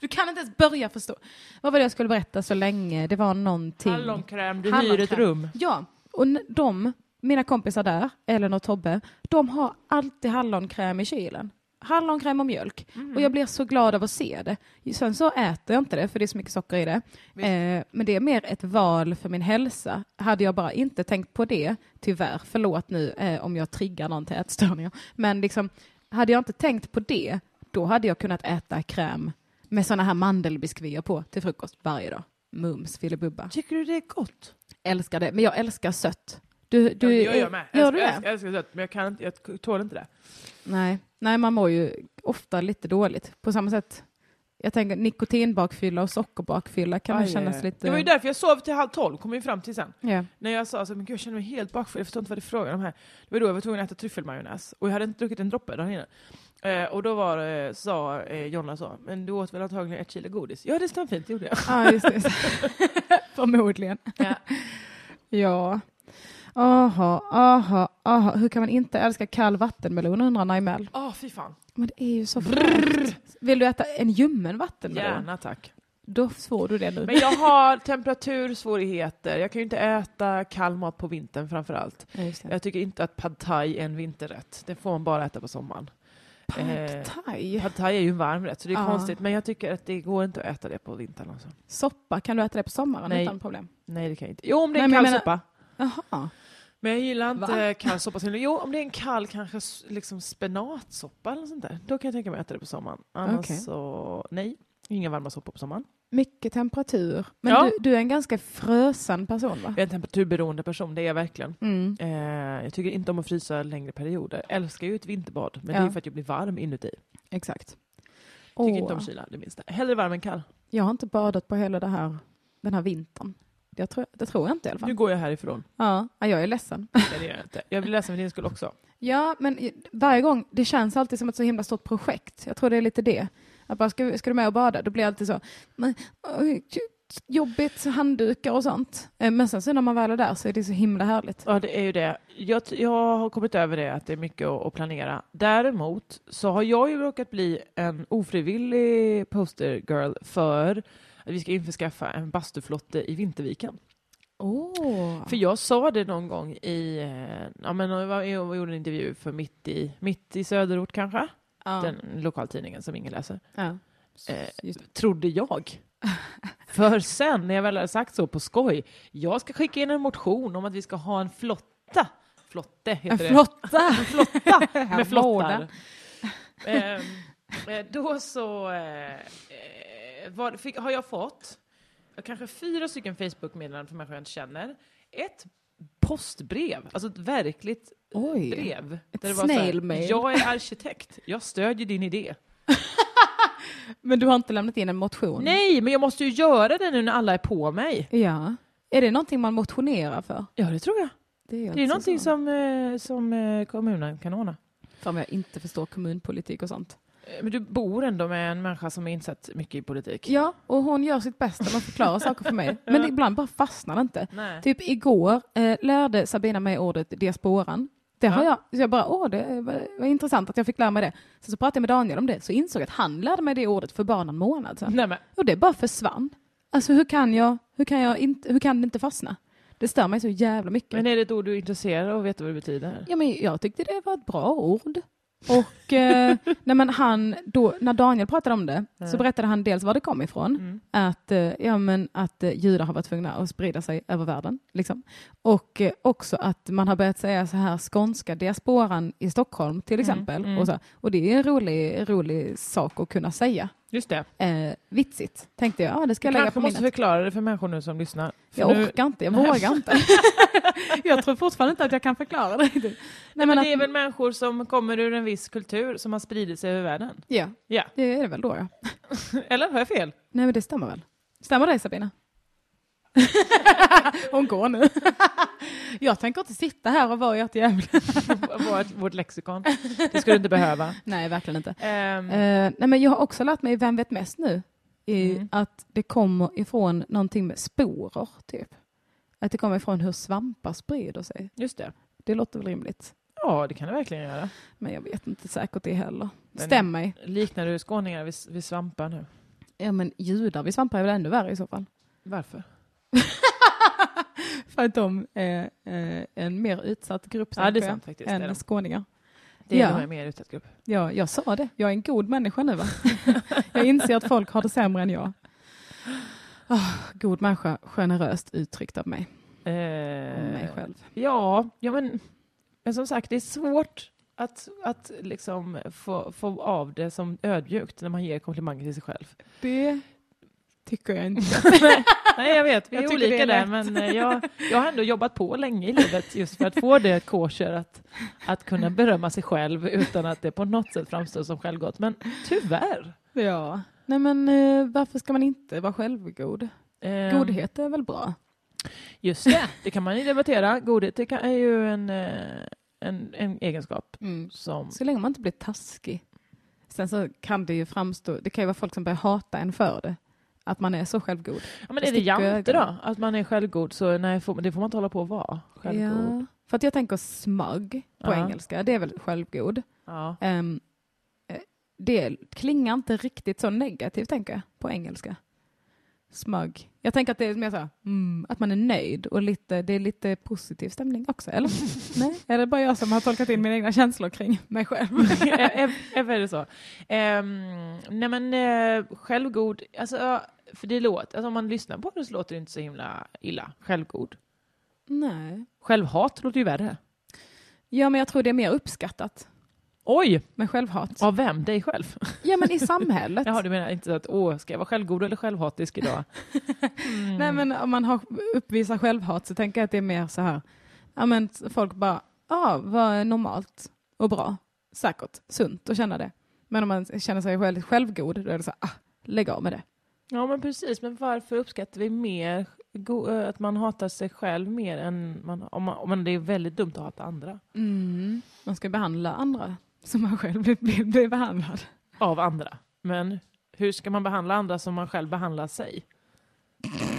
Speaker 1: du kan inte ens börja förstå. Vad var det jag skulle berätta så länge? Det var någonting.
Speaker 2: Hallonkräm, du hyr
Speaker 1: Hallonkräm.
Speaker 2: ett rum.
Speaker 1: Ja, och n- de, mina kompisar där, Ellen och Tobbe, de har alltid hallonkräm i kylen. Hallonkräm och mjölk. Och jag blir så glad av att se det. Sen så äter jag inte det för det är så mycket socker i det.
Speaker 2: Visst.
Speaker 1: Eh, men det är mer ett val för min hälsa. Hade jag bara inte tänkt på det, tyvärr, förlåt nu eh, om jag triggar någon till ätstörningar, men liksom, hade jag inte tänkt på det, då hade jag kunnat äta kräm med såna här mandelbiskvier på till frukost varje dag. Mums filibubba.
Speaker 2: Tycker du det är gott?
Speaker 1: Älskar det, men jag älskar sött. Du, du,
Speaker 2: Du, jag gör med.
Speaker 1: Gör
Speaker 2: jag,
Speaker 1: du
Speaker 2: älskar-
Speaker 1: det?
Speaker 2: jag älskar sött, men jag, kan inte, jag tål inte det.
Speaker 1: Nej. Nej, man mår ju ofta lite dåligt. På samma sätt, jag tänker nikotinbakfylla och sockerbakfylla kan väl
Speaker 2: Aj,
Speaker 1: kännas
Speaker 2: aj, aj.
Speaker 1: lite...
Speaker 2: Det var ju därför jag sov till halv tolv, kom vi fram till sen.
Speaker 1: ja.
Speaker 2: När jag sa så, men gud, jag känner mig helt bakfull, jag förstår inte vad det är frågan om här. Det var då jag var tvungen att äta tryffelmajonnäs och jag hade inte druckit en droppe dagen innan. Eh, och då var, eh, sa eh, Jonna så, men du åt väl antagligen ett kilo godis? Ja det stämmer fint, det gjorde jag.
Speaker 1: Ja, just det. Förmodligen.
Speaker 2: Ja.
Speaker 1: Ja. Aha, aha, aha. Hur kan man inte älska kall vattenmelon undrar Naimel.
Speaker 2: Åh fy fan,
Speaker 1: Men det är ju så fräscht. Vill du äta en ljummen vattenmelon?
Speaker 2: gärna tack.
Speaker 1: Då får du det nu.
Speaker 2: Men jag har temperatursvårigheter, jag kan ju inte äta kall mat på vintern framförallt.
Speaker 1: Ja, just det.
Speaker 2: Jag tycker inte att pad thai är en vinterrätt, det får man bara äta på sommaren. Eh,
Speaker 1: Pad thai.
Speaker 2: Pad thai är ju en varm rätt så det är
Speaker 1: Ja.
Speaker 2: konstigt, men jag tycker att det går inte att äta det på vintern. Alltså.
Speaker 1: Soppa, kan du äta det på sommaren
Speaker 2: Nej.
Speaker 1: utan problem?
Speaker 2: Nej det kan jag inte. Jo om det
Speaker 1: Nej,
Speaker 2: är
Speaker 1: men jag
Speaker 2: kall
Speaker 1: menar-
Speaker 2: soppa.
Speaker 1: Jaha.
Speaker 2: Men jag gillar inte
Speaker 1: Va?
Speaker 2: kall soppa. så- Jo, om det är en kall kanske s- liksom spenatsoppa eller sånt där. Då kan jag tänka mig att äta det på sommaren. Annars
Speaker 1: Okej.
Speaker 2: så, nej. Inga varma soppor på sommaren.
Speaker 1: Mycket temperatur. Men
Speaker 2: Ja.
Speaker 1: du, du är en ganska frösen person va?
Speaker 2: Jag är en temperaturberoende person, det är jag verkligen.
Speaker 1: Mm.
Speaker 2: Eh, jag tycker inte om att frysa längre perioder. Älskar ju ett vinterbad, men det
Speaker 1: Ja.
Speaker 2: är för att jag blir varm inuti. Tycker
Speaker 1: Exakt.
Speaker 2: inte om kyla det minsta. Hellre varm än kall.
Speaker 1: jag har inte badat på hela det här, den här vintern. Jag tror, det tror jag inte i alla fall.
Speaker 2: Nu går jag härifrån.
Speaker 1: Ja, ja, jag är ledsen.
Speaker 2: Nej, det gör jag inte. Jag blir ledsen för din skull också.
Speaker 1: Ja, men i- varje gång, det känns alltid som ett så himla stort projekt. Jag tror det är lite det. Att bara, ska, ska du med och bada? Då blir jag alltid så, nej, oj, jobbigt, handdukar och sånt. Eh, Men sen så när man väl är där så är det så himla härligt.
Speaker 2: Ja, det är ju det. Jag, t- jag har kommit över det, att det är mycket att, att planera. Däremot så har jag ju råkat bli en ofrivillig poster girl för att vi ska införskaffa en bastuflotte i Vinterviken.
Speaker 1: Oh.
Speaker 2: För jag sa det någon gång i, eh, ja men jag var- jag gjorde en intervju för Mitt i, mitt i Söderort kanske,
Speaker 1: ja.
Speaker 2: den lokaltidningen som ingen läser,
Speaker 1: Ja.
Speaker 2: Eh,
Speaker 1: Just-
Speaker 2: trodde jag. För sen, när jag väl hade sagt så på skoj, jag ska skicka in en motion om att vi ska ha en flotta. Flotte heter
Speaker 1: En
Speaker 2: det.
Speaker 1: flotta!
Speaker 2: En flotta med
Speaker 1: Vårda.
Speaker 2: flottar. Ehm, eh, då så eh, eh, vad, fick, har jag fått eh, kanske fyra stycken Facebook-meddelanden från människor jag inte känner. Ett postbrev, alltså ett verkligt
Speaker 1: Oj.
Speaker 2: brev.
Speaker 1: Ett
Speaker 2: det var så här,
Speaker 1: snail mail.
Speaker 2: jag är arkitekt, jag stödjer din idé.
Speaker 1: Men du har inte lämnat in en motion?
Speaker 2: Nej, men jag måste ju göra det nu när alla är på mig.
Speaker 1: Ja. Är det någonting man motionerar för?
Speaker 2: Ja, det tror jag.
Speaker 1: Det är,
Speaker 2: Det är någonting som, eh, som eh, kommunen kan ordna.
Speaker 1: Fan jag inte förstår kommunpolitik och sånt.
Speaker 2: Eh, Men du bor ändå med en människa som är insatt mycket i politik.
Speaker 1: Ja, och hon gör sitt bästa med att förklara saker för mig. Men ibland bara fastnar det inte.
Speaker 2: Nej.
Speaker 1: Typ igår eh, lärde Sabina mig ordet diasporan. Det har
Speaker 2: Ja.
Speaker 1: jag, så jag bara, åh det är- vad- vad intressant att jag fick lära mig det. Sen så pratade jag med Daniel om det, så insåg jag att han lärde mig det ordet för bara en månad sedan.
Speaker 2: Nej, men,
Speaker 1: Och det bara försvann. Alltså hur kan jag, hur kan jag inte, hur kan det inte fastna? Det stör mig så jävla mycket.
Speaker 2: Men är det ett ord du är intresserad av och vet vad det betyder?
Speaker 1: Ja, men jag tyckte det var ett bra ord. Och eh, nej, men han, då, när Daniel pratade om det så berättade han dels var det kom ifrån.
Speaker 2: Mm.
Speaker 1: Att, eh, ja, men att eh, judar har varit tvungna att sprida sig över världen. Liksom. Och eh, också att man har börjat säga så här skånska
Speaker 2: Mm,
Speaker 1: diasporan i Stockholm till exempel. Och, så, och det är en rolig, rolig sak att kunna säga.
Speaker 2: Just det.
Speaker 1: Eh, vitsigt, tänkte jag. Ja, det ska
Speaker 2: Du
Speaker 1: jag lägga
Speaker 2: kanske
Speaker 1: på
Speaker 2: måste
Speaker 1: minnet.
Speaker 2: förklara det för människor nu som lyssnar. För
Speaker 1: Jag
Speaker 2: nu,
Speaker 1: orkar inte, jag vågar inte. jag tror fortfarande inte att jag kan förklara det. Nej, men
Speaker 2: men
Speaker 1: att,
Speaker 2: det är väl människor som kommer ur en viss kultur som har spridit sig över världen?
Speaker 1: Ja,
Speaker 2: Ja.
Speaker 1: det är det väl då ja.
Speaker 2: Eller har jag fel?
Speaker 1: Nej, men det stämmer väl? Stämmer det Sabina? Hon går nu. jag tänker inte sitta här och vara i ett jävla...
Speaker 2: vårt, vårt lexikon. Det skulle du inte behöva.
Speaker 1: Nej, verkligen inte.
Speaker 2: Ehm,
Speaker 1: Eh, nej, men jag har också lärt mig, vem vet mest nu, i
Speaker 2: Mm.
Speaker 1: att det kommer ifrån någonting med sporer, typ. Att det kommer ifrån hur svampar sprider sig.
Speaker 2: just det.
Speaker 1: Det låter väl rimligt,
Speaker 2: Ja, det kan det verkligen göra.
Speaker 1: men jag vet inte säkert det heller.
Speaker 2: Men-
Speaker 1: Stäm mig.
Speaker 2: Liknar du skåningar vid, vid svampar nu?
Speaker 1: Ja, men judar vid svampar är väl ännu värre i så fall.
Speaker 2: Varför?
Speaker 1: För att de är eh, en mer utsatt grupp,
Speaker 2: Ja, det
Speaker 1: tänker
Speaker 2: är
Speaker 1: jag,
Speaker 2: sant faktiskt. Det är,
Speaker 1: än
Speaker 2: de.
Speaker 1: skåningar.
Speaker 2: det är
Speaker 1: Ja.
Speaker 2: nog en mer utsatt grupp.
Speaker 1: Ja, jag sa det. Jag är en god människa nu. Va? jag inser att folk har det sämre än jag. Ah, god människa, generöst uttryckt av mig. Om mig
Speaker 2: Eh,
Speaker 1: själv.
Speaker 2: ja, ja men, men som sagt, det är svårt att, att liksom få, få av det som ödmjukt när man ger komplimanger till sig själv.
Speaker 1: Det tycker jag inte.
Speaker 2: Nej, jag vet, vi är
Speaker 1: Jag tycker det
Speaker 2: olika
Speaker 1: är
Speaker 2: där,
Speaker 1: lätt.
Speaker 2: men eh, jag, jag har ändå jobbat på länge i livet just för att få det kosher att, att kunna berömma sig själv utan att det på något sätt framstår som självgott. Men tyvärr.
Speaker 1: Ja. Nej, men eh, varför ska man inte vara självgod?
Speaker 2: ehm,
Speaker 1: Godhet är väl bra?
Speaker 2: Just det, det kan man ju debattera. Godhet det kan, är ju en, eh, en, en egenskap som...
Speaker 1: Så länge man inte blir taskig. Sen så kan det ju framstå, det kan ju vara folk som börjar hata en för det. Att man är så självgod.
Speaker 2: Ja, men är det
Speaker 1: sticker
Speaker 2: jante då?
Speaker 1: ögonen.
Speaker 2: Att man är självgod, så nej, får, det får man inte hålla på att vara. Självgod.
Speaker 1: Ja. För att jag tänker smug på
Speaker 2: Ja.
Speaker 1: engelska, det är väl självgod.
Speaker 2: Ja.
Speaker 1: Ehm, eh, det klingar inte riktigt så negativt, tänker jag, på engelska. Smug. Jag tänker att det är mer så här, mm, att man är nöjd och lite, det är lite positiv stämning också, eller? Nej, är det bara jag som har tolkat in mina egna känslor kring mig själv?
Speaker 2: Ev- Ev är det så. Ehm, nej men eh, självgod, alltså, ja, för det låter, alltså, om man lyssnar på det så låter det inte så himla illa. Självgod.
Speaker 1: Nej.
Speaker 2: Självhat låter ju värre.
Speaker 1: Ja, men jag tror det är mer uppskattat
Speaker 2: Oj!
Speaker 1: med självhat.
Speaker 2: Av vem? Dig själv?
Speaker 1: Ja, men i samhället.
Speaker 2: Jaha, du menar inte så att åh, ska jag vara självgod eller självhatisk idag? Mm.
Speaker 1: Nej, men om man har, uppvisar självhat så tänker jag att det är mer så här, ja men folk bara, ja vad är normalt och bra, säkert, sunt att känna det. Men om man känner sig själv, självgod, då är det så här, ah, lägg av med det.
Speaker 2: Ja, men precis. Men varför uppskattar vi mer go- eh, att man hatar sig själv mer än man, om, man, om man, det är väldigt dumt att hata andra?
Speaker 1: Man ska behandla andra som man själv blir, blir, blir behandlad.
Speaker 2: Av andra. Men hur ska man behandla andra som man själv behandlar sig?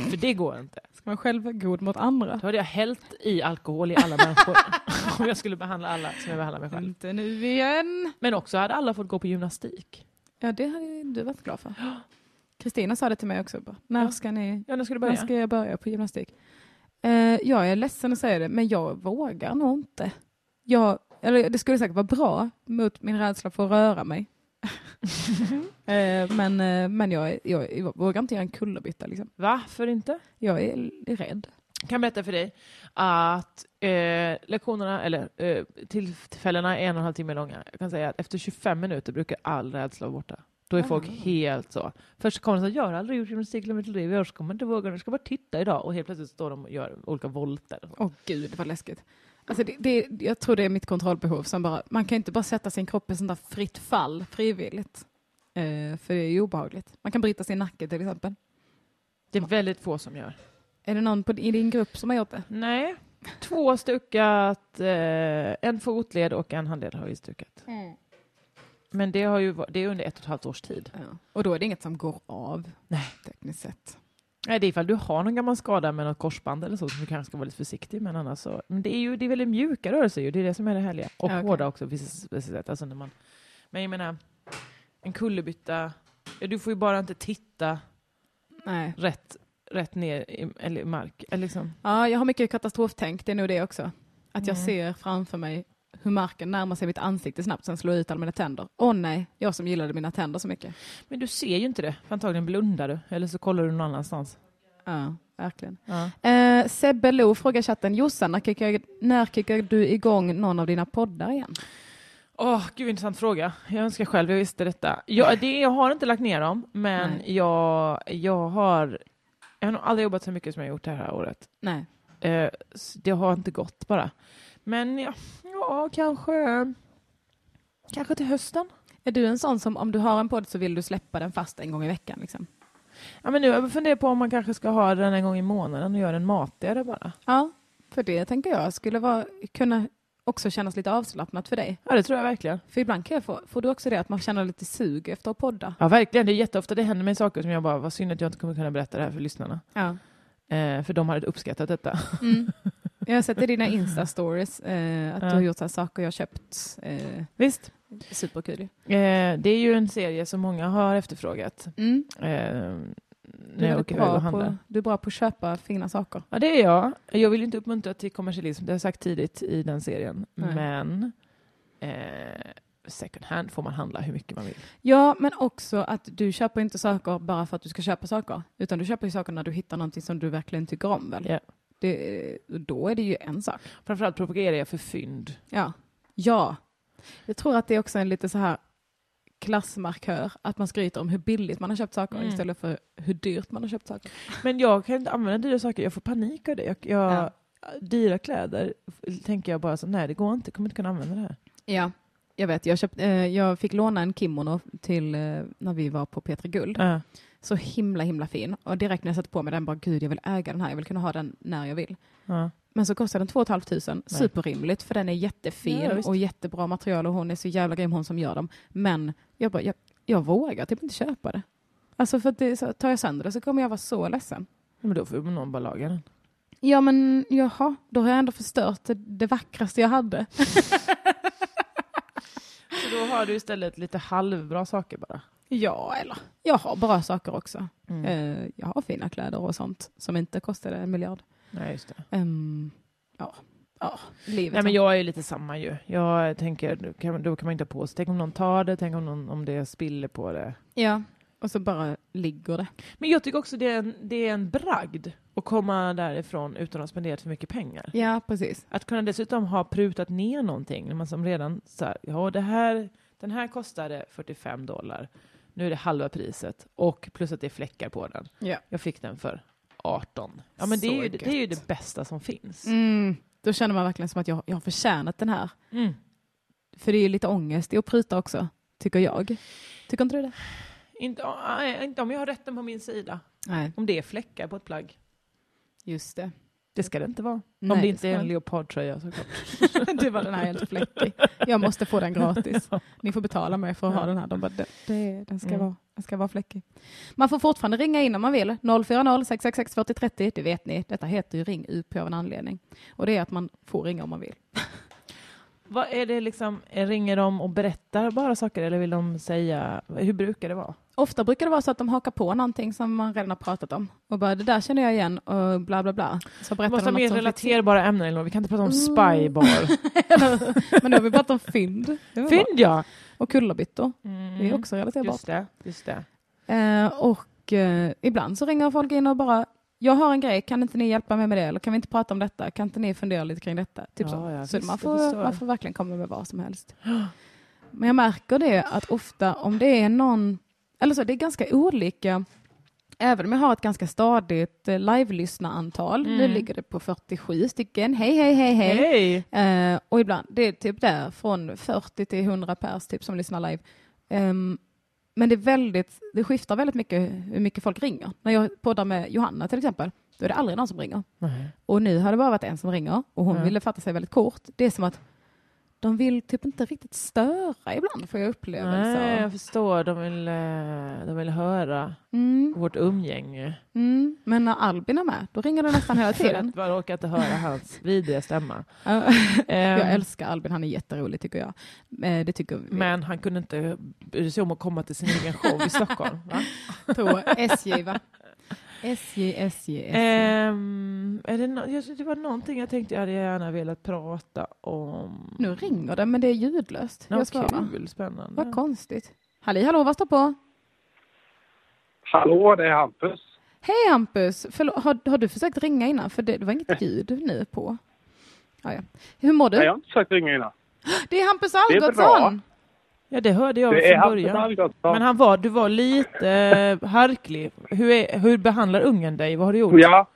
Speaker 2: För det går inte.
Speaker 1: Ska man själv vara god mot andra?
Speaker 2: Då hade jag hällt i alkohol i alla människor om jag skulle behandla alla som jag behandlar mig själv.
Speaker 1: Inte nu igen.
Speaker 2: Men också hade alla fått gå på gymnastik.
Speaker 1: Ja, det hade ju du varit glad för. Kristina sa det till mig också, bara, när ska ni
Speaker 2: Ja, när skulle du
Speaker 1: När
Speaker 2: börja?
Speaker 1: ska jag börja på gymnastik? Eh, jag är ledsen att säga det, men jag vågar nog inte. Jag, eller det skulle säkert vara bra mot min rädsla för att röra mig. eh, men eh, men jag, jag, jag vågar inte göra en kullerbytta. Liksom.
Speaker 2: Varför inte?
Speaker 1: Jag är rädd.
Speaker 2: Jag kan berätta för dig att eh, lektionerna, eller eh, tillfällena är en och en halv timme långa. Jag kan säga att efter 25 minuter brukar all rädsla vara borta. Då är folk helt så. Först kommer de så här, jag har aldrig gjort gymnastik i mitt liv, jag kommer inte våga, jag ska bara titta idag. Och helt plötsligt står de och gör olika volter.
Speaker 1: Åh gud vad läskigt. Alltså det, det, jag tror det är mitt kontrollbehov som bara, man kan inte bara sätta sin kropp i sånt där fritt fall frivilligt. Eh, för det är ju obehagligt. Man kan bryta sin nacke till exempel.
Speaker 2: Det är väldigt få som gör.
Speaker 1: Är det någon på, i din grupp som har gjort det?
Speaker 2: Nej, två stukat, eh, en fotled och en handled har ju stukat. Men det, har ju, va- det är under ett och ett halvt års tid.
Speaker 1: Ja. Och då är det inget som går av,
Speaker 2: Nej.
Speaker 1: tekniskt sett.
Speaker 2: Nej, det är ifall du har någon gammal skada med något korsband eller så som du kanske ska vara lite försiktig med. Annars så, men det är ju det är väldigt mjuka rörelser ju, det är det som är det härliga. Och
Speaker 1: Ja, okej.
Speaker 2: hårda också på vissa vissa sätt. Alltså när man, men jag menar, en kullerbytta, ja, du får ju bara inte titta
Speaker 1: Nej.
Speaker 2: rätt, rätt ner i, eller i mark. Eller liksom.
Speaker 1: Ja, jag har mycket katastroftänk, det är nog det också. Att jag ser framför mig hur marken närmar sig mitt ansikte snabbt, sen slår jag ut alla mina tänder. Åh nej, jag som gillade mina tänder så mycket.
Speaker 2: Men du ser ju inte det, för antagligen blundar du. Eller så kollar du någon annanstans.
Speaker 1: Ja, verkligen.
Speaker 2: Ja.
Speaker 1: Eh, Sebbe Lo frågar i chatten, Jossan, när kickar, när kickar du igång någon av dina poddar igen?
Speaker 2: Åh, gud intressant fråga. Jag önskar själv jag visste detta. Jag, det, jag har inte lagt ner dem, men
Speaker 1: Nej.
Speaker 2: jag, jag har... Jag har nog aldrig jobbat så mycket som jag gjort det här året.
Speaker 1: Nej.
Speaker 2: Eh, s- det har inte gått bara. Men ja, ja kanske... Kanske till hösten?
Speaker 1: Är du en sån som om du har en podd så vill du släppa den fast en gång i veckan? Liksom?
Speaker 2: Ja, men nu har jag funderat på om man kanske ska ha den en gång i månaden och göra den matigare bara.
Speaker 1: Ja, för det tänker jag skulle vara, kunna också kännas lite avslappnat för dig.
Speaker 2: Ja, det tror jag verkligen.
Speaker 1: För ibland kan jag få, får du också det att man känner lite sug efter att podda?
Speaker 2: Ja, verkligen. Det är jätteofta det händer mig saker som jag bara, vad synd att jag inte kommer kunna berätta det här för lyssnarna.
Speaker 1: Ja.
Speaker 2: Eh, för de hade uppskattat detta.
Speaker 1: Mm. Jag har sett i dina Insta-stories eh, att
Speaker 2: Ja.
Speaker 1: du har gjort så här saker jag har köpt. Eh,
Speaker 2: Visst.
Speaker 1: superkul ju.
Speaker 2: Eh, det är ju en serie som många har efterfrågat.
Speaker 1: Mm.
Speaker 2: Eh, när
Speaker 1: Du, är
Speaker 2: jag
Speaker 1: väldigt
Speaker 2: åker iväg och
Speaker 1: bra
Speaker 2: handlar.
Speaker 1: på, du är bra på att köpa fina saker.
Speaker 2: Ja, det är jag. Jag vill ju inte uppmuntra till kommersialism, det har jag sagt tidigt i den serien.
Speaker 1: Nej.
Speaker 2: Men eh, second hand får man handla hur mycket man vill.
Speaker 1: Ja, men också att du köper inte saker bara för att du ska köpa saker, utan du köper ju saker när du hittar någonting som du verkligen tycker om. Väl?
Speaker 2: Ja.
Speaker 1: Det, då är det ju en sak.
Speaker 2: Framförallt propagerar jag för fynd.
Speaker 1: Ja. ja. Jag tror att det är också en lite så här klassmarkör, att man skryter om hur billigt man har köpt saker
Speaker 2: Mm.
Speaker 1: istället för hur dyrt man har köpt saker.
Speaker 2: Men jag kan inte använda dyra saker, jag får panik av det. Jag, jag,
Speaker 1: Ja.
Speaker 2: Dyra kläder tänker jag bara så, nej det går inte, jag kommer inte kunna använda det här.
Speaker 1: Ja, jag vet. Jag, köpt, eh, jag fick låna en kimono till eh, när vi var på P3 Guld.
Speaker 2: Ja.
Speaker 1: Så himla, himla fin. Och direkt när jag satte på mig den, bara gud, jag vill äga den här. Jag vill kunna ha den när jag vill.
Speaker 2: Ja.
Speaker 1: Men så kostar den 2 500. Superrimligt, för den är jättefin
Speaker 2: Ja, visst.
Speaker 1: och jättebra material och hon är så jävla grym hon som gör dem. Men jag, bara, jag, jag vågar typ inte köpa det. Alltså för att det, är så, tar jag sönder det så kommer jag vara så ledsen.
Speaker 2: Men då får någon bara laga den.
Speaker 1: Ja men jaha, då har jag ändå förstört det, det vackraste jag hade.
Speaker 2: Så då har du istället lite halvbra saker bara.
Speaker 1: Ja, eller jag har bra saker också. Eh, jag har fina kläder och sånt som inte kostade en miljard.
Speaker 2: Nej, just det.
Speaker 1: Ehm, ja, ja, livet.
Speaker 2: Nej, men jag är ju lite samma ju. Jag tänker, då kan, då kan man inte ha på sig. Tänk om någon tar det, tänk om, någon, om det spiller på det.
Speaker 1: Ja, och så bara ligger det.
Speaker 2: Men jag tycker också det är en, det är en bragd att komma därifrån utan att ha spenderat för mycket pengar.
Speaker 1: Ja, precis.
Speaker 2: Att kunna dessutom ha prutat ner någonting, när man som redan så här, ja det här, den här kostade 45 dollar, nu är det halva priset och plus att det är fläckar på den.
Speaker 1: Ja.
Speaker 2: Jag fick den för 18. Ja men det
Speaker 1: Så
Speaker 2: är, ju, det är ju
Speaker 1: gött.
Speaker 2: det bästa som finns.
Speaker 1: Mm, då känner man verkligen som att jag, jag har förtjänat den här.
Speaker 2: Mm.
Speaker 1: För det är ju lite ångest i att pruta också, tycker jag. Tycker inte du det?
Speaker 2: Inte, ah, nej, inte om jag har rätten på min sida,
Speaker 1: Nej,
Speaker 2: om det är fläckar på ett plagg.
Speaker 1: just det.
Speaker 2: Det ska det inte vara.
Speaker 1: Nej,
Speaker 2: om det inte är en
Speaker 1: ska-
Speaker 2: leopardtröja såklart.
Speaker 1: Du var den här är helt fläckig. Jag måste få den gratis. Ni får betala mig för att ha den här. De bara, det, det, den, ska
Speaker 2: Mm.
Speaker 1: vara, den ska vara fläckig. Man får fortfarande ringa in om man vill. 040 666 4030, det vet ni. Detta heter ju Ring UP av en anledning. Och det är att man får ringa om man vill.
Speaker 2: Vad är det liksom, ringer de och berättar bara saker eller vill de säga, hur brukar det vara?
Speaker 1: Ofta brukar det vara så att de hakar på någonting som man redan har pratat om. Och bara, det där känner jag igen och bla bla bla. Så berättar
Speaker 2: Måste
Speaker 1: de
Speaker 2: ha mer
Speaker 1: något som-
Speaker 2: relaterbara ämnen eller något. Vi kan inte prata om
Speaker 1: Mm.
Speaker 2: spybar.
Speaker 1: Men nu har vi pratat om fynd. Det var bra.
Speaker 2: Fynd ja!
Speaker 1: Och kullerbyttor. Det är
Speaker 2: Mm.
Speaker 1: också relaterbart.
Speaker 2: Just det, just det.
Speaker 1: Eh, och eh, ibland så ringer folk in och bara jag har en grej, kan inte ni hjälpa mig med det? Eller kan vi inte prata om detta? Kan inte ni fundera lite kring detta? Typ
Speaker 2: Ja,
Speaker 1: så
Speaker 2: ja,
Speaker 1: så
Speaker 2: visst,
Speaker 1: man,
Speaker 2: jag förstår.
Speaker 1: får, man får verkligen komma med vad som helst. Men jag märker det att ofta om det är någon, eller så det är ganska olika, även om jag har ett ganska stadigt eh, live-lyssnarantal,
Speaker 2: Mm.
Speaker 1: nu ligger det på 47 stycken, hej hej hej hej.
Speaker 2: Hej!
Speaker 1: Eh, och ibland, det är typ där från 40 till 100 pers typ, som lyssnar live. Ehm, men det, är väldigt, det skiftar väldigt mycket hur mycket folk ringer. När jag poddar med Johanna till exempel, då är det aldrig någon som ringer.
Speaker 2: Nej.
Speaker 1: Och nu har det bara varit en som ringer och hon
Speaker 2: Mm.
Speaker 1: ville fatta sig väldigt kort. Det är som att de vill typ inte riktigt störa ibland, får jag
Speaker 2: Nej,
Speaker 1: upplevelser.
Speaker 2: jag förstår. De vill, eh, de vill höra
Speaker 1: Mm,
Speaker 2: vårt umgänge.
Speaker 1: mm. Men när Albin är med, då ringer det nästan hela
Speaker 2: För
Speaker 1: tiden.
Speaker 2: att man orkar inte höra hans vidriga stämma.
Speaker 1: Ja, jag
Speaker 2: Ehm,
Speaker 1: älskar Albin, han är jätterolig tycker jag. Eh, det tycker vi.
Speaker 2: Men han kunde inte bry sig om att komma till sin egen show i Stockholm. Va?
Speaker 1: på SJ, va? SJ, SJ, SJ.
Speaker 2: Ehm, är det, nå- jag- det var någonting jag tänkte jag hade gärna velat prata om.
Speaker 1: Nu ringer det, men det är ljudlöst.
Speaker 2: Nå,
Speaker 1: jag svarar.
Speaker 2: kul, spännande.
Speaker 1: Vad konstigt. Halli hallå, vad står på?
Speaker 4: Hallå, det är Hampus.
Speaker 1: Hej Hampus! Förlåt, har, har du försökt ringa innan? För det, det var inget ljud nu på. Ja, ja. Hur mår du?
Speaker 4: Nej, jag har inte försökt ringa innan.
Speaker 1: Det är Hampus
Speaker 4: är bra.
Speaker 1: Algotsson!
Speaker 2: Ja, det hörde jag
Speaker 4: Det
Speaker 2: från
Speaker 4: är Hampus
Speaker 2: början.
Speaker 4: Algotsson.
Speaker 2: Men han var, du var lite eh, harklig. Hur, är, hur behandlar ungen dig? Vad har du gjort?
Speaker 4: Ja.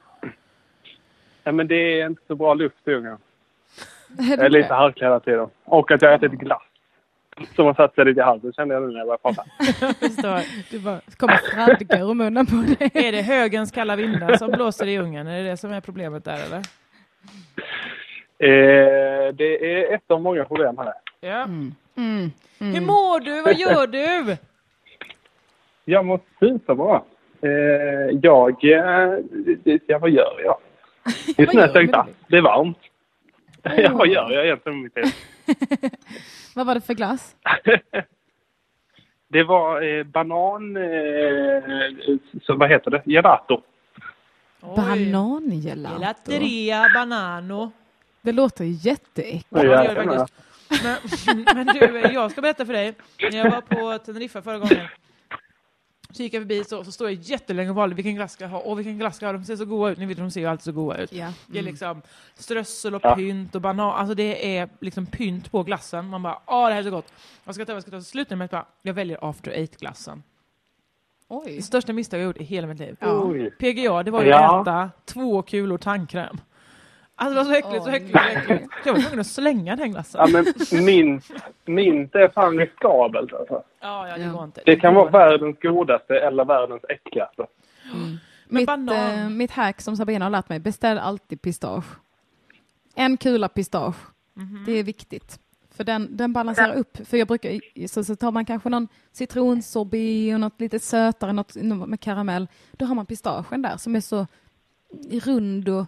Speaker 4: ja, men det är inte så bra luft i ungen.
Speaker 1: Är
Speaker 4: Jag
Speaker 1: det
Speaker 4: är lite
Speaker 1: det?
Speaker 4: harklig hela tiden. Och att jag har ätit glass. Som har satt sig lite i halsen kände jag nu när jag började prata.
Speaker 2: Förstår. Du bara,
Speaker 1: kommer fradgar ur munnen på dig.
Speaker 2: är det högens kalla vindar som blåser i ungen? Är det det som är problemet där eller?
Speaker 4: Eh, det är ett av många problem här.
Speaker 2: Ja.
Speaker 1: Mm.
Speaker 2: Hur mår du? Vad gör du?
Speaker 4: Jag mår superbra. Eh, jag... Eh, ja, vad gör jag? Just nu
Speaker 1: gör
Speaker 4: har jag sökt
Speaker 1: du?
Speaker 4: glass. Det är varmt. ja, vad gör jag egentligen med mitt liv?
Speaker 1: Vad var det för glass?
Speaker 4: Det var eh, banan... Eh, så, vad heter det? Gelato.
Speaker 1: Banangelato.
Speaker 2: Gelateria banano.
Speaker 1: Det låter ju jätteäckligt.
Speaker 2: Ja,
Speaker 4: Ja,
Speaker 2: det
Speaker 4: jag
Speaker 2: gör det
Speaker 4: menar.
Speaker 2: faktiskt. Men, men du, jag ska berätta för dig. När jag var på Teneriffa förra gången så gick jag förbi så, så står jag jättelänge och valde vilken glass ska jag ha. Åh, vilken glass ska jag ha? De ser så goda ut. Ni vet, de ser ju alltid så goda ut.
Speaker 1: Ja. Mm.
Speaker 2: Det är liksom strössel och
Speaker 4: Ja.
Speaker 2: pynt och banan. Alltså det är liksom pynt på glassen. Man bara, åh det här är så gott. Vad ska jag ta? Vad ska jag ta? Så slutar jag med att bara, jag väljer after eight-glassen.
Speaker 1: Oj.
Speaker 2: Det största misstag jag gjort i hela mitt liv.
Speaker 4: Oj.
Speaker 2: PGA, det var ju
Speaker 4: Ja.
Speaker 2: att äta två kulor tandkräm. Alltså det var så äckligt, så
Speaker 1: Åh,
Speaker 2: äckligt, så äckligt. Jag var tvungen att slänga den glassen.
Speaker 4: Ja, men mint, mint är fan riskabelt alltså.
Speaker 2: Ja, ja, det
Speaker 1: Ja.
Speaker 2: går inte.
Speaker 4: Det kan
Speaker 2: går
Speaker 4: vara
Speaker 2: inte.
Speaker 4: världens godaste eller världens äckligaste.
Speaker 1: Mitt,
Speaker 2: banan.
Speaker 1: eh, mitt hack som Sabina har lärt mig, beställ alltid pistage. En kula pistage.
Speaker 2: Mhm.
Speaker 1: Det är viktigt. För den, den balanserar upp. För jag brukar, så, så tar man kanske någon citronsorbet och något lite sötare, något med karamell. Då har man pistagen där som är så rund och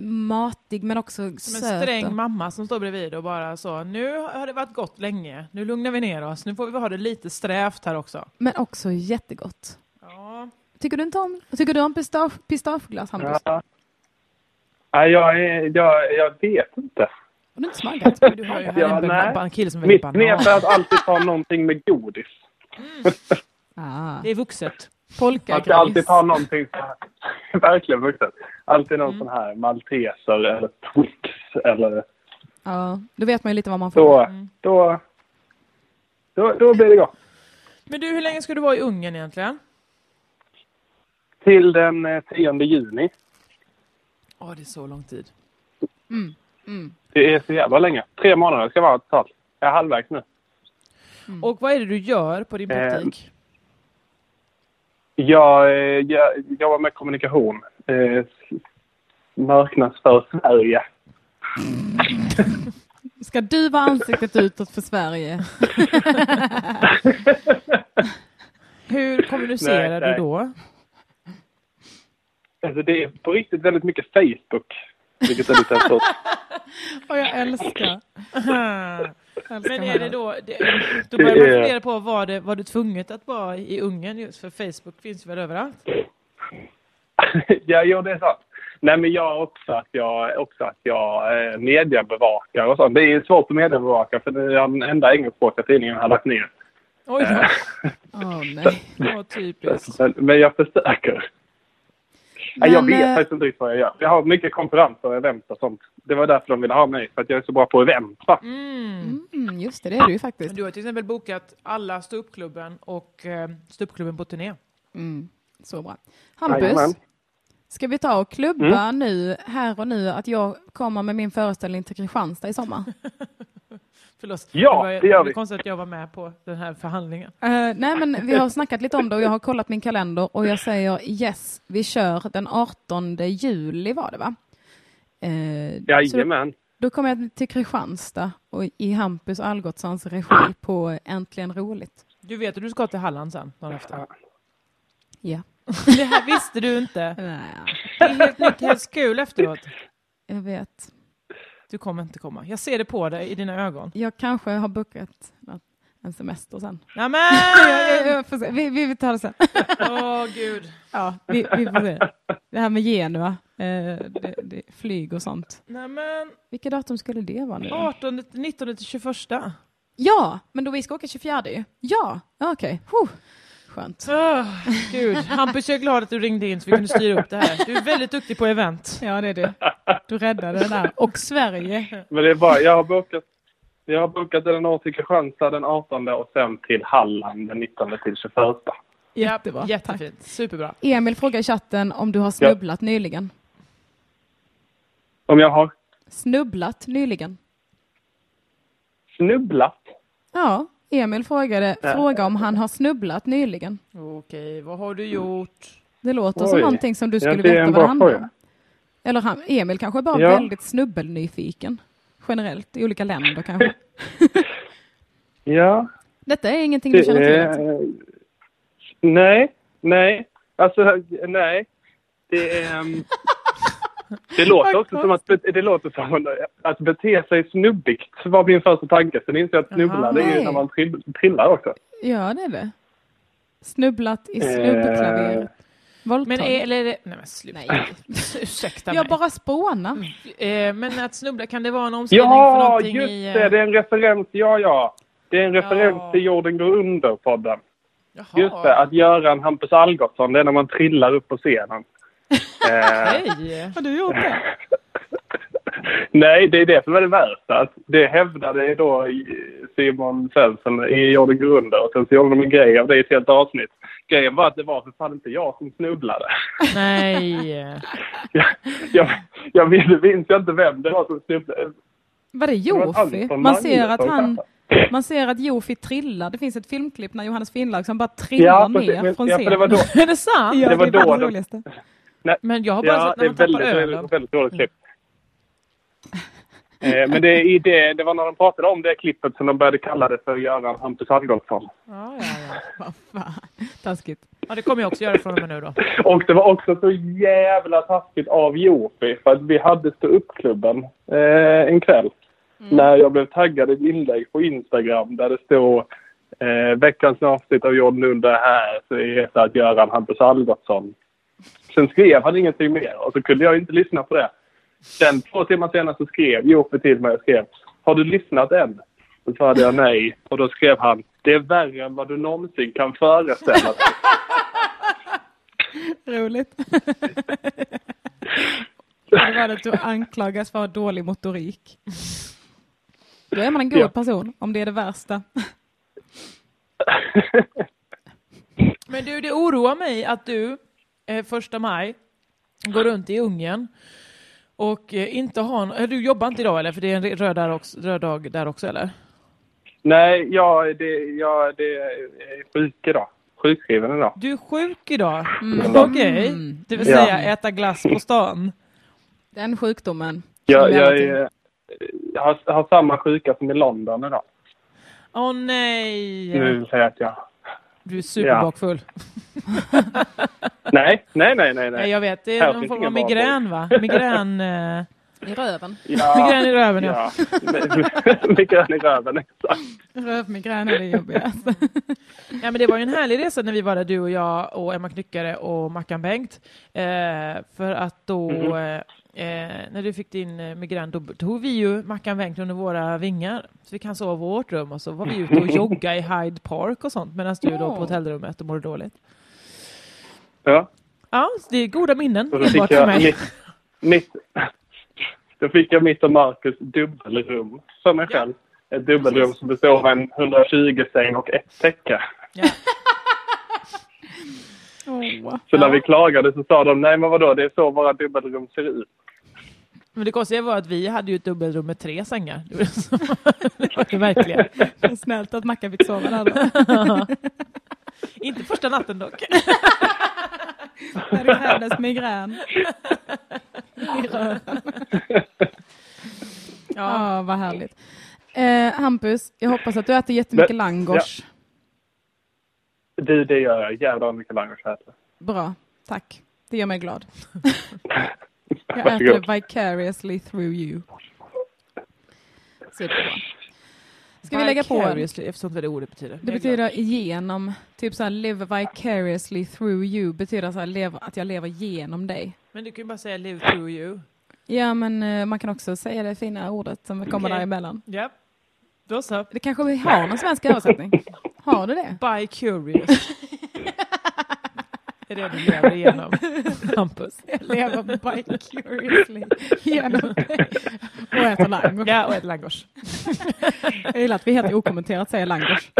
Speaker 1: matig men också
Speaker 2: Som
Speaker 1: söt.
Speaker 2: en
Speaker 1: och-
Speaker 2: sträng mamma som står bredvid och bara så, nu har det varit gott länge, nu lugnar vi ner oss, nu får vi ha det lite strävt här också.
Speaker 1: Men också jättegott.
Speaker 2: Ja,
Speaker 1: Tycker du inte om, tycker du om pistage, pistageglass, Hampus?
Speaker 4: Ja. Nej, jag, är- jag, jag vet inte.
Speaker 1: Har du inte smakat?
Speaker 2: du har ju här
Speaker 4: Ja,
Speaker 2: en
Speaker 4: nej.
Speaker 2: ba- ba- kille som väljer
Speaker 4: Mitt knep
Speaker 2: banan.
Speaker 4: är att alltid ta någonting med godis.
Speaker 1: Ah.
Speaker 2: Det är vuxet.
Speaker 4: Att
Speaker 1: Polkagris.
Speaker 4: jag alltid tar någonting så här. Verkligen vuxet. Alltid någon sån här malteser eller Twix eller
Speaker 1: Ja, då vet man ju lite vad man får.
Speaker 4: så. Då, då, då blir det gott.
Speaker 2: Men du, hur länge ska du vara i Ungern egentligen?
Speaker 4: Till den eh, 10 juni.
Speaker 2: Ja, det är så lång tid.
Speaker 4: Det är så jävla länge. Tre månader ska vara totalt. Jag är halvvägs nu.
Speaker 2: Mm. Och vad är det du gör på din
Speaker 4: Eh,
Speaker 2: praktik?
Speaker 4: Jag, eh, jag jobbar med kommunikation. Eh, marknadsför Sverige.
Speaker 1: Ska du vara ansiktet utåt för Sverige?
Speaker 2: Hur kommunicerar
Speaker 4: nej.
Speaker 2: du då?
Speaker 4: Alltså det är på riktigt väldigt mycket Facebook. Vilket är lite absurt.
Speaker 1: Och jag älskar. älskar
Speaker 2: Men är
Speaker 1: honom.
Speaker 2: det då, det, då börjar
Speaker 4: Det
Speaker 2: man
Speaker 4: är-
Speaker 2: fundera på var det, var det tvunget att vara i Ungern just för Facebook finns ju väl överallt?
Speaker 4: ja, jo, det är sant. Nej, men jag också att jag, också att jag eh, mediebevakar och sånt. Det är ju svårt att mediebevaka för det är den enda engelskspråkiga tidningen jag har lagt ner.
Speaker 2: Oj då,
Speaker 1: Åh, nej.
Speaker 4: Eh,
Speaker 2: vad typiskt.
Speaker 4: Men, men jag försöker. Nej, jag
Speaker 1: Men,
Speaker 4: vet
Speaker 1: eh,
Speaker 4: faktiskt inte riktigt vad jag gör. Jag har mycket konferenser och event och sånt. Det var därför de ville ha mig, för att jag är så bra på event. Va?
Speaker 1: Mm, just det, det är du ju
Speaker 2: Men
Speaker 1: faktiskt.
Speaker 2: du har till exempel bokat alla ståuppklubben och eh, ståuppklubben på turné.
Speaker 1: Så bra. Hampus,
Speaker 4: Jajamän. Mm.
Speaker 1: ska vi ta och klubba nu, här och nu, att jag kommer med min föreställning till Kristianstad i sommar?
Speaker 2: Förlåt,
Speaker 4: Ja,
Speaker 2: var, ju-
Speaker 4: det gör
Speaker 2: var
Speaker 4: vi.
Speaker 2: konstigt att jag var med på den här förhandlingen.
Speaker 1: Eh, nej, men vi har snackat lite om det och jag har kollat min kalender och jag säger yes, vi kör den 18 juli var det va? Uh,
Speaker 4: Jajamän.
Speaker 1: Då kom jag till Kristianstad och i Hampus Algotssons regi på Äntligen roligt.
Speaker 2: Du vet att du ska till Halland sen, dagen efter.
Speaker 1: Ja.
Speaker 2: Det här visste du inte. Det är helt nytt, helt kul efteråt.
Speaker 1: Jag vet.
Speaker 2: Du kommer inte komma. Jag ser det på dig, i dina ögon.
Speaker 1: Jag kanske har bokat något- en semester sen.
Speaker 2: Nämen!
Speaker 1: Jag, jag, jag får se. Vi, vi tar det sen.
Speaker 2: Åh gud.
Speaker 1: Ja, vi, vi får se. Det här med Genua, eh, det, det, flyg och sånt.
Speaker 2: Nämen,
Speaker 1: Vilka datum skulle det vara
Speaker 4: Mm.
Speaker 1: nu?
Speaker 2: 18, 19 till 21.
Speaker 1: Ja, men då vi ska åka 24 ju. Ja, ja, okej. Huh. Skönt.
Speaker 2: Åh, gud. Hampus, jag är glad att du ringde in så vi kunde styra upp det här. Du är väldigt duktig på event.
Speaker 1: Ja, det är du. Du räddade det där. Och Sverige.
Speaker 4: Men det är bara, jag har bokat Jag har bokat Eleanor till Kristianstad den 18 och sen till Halland den 19 till 21.
Speaker 1: Jättebra.
Speaker 2: Jättefint. Superbra.
Speaker 1: Emil frågar i chatten om du har snubblat nyligen.
Speaker 4: Om jag har
Speaker 1: Snubblat nyligen.
Speaker 4: snubblat?
Speaker 1: Ja, Emil frågade
Speaker 4: Ja.
Speaker 1: fråga om han har snubblat nyligen.
Speaker 2: Okej, vad har du gjort?
Speaker 1: Det låter som
Speaker 4: Oj.
Speaker 1: någonting som du
Speaker 4: Ja,
Speaker 1: skulle
Speaker 4: det är
Speaker 1: veta
Speaker 4: en
Speaker 1: vad det
Speaker 4: bra
Speaker 1: handlar om.
Speaker 4: fråga.
Speaker 1: Eller han, Emil kanske bara
Speaker 4: Ja.
Speaker 1: väldigt snubbelnyfiken. Generellt i olika länder kanske.
Speaker 4: Ja,
Speaker 1: Detta är ingenting du känner till? alltså?
Speaker 4: eh, Nej, nej. Alltså, nej. Det, ehm, det låter
Speaker 1: Vad
Speaker 4: också som att, be- det låter som att bete sig snubbigt var min första tanke. Sen inser jag att snubbla
Speaker 2: Jaha.
Speaker 4: det är ju
Speaker 1: Nej.
Speaker 4: när man trill, trillar också.
Speaker 1: Ja, det är det. Snubblat
Speaker 4: Eh.
Speaker 1: i snubbklaveret.
Speaker 2: Men
Speaker 1: Våldtag.
Speaker 2: är, eller är det... Nej men sluta.
Speaker 1: Nej.
Speaker 2: Ursäkta
Speaker 1: Jag
Speaker 2: mig.
Speaker 1: bara spånar.
Speaker 2: Eh, men att snubbla, kan det vara en omskrivning för
Speaker 4: Ja,
Speaker 2: någonting
Speaker 4: just
Speaker 2: i... eh,
Speaker 4: det! Det är en referens. Ja, ja. Det är en referens
Speaker 2: Ja.
Speaker 4: till Jorden går under-podden.
Speaker 2: Jaha.
Speaker 4: Just det, att göra en Hampus Algotsson, det är när man trillar upp på scenen. eh,
Speaker 2: Hej!
Speaker 1: Har du gjort det?
Speaker 4: Nej, det är det som är det värsta. Att Det hävdade då Simon Svensson i Jorden Grunder och sen så gjorde de en grej av det i ett helt avsnitt. Grejen var att det var för fan inte jag som snubblade.
Speaker 2: Nej.
Speaker 4: Jag, jag, jag minns- minns jag inte vem det var som snubblade.
Speaker 1: Var det
Speaker 4: Det var
Speaker 1: Jofi?
Speaker 4: Anton
Speaker 1: Man ser att
Speaker 4: Magnusson,
Speaker 1: han...
Speaker 4: kanske.
Speaker 1: Man ser att Jofi trillar. Det finns ett filmklipp när Johannes Finnlaug som bara trillar
Speaker 4: Ja, precis.
Speaker 1: ner
Speaker 4: Men-
Speaker 1: från
Speaker 4: ja, för
Speaker 1: scenen.
Speaker 4: det var då-
Speaker 2: Är det sant?
Speaker 1: Ja,
Speaker 4: det var
Speaker 1: är bara
Speaker 4: då
Speaker 1: det
Speaker 4: de-
Speaker 1: roligaste.
Speaker 2: Men jag har bara
Speaker 4: Ja,
Speaker 2: sett
Speaker 4: det
Speaker 2: när
Speaker 4: är
Speaker 2: man tappar
Speaker 4: väldigt,
Speaker 2: ölen. Mm.
Speaker 4: väldigt, väldigt dåligt klipp. Eh, Men det, är i det, det var när de pratade om det klippet som de började kalla det för Göran Hampus Algotsson.
Speaker 2: Ja, ja, ja.
Speaker 1: Vad fan. Taskigt.
Speaker 2: ja, det kommer jag också göra från och med nu då.
Speaker 4: Och det var också så jävla taskigt av Jopi för att vi hade stå upp-klubben eh, en kväll. När jag blev taggad i ett inlägg på Instagram där det stod eh, veckans avsnitt av John Lund är här så är det att Göran Hampus Algotsson. Sen skrev han ingenting mer och så kunde jag inte lyssna på det. Sen två timmar senare så skrev Jopi till mig och skrev Har du lyssnat än? Och så hade jag nej och då skrev han Det är värre än vad du någonsin kan föreställa dig.
Speaker 1: Roligt. det var det att du anklagas för att ha dålig motorik. Då är man en god
Speaker 4: Ja.
Speaker 1: person, om det är det värsta.
Speaker 2: Men du, det oroar mig att du eh, första maj går runt i Ungern och eh, inte har... en- eh, Du jobbar inte idag eller? För det är en re- röd, där också, röd dag där också eller?
Speaker 4: Nej, jag, det, jag det är sjuk idag. Sjukskriven idag.
Speaker 2: Du är sjuk idag. Okej. Det vill
Speaker 4: Ja.
Speaker 2: säga äta glass på stan.
Speaker 1: Den sjukdomen.
Speaker 4: Jag,
Speaker 1: som är
Speaker 4: jag,
Speaker 1: någonting.
Speaker 4: är, jag har, har samma sjuka som i London idag.
Speaker 2: Åh nej!
Speaker 4: Nu säger jag att jag...
Speaker 2: Du är superbakfull.
Speaker 4: Nej, nej, nej, nej.
Speaker 2: Nej,
Speaker 4: nej.
Speaker 2: jag vet. Det
Speaker 4: Här
Speaker 2: är någon
Speaker 4: finns
Speaker 2: form av
Speaker 4: ingen
Speaker 2: migrän va? Migrän, eh,
Speaker 1: I röven.
Speaker 4: Ja,
Speaker 2: migrän i röven ja.
Speaker 4: ja. Migrän i röven, exakt.
Speaker 1: Rövmigrän är det jobbigaste.
Speaker 2: Ja, men det var ju en härlig resa när vi var där, du och jag och Emma Knyckare och Mackan Bengt. Eh, för att då,
Speaker 4: Mm.
Speaker 2: eh, eh, när du fick din eh, migrän, då tog vi ju Mackan Bengt under våra vingar. Så vi kan sova i vårt rum och så var vi ute och jogga i Hyde Park och sånt medan du då
Speaker 1: Ja.
Speaker 2: på hotellrummet och mådde dåligt.
Speaker 4: Ja,
Speaker 2: Ja, så det är goda minnen
Speaker 4: och då
Speaker 2: enbart
Speaker 4: fick
Speaker 2: för
Speaker 4: jag
Speaker 2: mig.
Speaker 4: mitt... mitt då fick jag mitt och Marcus dubbelrum för mig
Speaker 2: Ja.
Speaker 4: själv. Ett dubbelrum som består av en 120-säng och ett täcke.
Speaker 2: Ja.
Speaker 1: Åh.
Speaker 4: Så när
Speaker 2: Ja.
Speaker 4: vi klagade så sa de nej men vadå, det är så våra dubbelrum ser ut.
Speaker 2: Men det konstiga var att vi hade ju ett dubbelrum med tre sängar. Det var det som- det var det verkligen.
Speaker 1: Vad Snällt att Mackan fick sova där då.
Speaker 2: Inte första natten dock.
Speaker 1: När det krävdes migrän. I röven.
Speaker 2: Ja.
Speaker 1: Ja, vad härligt. Eh, Hampus, jag hoppas att du äter jättemycket
Speaker 4: Men-
Speaker 1: langos.
Speaker 4: Du, det gör jag. Jävlar mycket langos jag äter.
Speaker 1: Bra, tack. Det gör mig glad. Jag äter
Speaker 4: Varsågod.
Speaker 1: det vicariously through you. Superbra. Ska vi lägga på en?
Speaker 2: Vicariously, Eftersom det är det ordet betyder.
Speaker 1: Det betyder genom, typ så här live vicariously through you, betyder så här, lev, att jag lever genom dig.
Speaker 2: Men du kan ju bara säga live through you.
Speaker 1: Ja, men eh, man kan också säga det fina ordet som kommer
Speaker 2: Okej.
Speaker 1: däremellan.
Speaker 2: Ja. Då så.
Speaker 1: Det kanske vi har någon svensk översättning? Har du det?
Speaker 2: By curious. är det du lever igenom, Hampus?
Speaker 1: Jag lever by curiously genom dig och äter langosch.
Speaker 2: Ja, och ett langosch.
Speaker 1: Jag gillar att vi helt okommenterat säger langosch.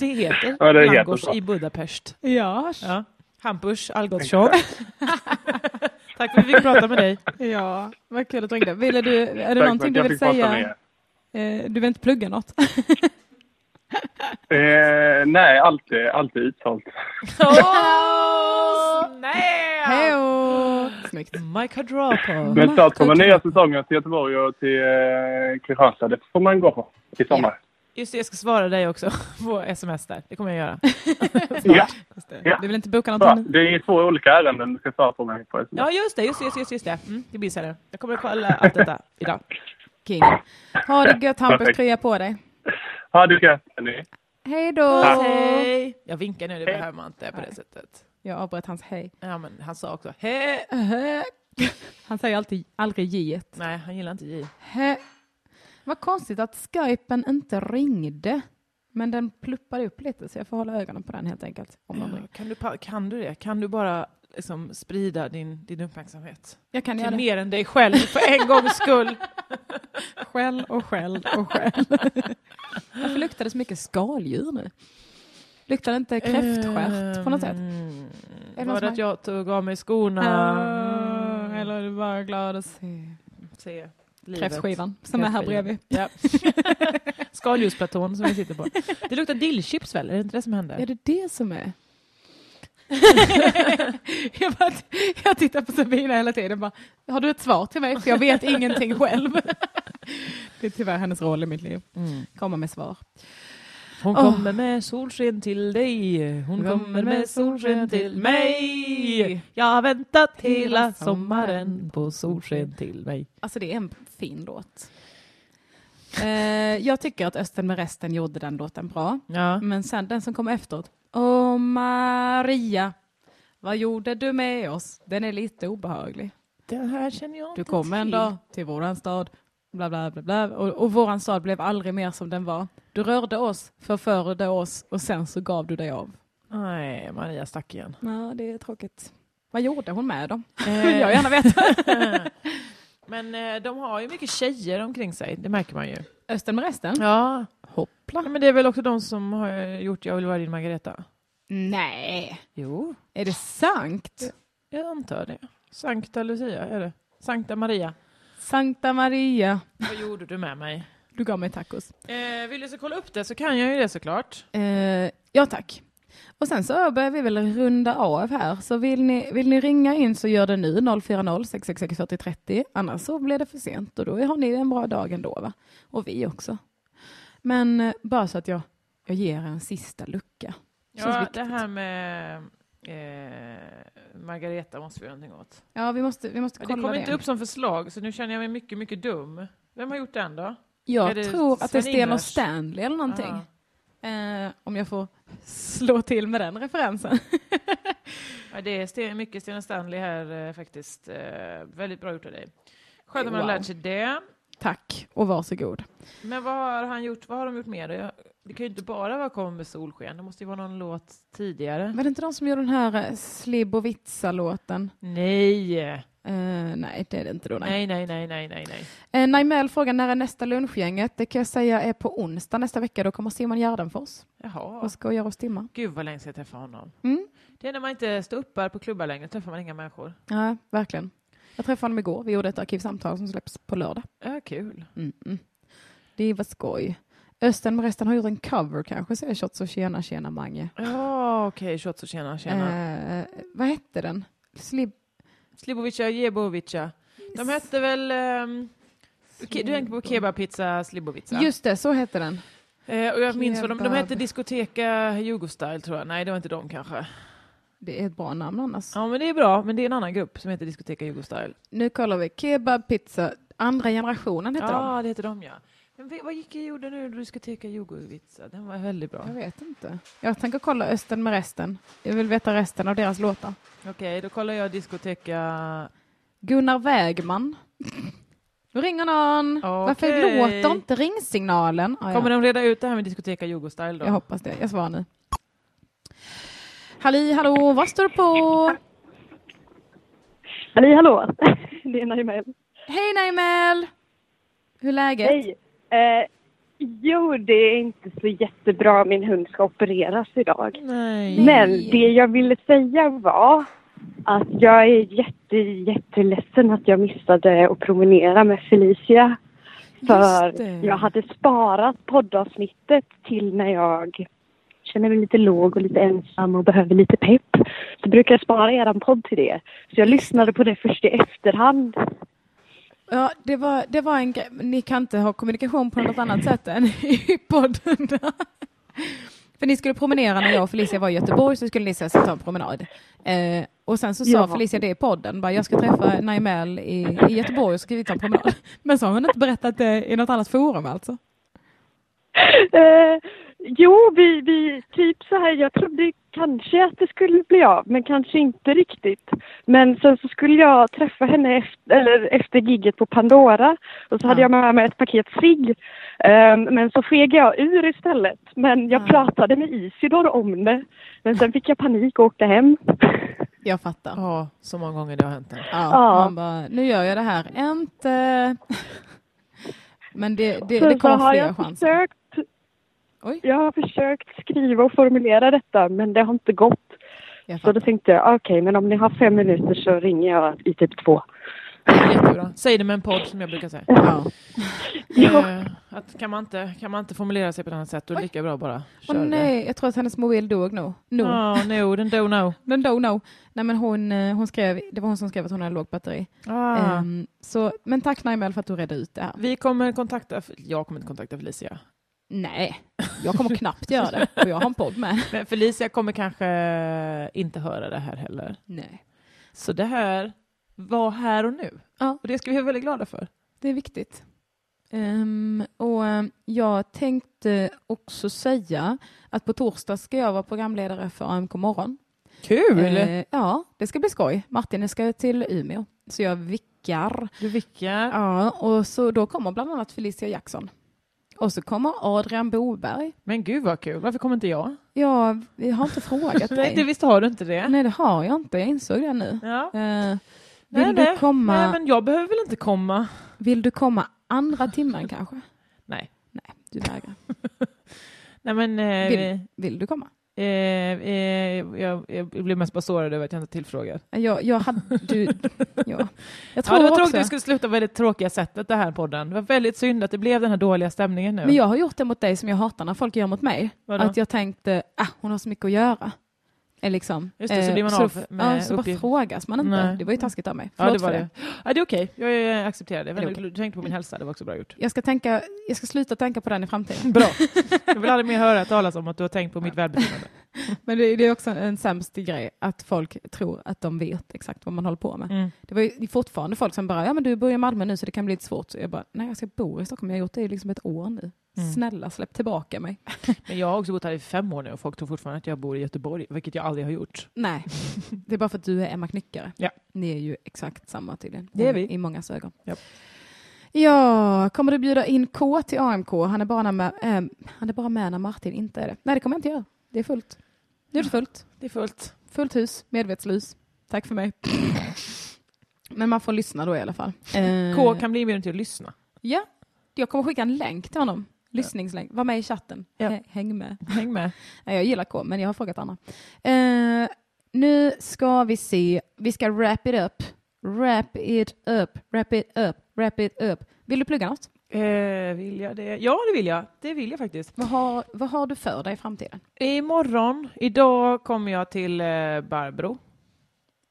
Speaker 2: Det heter
Speaker 4: Ja, det heter
Speaker 2: langosch
Speaker 4: så.
Speaker 2: i Budapest.
Speaker 1: Ja,
Speaker 2: Ja. Hampus Algotsson. Tack för att vi fick prata med dig.
Speaker 1: ja, vad kul att du ringde. Ville du, är det
Speaker 4: Tack
Speaker 1: någonting
Speaker 4: för
Speaker 1: du
Speaker 4: att jag
Speaker 1: vill
Speaker 4: fick prata med
Speaker 1: säga?
Speaker 4: er.
Speaker 1: Eh, Du vill inte plugga något?
Speaker 4: Eh, nej, allt är, allt är utsålt.
Speaker 2: Åh, snäll!
Speaker 1: Hejo! Snyggt.
Speaker 2: Mike Hadrapo.
Speaker 4: Men snart kommer
Speaker 1: Marco-
Speaker 4: nya säsongen till Göteborg och till eh, Kristianstad. Det får man gå på i sommar.
Speaker 2: Just det, jag ska svara dig också på sms där. Det kommer jag göra.
Speaker 4: Ja,
Speaker 1: Du vill inte boka
Speaker 4: bra.
Speaker 1: någonting? nu?
Speaker 4: Det är två olika ärenden du ska svara på mig på.
Speaker 2: Ja, just det. Just det, just det, just det. Mm, det blir så här. Jag kommer att kolla allt detta idag.
Speaker 1: King. Ha det gött Hampus,
Speaker 4: Perfekt.
Speaker 1: krya på dig.
Speaker 4: Ja, du kan ni.
Speaker 1: Hej då!
Speaker 2: Hej! Jag vinkar nu, det behöver man inte på det sättet.
Speaker 1: Jag avbröt hans hej.
Speaker 2: Ja, men han sa också hej.
Speaker 1: Han säger alltid aldrig j
Speaker 2: Nej, han gillar inte J.
Speaker 1: Hä? Vad konstigt att skypen inte ringde. Men den pluppade upp lite så jag får hålla ögonen på den helt enkelt. Om den
Speaker 2: Ja,
Speaker 1: ringer.
Speaker 2: Kan du, pa- kan du det? Kan du bara liksom, sprida din, din uppmärksamhet
Speaker 1: Jag kan
Speaker 2: till
Speaker 1: göra det.
Speaker 2: mer än dig själv för en gångs skull?
Speaker 1: Skäll och skäll och skäll. Varför luktar det så mycket skaldjur nu? Luktar det inte kräftstjärt på något sätt?
Speaker 2: Mm,
Speaker 1: det någon
Speaker 2: var
Speaker 1: som
Speaker 2: det
Speaker 1: har-
Speaker 2: att jag tog av mig skorna? Mm,
Speaker 1: Ah, Eller är du bara glad att se
Speaker 2: Se livet.
Speaker 1: kräftskivan som är här
Speaker 2: Kräftskivan.
Speaker 1: bredvid?
Speaker 2: Ja. Skaldjursplatån som vi sitter på. Det luktar dillchips väl? Är det inte det som händer?
Speaker 1: Är det det som är? jag, bara, jag tittar på Sabina hela tiden bara, har du ett svar till mig? För jag vet ingenting själv. det är tyvärr hennes roll i mitt liv,
Speaker 2: Mm.
Speaker 1: komma med svar.
Speaker 2: Hon
Speaker 1: Åh.
Speaker 2: kommer med solsken till dig. Hon kommer med solsken till mig. Jag har väntat hela sommaren på solsken till mig.
Speaker 1: Alltså det är en fin låt. Eh, jag tycker att Östen med resten gjorde den låten bra.
Speaker 2: Ja.
Speaker 1: Men sen den som kom efteråt, Åh Maria, vad gjorde du med oss? Den är lite obehaglig.
Speaker 2: Den här känner jag
Speaker 1: Du
Speaker 2: inte
Speaker 1: kom en
Speaker 2: till.
Speaker 1: dag till våran stad, bla bla bla, bla. Och, och våran stad blev aldrig mer som den var. Du rörde oss, förförde oss och sen så gav du dig av.
Speaker 2: Nej, Maria stack igen.
Speaker 1: Ja, det är tråkigt. Vad gjorde hon med dem?
Speaker 2: Eh,
Speaker 1: Vill jag gärna veta.
Speaker 2: Men eh, de har ju mycket tjejer omkring sig, det märker man ju.
Speaker 1: Östen med resten?
Speaker 2: Ja.
Speaker 1: Hoppla.
Speaker 2: Men det är väl också de som har gjort Jag vill vara din Margareta?
Speaker 1: Nej,
Speaker 2: Jo.
Speaker 1: är det sant?
Speaker 2: Jag antar det. Sankta Lucia är det. Sankta Maria.
Speaker 1: Sankta Maria,
Speaker 2: Vad gjorde du med mig?
Speaker 1: du gav mig tacos.
Speaker 2: Eh, vill du så kolla upp det så kan jag ju det såklart.
Speaker 1: Eh, ja tack. Och sen så börjar vi väl runda av här. Så vill ni, vill ni ringa in så gör det nu 040 666 4030. Annars så blir det för sent och då har ni en bra dag ändå va? Och vi också. Men eh, bara så att jag, jag ger en sista lucka. Känns
Speaker 2: Ja,
Speaker 1: viktigt.
Speaker 2: det här med eh, Margareta måste vi göra någonting åt.
Speaker 1: Ja vi måste, vi måste
Speaker 2: Men
Speaker 1: kolla
Speaker 2: det
Speaker 1: det.
Speaker 2: kom inte upp som förslag så nu känner jag mig mycket, mycket dum. Vem har gjort den då?
Speaker 1: jag
Speaker 2: är det
Speaker 1: tror att det är Sten och
Speaker 2: Sven-Ingvars?
Speaker 1: Stanley eller någonting.
Speaker 2: Ja.
Speaker 1: Eh, om jag får slå till med den referensen.
Speaker 2: Ja, det är Sten, mycket Stena Stanley här eh, faktiskt. Eh, väldigt bra gjort av dig. Skönt att man har
Speaker 1: Wow.
Speaker 2: lärt sig det.
Speaker 1: Tack och varsågod.
Speaker 2: Men vad har, han gjort, vad har de gjort mer? då? Jag, det kan ju inte bara vara Kom med solsken, det måste ju vara någon låt tidigare.
Speaker 1: Var det inte de som gjorde den här eh, Slibovitsa-låten?
Speaker 2: Nej!
Speaker 1: Eh, nej, det är det inte då. Nej.
Speaker 2: Nej, nej, nej, nej, nej, nej.
Speaker 1: Eh, Naimel frågar när är nästa lunchgänget? Det kan jag säga är på onsdag nästa vecka. Då kommer Simon Gärdenfors
Speaker 2: Jaha.
Speaker 1: och ska göra oss dimma.
Speaker 2: Gud vad länge sedan jag träffade honom.
Speaker 1: Mm.
Speaker 2: Det är när man inte står uppe på klubbar längre, träffar man inga människor.
Speaker 1: Ja, verkligen. Jag träffade honom igår. Vi gjorde ett arkivsamtal som släpps på lördag.
Speaker 2: Ja, kul.
Speaker 1: Mm -mm. Det var skoj. Östen med resten har gjort en cover kanske, säger Shots och tjena tjena Mange.
Speaker 2: Ja, okej, okay, och tjena, tjena.
Speaker 1: Eh, vad hette den? Slib...
Speaker 2: Slibovica, Jebovica. De hette väl... ehm, ke- du tänker på kebabpizza Slibovica?
Speaker 1: Just det, så hette den.
Speaker 2: Eh, och jag minns vad de, de
Speaker 1: Kebab.
Speaker 2: hette Discoteca Jugostyle tror jag. Nej, det var inte de kanske.
Speaker 1: Det är ett bra namn annars.
Speaker 2: Ja, men det är bra. Men det är en annan grupp som heter Discoteca Jugostyle.
Speaker 1: Nu kollar vi. Kebab pizza, andra generationen heter de.
Speaker 2: Ja, det heter de ja. Men vi- vad gick jag gjorde nu då Discoteca Jugostyle? Den var väldigt bra.
Speaker 1: Jag vet inte. Jag tänker kolla Östen med resten. Jag vill veta resten av deras låtar.
Speaker 2: Okej, då kollar jag Discoteca...
Speaker 1: Gunnar Wägman. Nu ringer någon. Varför
Speaker 2: Okej.
Speaker 1: låter inte ringsignalen? Ah, ja.
Speaker 2: Kommer de reda ut det här med Discoteca Jugostyle då?
Speaker 1: Jag hoppas det. Jag svarar nu. Halli hallå, vad står det på?
Speaker 5: Hej, hallå! Det är Naimel.
Speaker 1: Hej Naimel! Hur är läget?
Speaker 5: Hej! Eh, jo, det är inte så jättebra. Min hund ska opereras idag.
Speaker 2: Nej.
Speaker 5: Men det jag ville säga var att jag är jätte, jätteledsen att jag missade att promenera med Felicia. För
Speaker 1: Just det.
Speaker 5: jag hade sparat poddavsnittet till när jag känner mig lite låg och lite ensam och behöver lite pepp. Så brukar jag spara eran podd till det. Så jag lyssnade på det först i efterhand.
Speaker 1: Ja, det var, det var en grej. Ni kan inte ha kommunikation på något annat sätt än i podden. För ni skulle promenera när jag och Felicia var i Göteborg så skulle ni ses och ta en promenad. Eh, och sen så sa
Speaker 5: Ja.
Speaker 1: Felicia det i podden, bara, jag ska träffa Naimel i, i Göteborg och så ska vi ta en promenad. Men så har hon inte berättat det i något annat forum alltså.
Speaker 5: Eh, jo, vi, vi typ så här. Jag trodde kanske att det skulle bli av, men kanske inte riktigt. Men sen så skulle jag träffa henne efter, eller efter gigget på Pandora och så hade
Speaker 1: Ja.
Speaker 5: jag med mig ett paket cigg. Eh, men så fegade jag ur istället. Men jag
Speaker 1: Ja.
Speaker 5: pratade med Isidor om det. Men sen fick jag panik och åkte hem.
Speaker 1: Jag fattar.
Speaker 2: Ja, så många gånger det har hänt.
Speaker 1: Ja,
Speaker 5: Ja.
Speaker 1: Man bara, nu gör jag det här. Inte... Men det, det,
Speaker 5: Sen
Speaker 1: det
Speaker 5: så
Speaker 1: kommer
Speaker 5: har
Speaker 1: fler
Speaker 5: jag
Speaker 1: chanser.
Speaker 5: försökt,
Speaker 1: Oj.
Speaker 5: jag har försökt skriva och formulera detta, men det har inte gått.
Speaker 1: Jag
Speaker 5: Så då
Speaker 1: fattar.
Speaker 5: tänkte jag, okej, men om ni har fem minuter så ringer jag i typ två.
Speaker 2: Jättebra. Säg det med en podd som jag brukar säga.
Speaker 1: Ja.
Speaker 5: Ja.
Speaker 2: Eh, att kan, man inte, kan man inte formulera sig på ett annat sätt, då är det lika bra bara
Speaker 1: Åh
Speaker 2: köra.
Speaker 1: nej, jag tror att hennes mobil dog nog.
Speaker 2: det.
Speaker 1: nog.
Speaker 2: Ja, no, den do no.
Speaker 1: Den don't know. Nej, men hon, eh, hon skrev, det var hon som skrev att hon hade lågt batteri.
Speaker 2: Ah.
Speaker 1: Ehm, så, men tack Naimel för att du redde ut det här.
Speaker 2: Vi kommer kontakta, jag kommer inte kontakta Felicia.
Speaker 1: Nej, jag kommer knappt göra det. Och jag har en podd med.
Speaker 2: Men Felicia kommer kanske inte höra det här heller.
Speaker 1: Nej.
Speaker 2: Så det här var här och nu.
Speaker 1: Ja.
Speaker 2: Och det ska vi vara väldigt glada för.
Speaker 1: Det är viktigt. Ehm, och ehm, jag tänkte också säga att på torsdag ska jag vara programledare för AMK morgon.
Speaker 2: Kul!
Speaker 1: Ehm, ja, det ska bli skoj. Martin ska till Umeå, så jag vickar.
Speaker 2: Du vickar.
Speaker 1: Ja, och så då kommer bland annat Felicia Jackson. Och så kommer Adrian Boberg.
Speaker 2: Men gud vad kul, varför kommer inte jag?
Speaker 1: Jag, jag har inte frågat
Speaker 2: Nej,
Speaker 1: dig.
Speaker 2: det, visst har du inte det?
Speaker 1: Nej, det har jag inte. Jag insåg det nu.
Speaker 2: Ja.
Speaker 1: Eh, vill,
Speaker 2: Nej,
Speaker 1: du
Speaker 2: nej.
Speaker 1: Komma,
Speaker 2: Nej, men jag behöver väl inte komma?
Speaker 1: vill du komma andra timmen kanske?
Speaker 2: Nej.
Speaker 1: Nej, du vägrar.
Speaker 2: Nej, men, eh,
Speaker 1: Vill, vill du komma?
Speaker 2: eh, eh, jag, jag blev mest bara sårad över att jag inte tillfrågade.
Speaker 1: Jag, jag hade... Du, ja. Jag
Speaker 2: Ja,
Speaker 1: tror
Speaker 2: det var
Speaker 1: också...
Speaker 2: tråkigt att vi skulle sluta på det tråkiga sättet, det här podden. Det var väldigt synd att det blev den här dåliga stämningen nu.
Speaker 1: Men jag har gjort det mot dig som jag hatar när folk gör mot mig.
Speaker 2: Vadå?
Speaker 1: Att jag tänkte, ah, hon har så mycket att göra. Eh, Liksom.
Speaker 2: Just det, så blir man
Speaker 1: så,
Speaker 2: av med
Speaker 1: ja, så bara
Speaker 2: uppgift.
Speaker 1: frågas man inte.
Speaker 2: Nej.
Speaker 1: Det var ju taskigt av mig.
Speaker 2: ja, det
Speaker 1: Förlåt
Speaker 2: var
Speaker 1: för
Speaker 2: det. Ja, det är okej, jag eh, accepterar det.
Speaker 1: det
Speaker 2: Men
Speaker 1: okej?
Speaker 2: Du tänkte på min hälsa, det var också bra gjort.
Speaker 1: Jag ska, tänka, jag ska sluta tänka på den i framtiden.
Speaker 2: Bra. Jag vill aldrig mer höra talas om att du har tänkt på mitt välbefinnande.
Speaker 1: Men det, det är också en, en sämst grej att folk tror att de vet exakt vad man håller på med.
Speaker 2: Mm.
Speaker 1: Det var ju det är fortfarande folk som bara, ja men du bor i Malmö nu så det kan bli lite svårt. Så jag bara, nej jag ska bo i Stockholm, jag har gjort det i liksom ett år nu.
Speaker 2: Mm.
Speaker 1: Snälla släpp tillbaka mig.
Speaker 2: Men jag har också bott här i fem år nu och folk tror fortfarande att jag bor i Göteborg, vilket jag aldrig har gjort.
Speaker 1: Nej, det är bara för att du är Emma Knyckare.
Speaker 2: Ja.
Speaker 1: Ni är ju exakt samma tydligen.
Speaker 2: Det är
Speaker 1: I-
Speaker 2: vi.
Speaker 1: I många ögon.
Speaker 2: Ja.
Speaker 1: Ja, kommer du bjuda in K till AMK? Han är bara, när, Ma- ehm, han är bara med när Martin inte är det. Nej det kommer jag inte göra. Det är fullt. Nu är det fullt.
Speaker 2: Det är fullt.
Speaker 1: Fullt hus, medvetslös. Tack för mig. Men man får lyssna då i alla fall. Eh,
Speaker 2: K kan bli inbjuden till att lyssna.
Speaker 1: Ja, jag kommer skicka en länk till honom. Lyssningslänk. Var med i chatten.
Speaker 2: Ja.
Speaker 1: Hä- Häng med.
Speaker 2: Häng med.
Speaker 1: Nej, jag gillar K, men jag har frågat Anna. Eh, nu ska vi se. Vi ska wrap it up. Wrap it up. Wrap it up. Wrap it up. Vill du plugga något?
Speaker 2: Eh, vill jag det? Ja, det vill jag. Det vill jag faktiskt.
Speaker 1: Vad har, vad har du för dig i framtiden?
Speaker 2: Imorgon, idag kommer jag till eh, Barbro.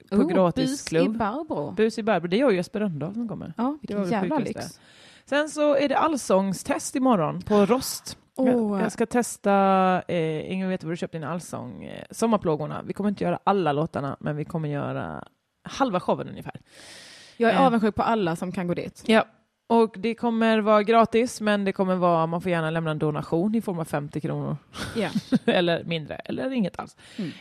Speaker 2: På gratisklubb.
Speaker 1: Bus Oh, i Barbro.
Speaker 2: Bus i Barbro, det gör Jesper Rönndahl som kommer.
Speaker 1: ja,
Speaker 2: var
Speaker 1: vilken
Speaker 2: det
Speaker 1: jävla
Speaker 2: sjukaste.
Speaker 1: lyx.
Speaker 2: Sen så är det allsångstest imorgon på Rost.
Speaker 1: Åh.
Speaker 2: Jag, jag ska testa, eh, ingen vet vad du köpt din allsång, eh, Sommarplågorna. Vi kommer inte göra alla låtarna, men vi kommer göra halva showen ungefär.
Speaker 1: Jag är
Speaker 2: Eh.
Speaker 1: avundsjuk på alla som kan gå dit.
Speaker 2: Ja. Och det kommer vara gratis, men det kommer vara, man får gärna lämna en donation i form av 50 kronor.
Speaker 1: Ja.
Speaker 2: eller mindre, eller inget alls.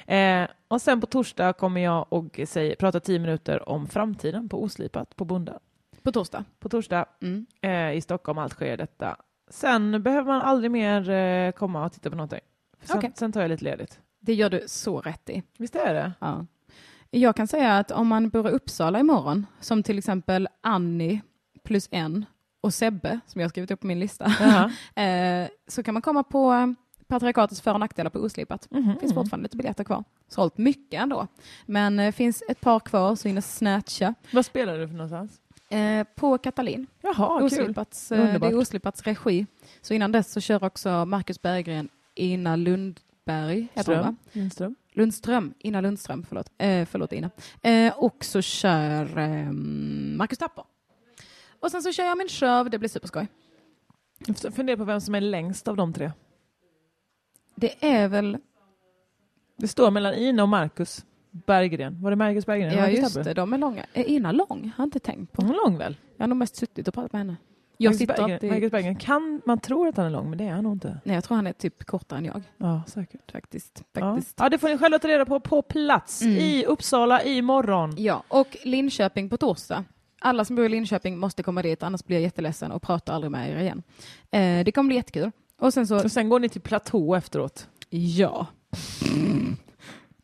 Speaker 1: Mm.
Speaker 2: Eh, och sen på torsdag kommer jag och säga, prata 10 minuter om framtiden på Oslipat på Bonda.
Speaker 1: På torsdag.
Speaker 2: På torsdag
Speaker 1: Mm.
Speaker 2: eh, i Stockholm, allt sker detta. Sen behöver man aldrig mer eh, komma och titta på någonting. Sen,
Speaker 1: Okej.
Speaker 2: sen tar jag lite ledigt.
Speaker 1: Det gör du så rätt i.
Speaker 2: Visst är det?
Speaker 1: Ja. Jag kan säga att om man bor i Uppsala imorgon, som till exempel Annie plus en och Sebbe, som jag har skrivit upp på min lista,
Speaker 2: Jaha.
Speaker 1: eh, så kan man komma på eh, patriarkatets för och nackdelar på oslipat.
Speaker 2: Mhm,
Speaker 1: Det finns fortfarande lite biljetter kvar. Sålt mycket ändå. Men eh, finns ett par kvar så in och snatcha.
Speaker 2: Vad spelar du för någonstans?
Speaker 1: Eh, på Katalin,
Speaker 2: Jaha, kul.
Speaker 1: Oslipats, eh, det
Speaker 2: Underbart.
Speaker 1: är Oslipats regi. Så innan dess så kör också Marcus Berggren, Ina Lundberg, heter hon, va?
Speaker 2: Ström. Lindström.
Speaker 1: Lundström, Ina Lundström, förlåt, eh, förlåt Ina. Eh, och så kör eh, Marcus Tapper. Och sen så kör jag min show, det blir superskoj.
Speaker 2: Jag f- funderar på vem som är längst av de tre.
Speaker 1: Det är väl,
Speaker 2: Det står mellan Ina och Marcus Berggren. Var det Marcus Berggren?
Speaker 1: ja
Speaker 2: Marcus
Speaker 1: just
Speaker 2: Tapper?
Speaker 1: det, de är långa. Är Ina lång? Har inte tänkt på.
Speaker 2: Hon är lång väl?
Speaker 1: Jag har nog mest suttit och pratat med henne. Jag
Speaker 2: Marcus,
Speaker 1: sitter
Speaker 2: Berggren,
Speaker 1: alltid,
Speaker 2: Marcus Berggren. Kan, man tror att han är lång, men det är han nog inte.
Speaker 1: nej jag tror han är typ kortare än jag
Speaker 2: Ja, säkert.
Speaker 1: faktiskt.
Speaker 2: Ja.
Speaker 1: faktiskt.
Speaker 2: ja, det får ni själva ta reda på på plats
Speaker 1: Mm.
Speaker 2: i Uppsala imorgon.
Speaker 1: Ja, och Linköping på torsdag. Alla som bor i Linköping måste komma dit, annars blir jag jätteledsen och pratar aldrig med er igen. Eh, det kommer bli jättekul. Och sen så,
Speaker 2: Och sen går ni till platå efteråt.
Speaker 1: ja.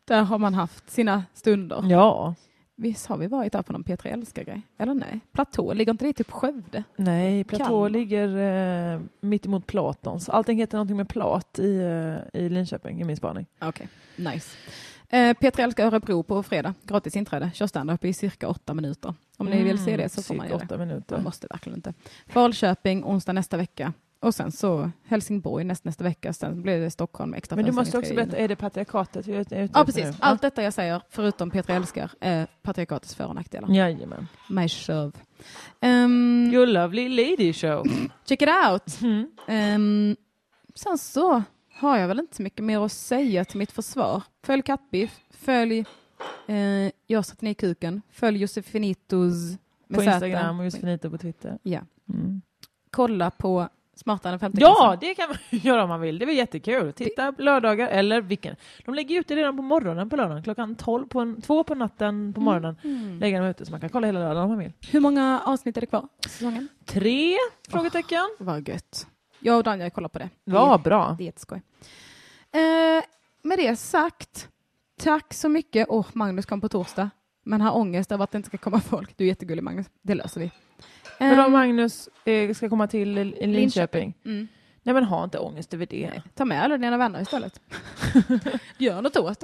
Speaker 1: Där har man haft sina stunder.
Speaker 2: Ja.
Speaker 1: Visst har vi varit där på någon P3 Älskar-grej? Eller nej? Platå, ligger inte det typ Skövde?
Speaker 2: Nej, platå
Speaker 1: Kalmar.
Speaker 2: ligger eh, mitt emot Platons. Allting heter någonting med plat i, eh, i Linköping, i min spaning.
Speaker 1: Okej, nice. Eh, P3 Älskar Örebro på fredag. Gratis inträde. Kör standup i cirka åtta minuter. Om ni vill se det så får man
Speaker 2: Cirka
Speaker 1: göra det.
Speaker 2: Mm, åtta minuter.
Speaker 1: Man måste verkligen inte. Falköping onsdag nästa vecka. Och sen så Helsingborg näst, nästa vecka. Sen blir det Stockholm med extra
Speaker 2: Men du
Speaker 1: föreställning
Speaker 2: måste också
Speaker 1: tre i
Speaker 2: berätta, är det patriarkatet vi är ute
Speaker 1: Ja,
Speaker 2: efter
Speaker 1: precis.
Speaker 2: nu?
Speaker 1: Allt detta jag säger, förutom Petra älskar, är patriarkatets för och nackdelar.
Speaker 2: Ja. Jajamän.
Speaker 1: My show. Ehm,
Speaker 2: Your lovely lady show.
Speaker 1: check it out!
Speaker 2: Mm.
Speaker 1: Ehm, sen så har jag väl inte så mycket mer att säga till mitt försvar. Följ Kattbiff, följ eh, Jag satt ner i kuken, följ Josefinitos med
Speaker 2: På
Speaker 1: Z.
Speaker 2: Instagram och Josefinito på Twitter.
Speaker 1: Ja.
Speaker 2: Mm.
Speaker 1: Kolla på Smartare än 50
Speaker 2: Ja, det kan man göra om man vill. Det blir jättekul. Titta på lördagar eller vilken. De lägger ut det redan på morgonen på lördagen. Klockan 12 på en, två på natten på
Speaker 1: Mm.
Speaker 2: morgonen lägger de ut det så man kan kolla hela lördagen om man vill.
Speaker 1: Hur många avsnitt är det kvar? Säsongen?
Speaker 2: Tre? Frågetecken.
Speaker 1: Vad gött. Jag och Daniel kollar på det.
Speaker 2: Vad bra.
Speaker 1: Det är jätteskoj. Eh, med det sagt, tack så mycket. Åh, Magnus kom på torsdag, men har ångest över att det inte ska komma folk. Du är jättegullig Magnus, det löser vi.
Speaker 2: Men om
Speaker 1: Ehm,
Speaker 2: Magnus eh, ska komma till i Linköping.
Speaker 1: Linköping. mm.
Speaker 2: Nej men ha inte ångest över det. Nej.
Speaker 1: Ta med alla dina vänner istället. Gör något åt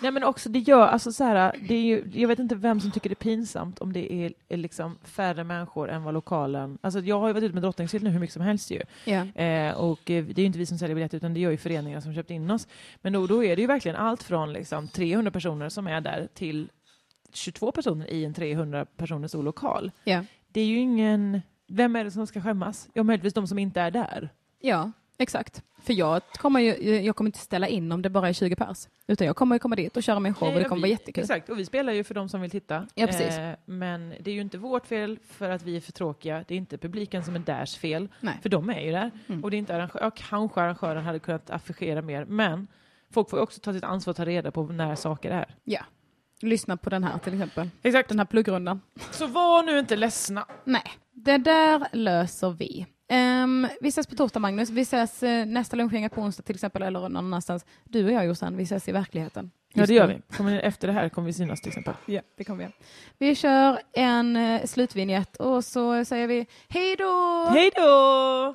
Speaker 1: det.
Speaker 2: men också det gör, alltså så här, det är ju, jag vet inte vem som tycker det är pinsamt om det är, är liksom färre människor än vad lokalen, alltså jag har ju varit ute med Drottningsylt nu hur mycket som helst ju.
Speaker 1: Ja.
Speaker 2: Eh, och eh, det är ju inte vi som säljer biljetter utan det gör ju föreningar som köpt in oss. Men då, då är det ju verkligen allt från liksom 300 personer som är där till 22 personer i en 300 personer stor lokal.
Speaker 1: Ja.
Speaker 2: Det är ju ingen, vem är det som ska skämmas? Ja möjligtvis de som inte är där.
Speaker 1: ja, exakt. För jag kommer ju jag kommer inte ställa in om det bara är 20 pers, utan jag kommer ju komma dit och köra min show och
Speaker 2: Nej,
Speaker 1: det kommer vara
Speaker 2: vi-
Speaker 1: jättekul.
Speaker 2: Exakt, och vi spelar ju för de som vill titta.
Speaker 1: Ja, precis.
Speaker 2: Eh, men det är ju inte vårt fel för att vi är för tråkiga. Det är inte publiken som är deras fel,
Speaker 1: Nej. Mm.
Speaker 2: för de är ju där. Och det är inte arrangö- ja, kanske arrangören hade kunnat affischera mer, men folk får ju också ta sitt ansvar och ta reda på när saker är.
Speaker 1: Ja. Lyssna på den här till exempel,
Speaker 2: Exakt.
Speaker 1: den här pluggrundan.
Speaker 2: Så var nu inte ledsna.
Speaker 1: Nej, det där löser vi. Ehm, vi ses på torsdag Magnus, vi ses eh, nästa lunchgänget på onsdag till exempel eller någon annanstans. Du och jag Jossan, vi ses i verkligheten.
Speaker 2: Ja,
Speaker 1: Just
Speaker 2: det gör
Speaker 1: nu.
Speaker 2: vi. Kommer, ni- efter det här kommer vi synas till exempel.
Speaker 1: Ja, det kommer vi göra. Vi kör en eh, slutvinjett och så säger vi hej då!
Speaker 2: Hej då!